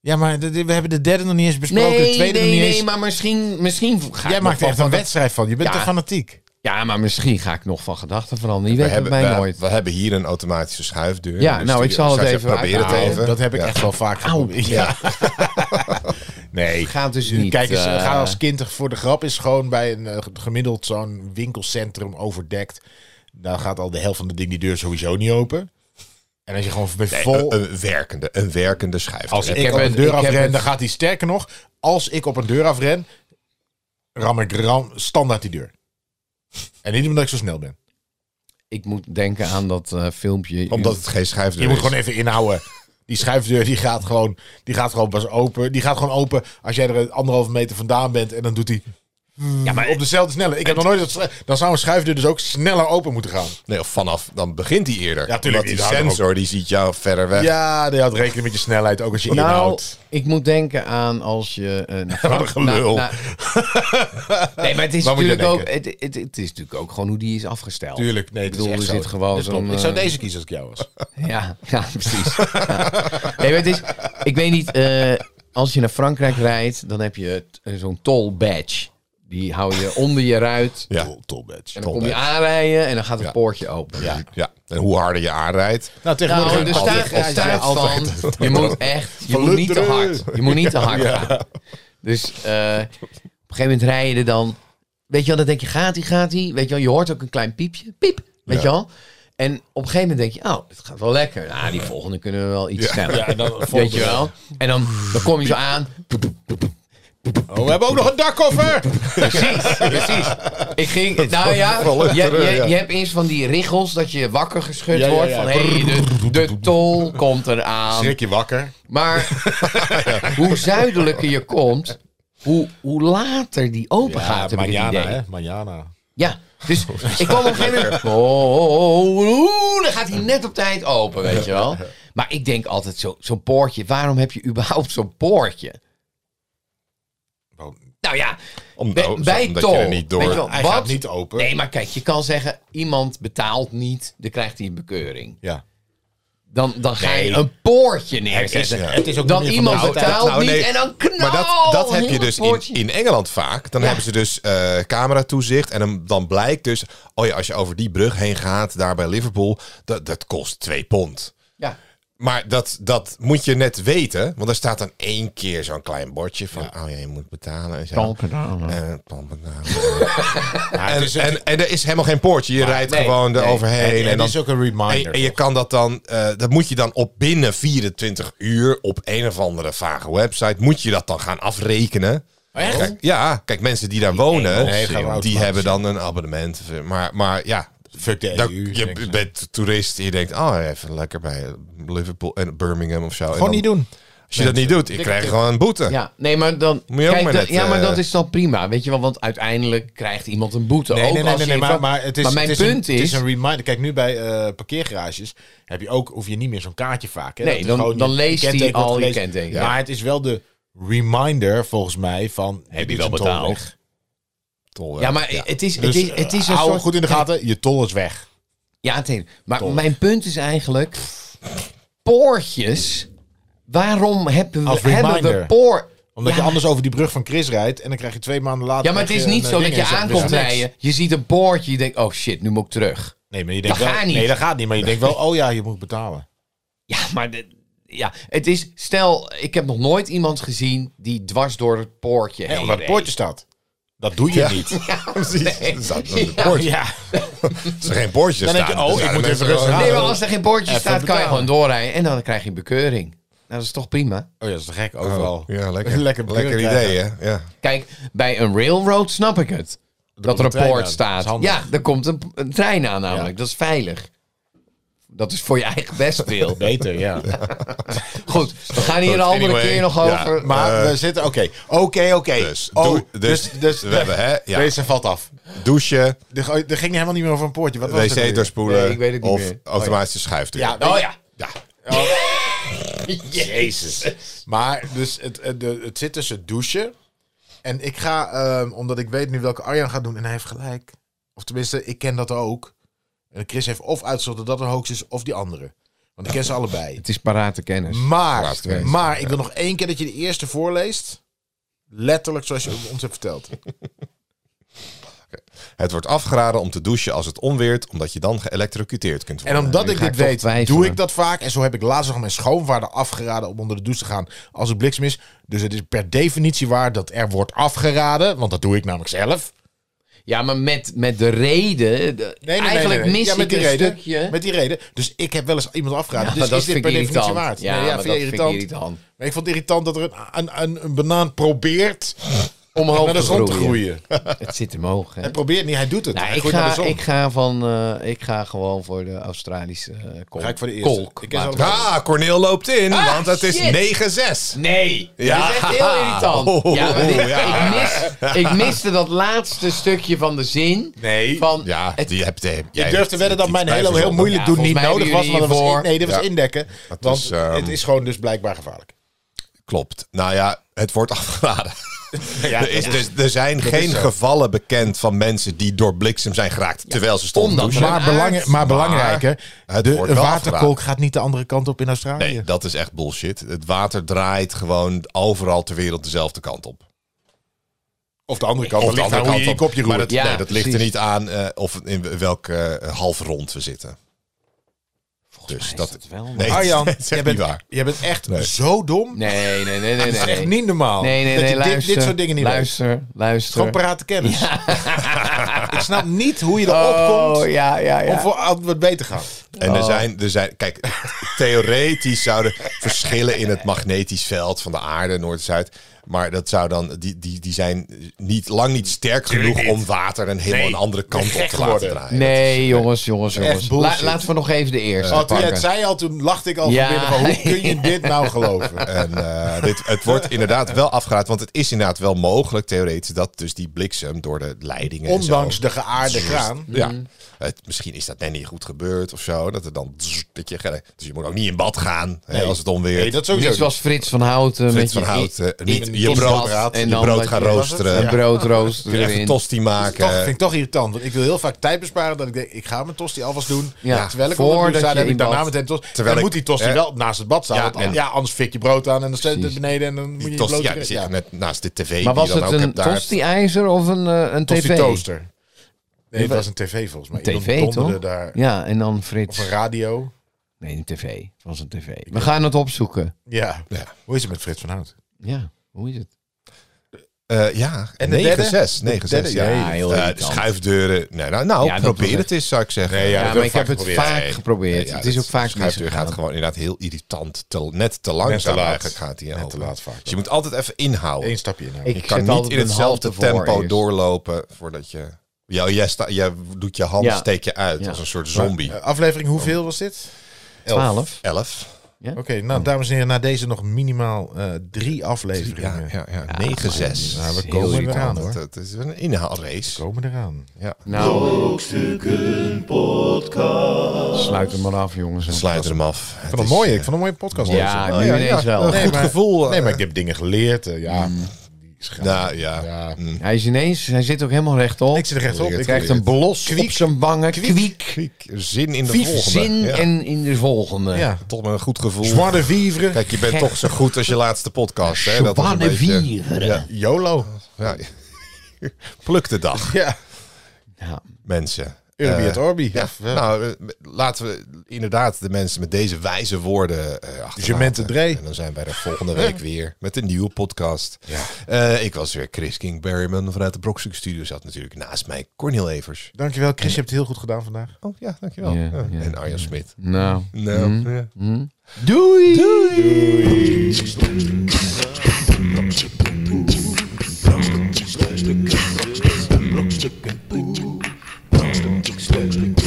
[SPEAKER 1] Ja, maar de- de- we hebben de derde nog niet eens besproken. de tweede nog
[SPEAKER 3] nee,
[SPEAKER 1] niet
[SPEAKER 3] nee,
[SPEAKER 1] eens.
[SPEAKER 3] maar misschien, misschien ga ik
[SPEAKER 1] jij
[SPEAKER 3] nog
[SPEAKER 1] maakt er
[SPEAKER 3] van
[SPEAKER 1] echt een
[SPEAKER 3] gedachten-
[SPEAKER 1] wedstrijd van. Je bent
[SPEAKER 3] Ja.
[SPEAKER 1] er fanatiek.
[SPEAKER 3] Ja, maar misschien ga ik nog van gedachten veranderen. Je
[SPEAKER 2] We
[SPEAKER 3] weet het
[SPEAKER 2] hebben,
[SPEAKER 3] mij
[SPEAKER 2] we,
[SPEAKER 3] nooit.
[SPEAKER 2] we hebben hier een automatische schuifdeur. Dus
[SPEAKER 3] Ja,
[SPEAKER 2] in de
[SPEAKER 3] nou, ik
[SPEAKER 2] studio.
[SPEAKER 3] zal het
[SPEAKER 2] Zou je
[SPEAKER 3] even
[SPEAKER 2] Probeer het
[SPEAKER 3] uithouden.
[SPEAKER 2] even.
[SPEAKER 1] Dat heb ik
[SPEAKER 2] Ja.
[SPEAKER 1] echt wel vaak geprobeerd. Ja. nee.
[SPEAKER 3] Gaat dus niet.
[SPEAKER 1] Kijk eens,
[SPEAKER 3] eh,
[SPEAKER 1] ga als kind er voor de grap is gewoon bij een eh, gemiddeld zo'n winkelcentrum overdekt. Dan gaat al de helft van de ding die deur sowieso niet open. En als je gewoon bij
[SPEAKER 2] Nee, eh,
[SPEAKER 1] vol...
[SPEAKER 2] een, een werkende, een werkende schuifdeur.
[SPEAKER 1] Als ik,
[SPEAKER 3] heb
[SPEAKER 1] op een
[SPEAKER 3] het-
[SPEAKER 1] deur
[SPEAKER 3] ik heb
[SPEAKER 1] afren,
[SPEAKER 3] het-
[SPEAKER 1] dan gaat hij sterker nog. Als ik op een deur afren, ram ik ram, standaard die deur. En niet omdat ik zo snel ben.
[SPEAKER 3] Ik moet denken aan dat eh, filmpje.
[SPEAKER 2] Omdat het geen
[SPEAKER 1] Je
[SPEAKER 2] schuifdeur
[SPEAKER 1] moet
[SPEAKER 2] is.
[SPEAKER 1] gewoon even inhouden. Die schuifdeur die gaat, gewoon, die gaat gewoon pas open. Die gaat gewoon open als jij er anderhalve meter vandaan bent. En dan doet hij
[SPEAKER 3] Ja, maar
[SPEAKER 1] op dezelfde snelheid. Ik heb nog nooit... Dat, schu- dan zou een schuifdeur dus ook sneller open moeten gaan.
[SPEAKER 2] Nee, of vanaf, dan begint hij eerder.
[SPEAKER 1] Ja, tuurlijk,
[SPEAKER 2] Omdat
[SPEAKER 1] die
[SPEAKER 2] die
[SPEAKER 1] houdt hem
[SPEAKER 2] sensor, die ziet jou verder weg.
[SPEAKER 1] Ja, die houdt rekening met je snelheid. Ook als je
[SPEAKER 3] Nou,
[SPEAKER 1] inhoudt.
[SPEAKER 3] ik moet denken aan als je... <laughs> eh, naar
[SPEAKER 1] Wat een gelul.
[SPEAKER 2] Nou,
[SPEAKER 3] nee, maar het is,
[SPEAKER 1] Waar moet je
[SPEAKER 3] natuurlijk ook, het, het, het is natuurlijk ook gewoon hoe die is afgesteld.
[SPEAKER 1] Tuurlijk, nee, het
[SPEAKER 3] Ik bedoel,
[SPEAKER 1] is echt
[SPEAKER 3] er
[SPEAKER 1] zo.
[SPEAKER 3] zit gewoon
[SPEAKER 1] Dat
[SPEAKER 3] zo'n,
[SPEAKER 1] klopt. Ik zou
[SPEAKER 3] eh,
[SPEAKER 1] deze kiezen als ik jou was.
[SPEAKER 3] Ja, <laughs> ja precies. Ja. Nee, maar het is, ik weet niet, eh, als je naar Frankrijk rijdt, dan heb je t- eh, zo'n toll badge. Die hou je onder je ruit.
[SPEAKER 2] Ja.
[SPEAKER 1] Tol- Tolbadge.
[SPEAKER 3] En dan kom je aanrijden en dan gaat het poortje open.
[SPEAKER 1] Ja.
[SPEAKER 2] Ja, en hoe harder je aanrijdt.
[SPEAKER 1] Nou, tegenwoordig
[SPEAKER 3] Nou, er
[SPEAKER 1] altijd-
[SPEAKER 3] staat, er
[SPEAKER 1] ja,
[SPEAKER 3] staat van,
[SPEAKER 1] <laughs>
[SPEAKER 3] je moet echt, je moet niet te
[SPEAKER 1] Verlutteren.
[SPEAKER 3] hard. Je moet niet te
[SPEAKER 1] <laughs>
[SPEAKER 3] hard gaan. Dus eh, op een gegeven moment rij je er dan, weet je wel, dan denk je, gaat hij, gaat hij. Weet je wel, je hoort ook een klein piepje, piep, weet je wel. En op een gegeven moment denk je, oh, dit gaat wel lekker. Nou, die volgende kunnen we wel iets sneller.
[SPEAKER 1] Ja, en dan
[SPEAKER 3] Weet je wel? En dan, dan kom je zo aan.
[SPEAKER 1] Oh, we hebben ook nog een <laughs> dakkoffer.
[SPEAKER 3] Precies, precies. Ik ging, nou ja, je, je, je hebt eerst van die riggels dat je wakker geschud
[SPEAKER 1] Ja, ja,
[SPEAKER 3] wordt.
[SPEAKER 1] ja.
[SPEAKER 3] Van hé, de, de tol komt eraan.
[SPEAKER 1] Schrik je
[SPEAKER 3] <laughs>
[SPEAKER 1] wakker.
[SPEAKER 3] Maar hoe zuidelijker je komt, hoe, hoe later die open gaat. heb ik het
[SPEAKER 1] manjana,
[SPEAKER 3] idee.
[SPEAKER 1] hè? Manjana.
[SPEAKER 3] Ja, <laughs> dus ik kwam op een gegeven moment. Oh, oh, oh, oeh, dan gaat hij net op tijd open, weet je wel. Maar ik denk altijd, zo- zo'n poortje, waarom heb je überhaupt zo'n poortje? Nou ja,
[SPEAKER 2] Om,
[SPEAKER 3] bij,
[SPEAKER 2] oh,
[SPEAKER 3] bij
[SPEAKER 2] omdat
[SPEAKER 3] tol.
[SPEAKER 2] je er niet door...
[SPEAKER 3] weet je wel,
[SPEAKER 1] Hij
[SPEAKER 3] wat?
[SPEAKER 1] gaat niet open.
[SPEAKER 3] Nee, maar kijk, je kan zeggen, iemand betaalt niet, dan krijgt hij een bekeuring.
[SPEAKER 1] Ja.
[SPEAKER 3] Dan, dan ga je een poortje
[SPEAKER 1] is-
[SPEAKER 3] neerzetten.
[SPEAKER 1] het is ook
[SPEAKER 3] dan
[SPEAKER 1] een manier van
[SPEAKER 3] iemand
[SPEAKER 1] betalen.
[SPEAKER 3] betaalt
[SPEAKER 2] Nou, nee,
[SPEAKER 3] niet en dan knal.
[SPEAKER 2] Maar dat, dat heb je
[SPEAKER 3] heel
[SPEAKER 2] dus
[SPEAKER 3] het
[SPEAKER 2] in,
[SPEAKER 3] poortje.
[SPEAKER 2] in Engeland vaak. Dan
[SPEAKER 3] Ja.
[SPEAKER 2] hebben ze dus eh cameratoezicht. En dan, dan blijkt dus... Oh ja, als je over die brug heen gaat, daar bij Liverpool... Dat, dat kost 2 pond.
[SPEAKER 3] Ja.
[SPEAKER 2] Maar dat, dat moet je net weten. Want er staat dan één keer zo'n klein bordje van... Oh ja, je moet betalen. En zo. Eh, pand betalen.
[SPEAKER 1] het
[SPEAKER 2] en,
[SPEAKER 1] is ook-
[SPEAKER 2] en, en er is helemaal geen poortje. Je rijdt
[SPEAKER 3] nee,
[SPEAKER 2] gewoon
[SPEAKER 3] nee.
[SPEAKER 2] eroverheen.
[SPEAKER 1] en,
[SPEAKER 2] en dan
[SPEAKER 1] is ook een
[SPEAKER 2] En,
[SPEAKER 1] reminder.
[SPEAKER 2] en je kan dat dan, eh, dat moet je dan op binnen 24 uur op een of andere vage website, moet je dat dan gaan afrekenen.
[SPEAKER 1] Oh, Echt?
[SPEAKER 2] Kijk, ja, kijk, mensen die daar wonen,
[SPEAKER 1] Engels, Nee, gaan we
[SPEAKER 2] die
[SPEAKER 1] automatisch.
[SPEAKER 2] hebben dan een abonnement. Maar, maar ja,
[SPEAKER 1] Fuck de E
[SPEAKER 2] dan-
[SPEAKER 1] EU, denken
[SPEAKER 2] je
[SPEAKER 1] ze.
[SPEAKER 2] bent toerist en je denkt, oh, even lekker bij Liverpool en Birmingham of zo. En
[SPEAKER 1] Gewoon
[SPEAKER 2] dan-
[SPEAKER 1] niet doen.
[SPEAKER 2] Als je dat niet doet, je krijgt gewoon een boete.
[SPEAKER 3] Ja, nee, maar dan.
[SPEAKER 2] Moet je ook
[SPEAKER 3] kijk,
[SPEAKER 2] maar
[SPEAKER 3] dan-
[SPEAKER 2] net,
[SPEAKER 3] ja, maar
[SPEAKER 2] eh,
[SPEAKER 3] dat is dan prima. Weet je wel, want uiteindelijk krijgt iemand een boete.
[SPEAKER 1] Nee,
[SPEAKER 3] ook
[SPEAKER 1] nee, nee,
[SPEAKER 3] als
[SPEAKER 1] nee,
[SPEAKER 3] je
[SPEAKER 1] nee,
[SPEAKER 3] in
[SPEAKER 1] maar,
[SPEAKER 3] Frank-
[SPEAKER 1] maar het is,
[SPEAKER 3] maar mijn
[SPEAKER 1] het is
[SPEAKER 3] punt
[SPEAKER 1] een,
[SPEAKER 3] is.
[SPEAKER 1] Het is een reminder. Kijk, nu bij eh, parkeergarages heb je ook, hoef je niet meer zo'n kaartje vaak. Hè?
[SPEAKER 3] Nee,
[SPEAKER 1] Dat is
[SPEAKER 3] dan-
[SPEAKER 1] gewoon
[SPEAKER 3] dan
[SPEAKER 1] je-
[SPEAKER 3] leest
[SPEAKER 1] je kenteken
[SPEAKER 3] hij
[SPEAKER 1] wordt
[SPEAKER 3] al je
[SPEAKER 1] gelezen.
[SPEAKER 3] kenteken.
[SPEAKER 1] Maar het is wel de reminder, volgens mij, van... Heb
[SPEAKER 3] je wel betaald?
[SPEAKER 2] Tol,
[SPEAKER 3] ja,
[SPEAKER 2] eh,
[SPEAKER 3] maar het is,
[SPEAKER 1] Dus
[SPEAKER 3] het is, het is een
[SPEAKER 1] hou
[SPEAKER 3] soort.
[SPEAKER 1] goed in de gaten, je tol is weg.
[SPEAKER 3] Ja, het is- Maar
[SPEAKER 1] Toch.
[SPEAKER 3] mijn punt is eigenlijk. Poortjes. Waarom hebben we,
[SPEAKER 1] Als
[SPEAKER 3] hebben we
[SPEAKER 1] reminder.
[SPEAKER 3] poor.
[SPEAKER 1] Omdat
[SPEAKER 3] Ja.
[SPEAKER 1] je anders over die brug van Chris rijdt en dan krijg je twee maanden later...
[SPEAKER 3] Ja, maar het
[SPEAKER 1] krijg
[SPEAKER 3] is
[SPEAKER 1] je
[SPEAKER 3] niet
[SPEAKER 1] een,
[SPEAKER 3] zo
[SPEAKER 1] eh,
[SPEAKER 3] dat je
[SPEAKER 1] ding en zegt,
[SPEAKER 3] aankomt
[SPEAKER 1] dus niks.
[SPEAKER 3] rijden. Je ziet een poortje. Je denkt, oh shit, nu moet ik terug.
[SPEAKER 1] Nee, maar je denkt
[SPEAKER 3] Dat
[SPEAKER 1] wel-
[SPEAKER 3] gaat niet.
[SPEAKER 1] Nee, dat gaat niet. Maar je denkt wel, oh ja, je moet betalen.
[SPEAKER 3] Ja, maar de- ja, het is. Stel, ik heb nog nooit iemand gezien die dwars door het poortje
[SPEAKER 1] Hè,
[SPEAKER 3] heen.
[SPEAKER 1] omdat het
[SPEAKER 3] reed.
[SPEAKER 1] poortje staat. Dat doe je
[SPEAKER 2] Ja.
[SPEAKER 3] <laughs>
[SPEAKER 1] niet. <laughs> Oh
[SPEAKER 2] precies. Er staat een
[SPEAKER 3] Ja.
[SPEAKER 2] poortje.
[SPEAKER 1] Ja.
[SPEAKER 2] Als er geen poortje
[SPEAKER 1] Dan denk
[SPEAKER 2] staat,
[SPEAKER 1] je, oh,
[SPEAKER 2] dan
[SPEAKER 1] ik
[SPEAKER 2] zijn
[SPEAKER 1] moet
[SPEAKER 2] de mensen
[SPEAKER 1] even rustig
[SPEAKER 2] wel-
[SPEAKER 1] aan.
[SPEAKER 3] Nee, maar als er geen poortje
[SPEAKER 1] Even
[SPEAKER 3] staat, kan je
[SPEAKER 1] betalen.
[SPEAKER 3] gewoon doorrijden. En dan krijg je een bekeuring. Nou, dat is toch prima?
[SPEAKER 1] Oh ja, dat is te gek overal.
[SPEAKER 2] Ja, lekker.
[SPEAKER 1] <laughs> lekker,
[SPEAKER 2] lekker idee, hè? Ja.
[SPEAKER 3] Kijk, bij een railroad snap ik het. dat er
[SPEAKER 1] komt
[SPEAKER 3] een
[SPEAKER 1] een trein
[SPEAKER 3] poort
[SPEAKER 1] aan.
[SPEAKER 3] staat.
[SPEAKER 1] Dat is handig.
[SPEAKER 3] ja, er komt een, een trein aan namelijk. Dat is veilig. Dat is voor je eigen bestwil.
[SPEAKER 1] <laughs> Beter, ja.
[SPEAKER 3] Goed, we gaan hier
[SPEAKER 2] Goed,
[SPEAKER 3] een andere
[SPEAKER 2] anyway.
[SPEAKER 3] keer nog
[SPEAKER 2] Ja,
[SPEAKER 3] over.
[SPEAKER 1] Maar we zitten, oké. Oké, oké.
[SPEAKER 2] Eh, Dus,
[SPEAKER 1] Oh,
[SPEAKER 2] doe- dus- we hebben, hè, ja.
[SPEAKER 1] <laughs> Deze valt af.
[SPEAKER 2] douchen,
[SPEAKER 1] Er go- er ging helemaal niet meer over een poortje. Wat was het ook
[SPEAKER 2] wc
[SPEAKER 1] weer?
[SPEAKER 2] doorspoelen
[SPEAKER 3] Nee, ik weet het niet
[SPEAKER 2] of
[SPEAKER 3] meer.
[SPEAKER 2] automatische schuifdeur.
[SPEAKER 1] Ja, Oh.
[SPEAKER 3] Oh ja.
[SPEAKER 2] Ja.
[SPEAKER 3] <laughs> Jezus.
[SPEAKER 1] Maar dus het, het, de- het zit tussen douchen. En ik ga, ehm, omdat ik weet nu welke Arjan gaat doen. En hij heeft gelijk. Of tenminste, ik ken dat ook. En Chris heeft of uitgezocht dat dat een hoax is, of die andere. Want ik ken ze allebei.
[SPEAKER 3] Het is parate kennis.
[SPEAKER 1] Maar,
[SPEAKER 2] Laatste wees.
[SPEAKER 1] maar ik wil nog één keer dat je de eerste voorleest. Letterlijk zoals je ons hebt verteld.
[SPEAKER 2] Het wordt afgeraden om te douchen als het onweert, omdat je dan geëlectrocuteerd kunt
[SPEAKER 1] En
[SPEAKER 2] worden.
[SPEAKER 1] omdat ik
[SPEAKER 3] ga
[SPEAKER 1] dit
[SPEAKER 3] ik toch
[SPEAKER 1] weet,
[SPEAKER 3] twijfelen.
[SPEAKER 1] doe ik dat vaak. En zo heb ik laatst nog aan mijn schoonvader afgeraden om onder de douche te gaan als het bliksem is. Dus het is per definitie waar dat er wordt afgeraden. Want dat doe ik namelijk zelf.
[SPEAKER 3] Ja, maar met, met de reden. de-
[SPEAKER 1] Nee, nee, nee,
[SPEAKER 3] eigenlijk
[SPEAKER 1] nee, nee.
[SPEAKER 3] mis
[SPEAKER 1] Ja,
[SPEAKER 3] ik een
[SPEAKER 1] reden,
[SPEAKER 3] stukje.
[SPEAKER 1] Met die reden. Dus ik heb wel eens iemand afgeraden.
[SPEAKER 3] Ja,
[SPEAKER 1] dus
[SPEAKER 3] maar
[SPEAKER 1] is dit
[SPEAKER 3] vind
[SPEAKER 1] per
[SPEAKER 3] ik
[SPEAKER 1] definitie
[SPEAKER 3] irritant.
[SPEAKER 1] waard?
[SPEAKER 3] Ja,
[SPEAKER 1] Nee,
[SPEAKER 3] maar dat
[SPEAKER 1] vind je
[SPEAKER 3] vind ik
[SPEAKER 1] irritant?
[SPEAKER 3] irritant.
[SPEAKER 1] Maar ik vond het irritant dat er een, een, een, een banaan probeert
[SPEAKER 3] Omhoog
[SPEAKER 1] naar de
[SPEAKER 3] te
[SPEAKER 1] grond te
[SPEAKER 3] groeien.
[SPEAKER 1] groeien.
[SPEAKER 3] Het zit omhoog. Hè?
[SPEAKER 1] Hij probeert niet, hij doet het.
[SPEAKER 3] Nou,
[SPEAKER 1] hij
[SPEAKER 3] ik,
[SPEAKER 1] groeit naar
[SPEAKER 3] ga,
[SPEAKER 1] de zon.
[SPEAKER 3] ik, ga van, eh, ik ga gewoon voor de Australische eh kolk.
[SPEAKER 1] Ga ik voor de eerste.
[SPEAKER 3] Kolk.
[SPEAKER 1] <laughs> Ik ken ze
[SPEAKER 3] Maar-
[SPEAKER 1] allemaal.
[SPEAKER 2] Ah, Corneel loopt in,
[SPEAKER 3] Ah,
[SPEAKER 2] want het
[SPEAKER 3] shit.
[SPEAKER 2] is 9-6.
[SPEAKER 3] Nee,
[SPEAKER 2] Ja.
[SPEAKER 3] dat is echt heel irritant.
[SPEAKER 2] Oh,
[SPEAKER 3] ja, maar dit-
[SPEAKER 2] ja.
[SPEAKER 3] Ik, mis, ik miste dat laatste stukje van de zin.
[SPEAKER 1] Nee.
[SPEAKER 3] Van,
[SPEAKER 2] Ja,
[SPEAKER 3] het-
[SPEAKER 2] die hebt jij
[SPEAKER 1] Ik
[SPEAKER 2] hebt
[SPEAKER 1] durf te wedden dat
[SPEAKER 2] iets
[SPEAKER 1] mijn
[SPEAKER 2] bij
[SPEAKER 1] hele heel
[SPEAKER 2] verzonnen.
[SPEAKER 1] moeilijk
[SPEAKER 3] Ja,
[SPEAKER 1] doen niet
[SPEAKER 3] volgens mij
[SPEAKER 1] nodig
[SPEAKER 3] hebben
[SPEAKER 1] was. Want dat
[SPEAKER 3] jullie
[SPEAKER 1] was, in-
[SPEAKER 3] voor-
[SPEAKER 1] nee, dat was
[SPEAKER 2] Ja.
[SPEAKER 1] indekken.
[SPEAKER 2] Dat
[SPEAKER 1] Want
[SPEAKER 2] is, ehm,
[SPEAKER 1] het is gewoon dus blijkbaar gevaarlijk.
[SPEAKER 2] Klopt. Nou ja, het wordt <laughs> afgeraden.
[SPEAKER 1] Ja,
[SPEAKER 2] er, is, dus- er zijn geen
[SPEAKER 1] zo.
[SPEAKER 2] gevallen bekend van mensen die door bliksem zijn geraakt terwijl ze stonden te
[SPEAKER 3] omdat
[SPEAKER 2] douchen.
[SPEAKER 1] Maar,
[SPEAKER 3] aard.
[SPEAKER 1] belang, maar
[SPEAKER 2] Maar
[SPEAKER 1] belangrijker,
[SPEAKER 2] het
[SPEAKER 1] de
[SPEAKER 2] wordt
[SPEAKER 1] een
[SPEAKER 2] wel
[SPEAKER 1] waterkolk
[SPEAKER 2] afgeraden.
[SPEAKER 1] gaat niet de andere kant op in Australië.
[SPEAKER 2] Nee, dat is echt bullshit. Het water draait gewoon overal ter wereld dezelfde kant op.
[SPEAKER 1] Of de andere kant,
[SPEAKER 2] Of
[SPEAKER 1] dat
[SPEAKER 2] de
[SPEAKER 1] ligt aan
[SPEAKER 2] andere
[SPEAKER 1] hoe je
[SPEAKER 2] kant
[SPEAKER 1] je
[SPEAKER 2] op.
[SPEAKER 1] kopje
[SPEAKER 2] Maar
[SPEAKER 1] roert.
[SPEAKER 2] dat,
[SPEAKER 3] Ja,
[SPEAKER 2] nee, dat ligt er
[SPEAKER 3] precies.
[SPEAKER 2] niet aan eh, of in welk eh, halfrond we zitten.
[SPEAKER 3] Volgens
[SPEAKER 2] Dus
[SPEAKER 3] mij is
[SPEAKER 2] <laughs> dat-
[SPEAKER 3] wel.
[SPEAKER 2] Nee,
[SPEAKER 1] Arjan,
[SPEAKER 2] dat is
[SPEAKER 1] jij
[SPEAKER 2] echt
[SPEAKER 1] bent,
[SPEAKER 2] niet waar.
[SPEAKER 1] jij bent echt
[SPEAKER 2] Nee.
[SPEAKER 1] zo dom.
[SPEAKER 3] Nee, nee, nee, nee.
[SPEAKER 1] dat is
[SPEAKER 3] nee.
[SPEAKER 1] echt niet normaal.
[SPEAKER 3] Nee, nee,
[SPEAKER 1] dat
[SPEAKER 3] nee,
[SPEAKER 1] je dit-
[SPEAKER 3] luister.
[SPEAKER 1] dit, soort dingen niet luister.
[SPEAKER 3] Luister, luister.
[SPEAKER 1] Gewoon parate kennis. <laughs> ik snap niet hoe je erop
[SPEAKER 3] Oh,
[SPEAKER 1] komt
[SPEAKER 3] ja, ja, ja.
[SPEAKER 1] om voor altijd beter te gaan.
[SPEAKER 2] En
[SPEAKER 1] Oh.
[SPEAKER 2] er zijn, er zijn, kijk, <laughs> theoretisch zouden verschillen in het magnetisch veld van de aarde, Noord en Zuid. Maar dat zou dan, die, die, die zijn niet, lang niet sterk genoeg om water en helemaal een andere kant op
[SPEAKER 1] gek
[SPEAKER 2] te laten
[SPEAKER 1] worden.
[SPEAKER 2] draaien.
[SPEAKER 3] Nee, jongens, jongens, jongens. La-
[SPEAKER 1] bullshit.
[SPEAKER 3] laten we nog even de eerste
[SPEAKER 1] Oh, toen jij het
[SPEAKER 3] pakken.
[SPEAKER 1] zei al, toen lachte ik al
[SPEAKER 3] Ja.
[SPEAKER 1] van binnen van hoe kun je dit nou geloven?
[SPEAKER 2] En eh, dit, het wordt inderdaad wel afgeraad, want het is inderdaad wel mogelijk, theoretisch, dat dus die bliksem door de leidingen. en zo-
[SPEAKER 1] Ondanks Mm. de geaarde graan.
[SPEAKER 2] Ja, het, misschien is dat net niet goed gebeurd of zo. Dat er dan. Dat je, dus je moet ook niet in bad gaan hè, als het onweer.
[SPEAKER 1] Nee, dat
[SPEAKER 3] Dit
[SPEAKER 1] sowieso.
[SPEAKER 3] Dus was Frits van Houten.
[SPEAKER 2] Frits
[SPEAKER 3] met
[SPEAKER 2] van
[SPEAKER 3] je-
[SPEAKER 2] Houten,
[SPEAKER 3] i-
[SPEAKER 2] niet
[SPEAKER 3] i-
[SPEAKER 2] je brood-
[SPEAKER 3] dat
[SPEAKER 2] je
[SPEAKER 3] en dan
[SPEAKER 2] brood
[SPEAKER 3] dat
[SPEAKER 2] gaan
[SPEAKER 3] je-
[SPEAKER 2] roosteren.
[SPEAKER 3] Een
[SPEAKER 2] Ja.
[SPEAKER 3] brood roosteren
[SPEAKER 2] Even
[SPEAKER 3] erin.
[SPEAKER 2] een tosti maken.
[SPEAKER 1] Toch, vind ik toch irritant. Want ik wil heel vaak tijd besparen. Dat ik denk, ik ga mijn tosti alvast doen.
[SPEAKER 3] Ja,
[SPEAKER 1] terwijl ik
[SPEAKER 3] voordat
[SPEAKER 1] onder de douche sta,
[SPEAKER 3] je
[SPEAKER 1] dan heb ik
[SPEAKER 3] in bad-
[SPEAKER 1] daarna meteen tosti.
[SPEAKER 2] Terwijl
[SPEAKER 1] Terwijl
[SPEAKER 2] ik-
[SPEAKER 1] moet die tosti
[SPEAKER 2] eh,
[SPEAKER 1] wel naast het bad staan.
[SPEAKER 2] ja,
[SPEAKER 1] want
[SPEAKER 2] en-
[SPEAKER 1] ja, anders fik je brood aan en dan staat het
[SPEAKER 3] Precies.
[SPEAKER 1] beneden. En dan moet je
[SPEAKER 2] Die
[SPEAKER 1] je
[SPEAKER 2] tosti,
[SPEAKER 1] blote
[SPEAKER 2] ja,
[SPEAKER 1] knieën-
[SPEAKER 2] die zit
[SPEAKER 1] ja.
[SPEAKER 2] net naast de tv
[SPEAKER 3] Maar
[SPEAKER 2] die
[SPEAKER 3] was
[SPEAKER 2] je dan
[SPEAKER 3] het
[SPEAKER 2] ook
[SPEAKER 3] een
[SPEAKER 2] hebt daar.
[SPEAKER 3] tosti-ijzer of een, eh, een
[SPEAKER 1] Tosti
[SPEAKER 3] tv?
[SPEAKER 1] toaster. Nee, het was een tv volgens mij. Iemand
[SPEAKER 3] TV,
[SPEAKER 1] donderde
[SPEAKER 3] toch?
[SPEAKER 1] daar.
[SPEAKER 3] Ja, en dan
[SPEAKER 1] Of een
[SPEAKER 3] Frits.
[SPEAKER 1] radio.
[SPEAKER 3] Nee, een tv. Het was een tv. We gaan het opzoeken.
[SPEAKER 1] Ja.
[SPEAKER 2] Ja.
[SPEAKER 1] Hoe is het met Frits van Hout?
[SPEAKER 3] Ja, hoe is het?
[SPEAKER 2] Eh, ja,
[SPEAKER 1] de
[SPEAKER 2] 9
[SPEAKER 1] derde?
[SPEAKER 2] 6 9 6
[SPEAKER 1] derde?
[SPEAKER 2] ja.
[SPEAKER 3] Ja, heel
[SPEAKER 2] Eh,
[SPEAKER 3] irritant.
[SPEAKER 2] schuifdeuren. Nee, nou, nou
[SPEAKER 3] Ja, dat was
[SPEAKER 2] probeer
[SPEAKER 3] echt-
[SPEAKER 2] het eens, zou ik zeggen.
[SPEAKER 1] ja,
[SPEAKER 3] Ja,
[SPEAKER 1] dat
[SPEAKER 3] maar
[SPEAKER 1] heb
[SPEAKER 3] ik
[SPEAKER 1] ik
[SPEAKER 3] heb
[SPEAKER 1] vaak
[SPEAKER 3] het vaak
[SPEAKER 2] Nee.
[SPEAKER 3] geprobeerd.
[SPEAKER 2] Ja,
[SPEAKER 3] het
[SPEAKER 2] dat
[SPEAKER 3] is ook vaak
[SPEAKER 2] schuifdeur gaat
[SPEAKER 3] misgegaan.
[SPEAKER 2] gewoon inderdaad heel irritant. Te, net te
[SPEAKER 1] Net te
[SPEAKER 2] langzaam
[SPEAKER 1] laat.
[SPEAKER 2] eigenlijk gaat hij
[SPEAKER 1] Net te
[SPEAKER 2] open.
[SPEAKER 1] laat vaak.
[SPEAKER 2] Dus je moet altijd even inhouden.
[SPEAKER 1] Eén stapje in.
[SPEAKER 3] Ik
[SPEAKER 2] Je kan
[SPEAKER 3] zet
[SPEAKER 2] niet
[SPEAKER 3] altijd
[SPEAKER 2] in
[SPEAKER 3] een
[SPEAKER 2] hetzelfde
[SPEAKER 3] hand ervoor
[SPEAKER 2] tempo
[SPEAKER 3] eerst.
[SPEAKER 2] doorlopen voordat je... Ja, jij, sta, jij doet je hand,
[SPEAKER 3] Ja.
[SPEAKER 2] steek je uit
[SPEAKER 3] Ja.
[SPEAKER 2] als een soort zombie.
[SPEAKER 1] Eh, Aflevering hoeveel was dit? Elf.
[SPEAKER 3] 12.
[SPEAKER 2] 11.
[SPEAKER 1] Oké, nou dames en heren, na deze nog minimaal eh, drie afleveringen.
[SPEAKER 2] Ja, ja, ja.
[SPEAKER 1] Nou,
[SPEAKER 2] 9-6.
[SPEAKER 1] we
[SPEAKER 3] Heel
[SPEAKER 1] komen
[SPEAKER 3] irritant,
[SPEAKER 1] eraan hoor.
[SPEAKER 2] Het, het is een inhaalrace.
[SPEAKER 1] We komen eraan.
[SPEAKER 2] Ja.
[SPEAKER 3] Nou. podcast. Oh. Sluit hem maar af, jongens.
[SPEAKER 2] We sluiten hem af.
[SPEAKER 1] Ik vond het mooi, ik vond het een mooie podcast.
[SPEAKER 3] Ja,
[SPEAKER 1] deze.
[SPEAKER 3] nu
[SPEAKER 1] ja,
[SPEAKER 3] ineens wel.
[SPEAKER 2] Een
[SPEAKER 1] Nee,
[SPEAKER 2] goed
[SPEAKER 1] maar-
[SPEAKER 2] gevoel. eh.
[SPEAKER 1] Nee, maar ik heb dingen geleerd. eh, ja. Die schaam.
[SPEAKER 2] Nou ja.
[SPEAKER 1] Ja.
[SPEAKER 2] Mm.
[SPEAKER 3] Hij is ineens, hij zit ook helemaal rechtop.
[SPEAKER 1] Ik zit er echt op.
[SPEAKER 2] Ik
[SPEAKER 1] Ik
[SPEAKER 3] krijgt
[SPEAKER 2] weet
[SPEAKER 3] een blos op
[SPEAKER 1] Kwiek.
[SPEAKER 3] zijn wangen. Kwiek. Kwiek.
[SPEAKER 2] Kwiek, Zin in de volgende.
[SPEAKER 3] zin
[SPEAKER 2] Ja.
[SPEAKER 3] en in de volgende.
[SPEAKER 1] Ja.
[SPEAKER 2] Toch met een goed gevoel.
[SPEAKER 1] Joie de vivre.
[SPEAKER 2] Kijk, je bent toch zo goed als je laatste podcast. Hè? Dat was een
[SPEAKER 3] Zwanne
[SPEAKER 2] beetje-
[SPEAKER 3] vieren.
[SPEAKER 2] Ja.
[SPEAKER 1] YOLO.
[SPEAKER 2] Ja. <laughs> Pluk de dag,
[SPEAKER 1] Ja.
[SPEAKER 3] Ja.
[SPEAKER 2] mensen.
[SPEAKER 1] Urbi
[SPEAKER 2] Eh,
[SPEAKER 1] et Orbi.
[SPEAKER 2] Ja,
[SPEAKER 1] Ja.
[SPEAKER 2] nou, eh, laten we inderdaad de mensen met deze wijze woorden eh achterlaten.
[SPEAKER 1] Je bent de dree.
[SPEAKER 2] En dan zijn wij er volgende week weer met een nieuwe podcast.
[SPEAKER 1] Ja.
[SPEAKER 2] Eh, ik was weer Chris King Berryman vanuit de Brokstuk Studio. Zat natuurlijk naast mij Cornel Evers.
[SPEAKER 1] Dankjewel, Chris. Je hebt het heel goed gedaan vandaag.
[SPEAKER 2] Oh ja, dankjewel.
[SPEAKER 3] Ja,
[SPEAKER 2] Ja.
[SPEAKER 3] ja,
[SPEAKER 2] en Arjan Smit.
[SPEAKER 3] Nou.
[SPEAKER 2] Nou, ja.
[SPEAKER 3] Doei.
[SPEAKER 5] Brokstukken poe. Brokstukken poe. Brokstukken poe.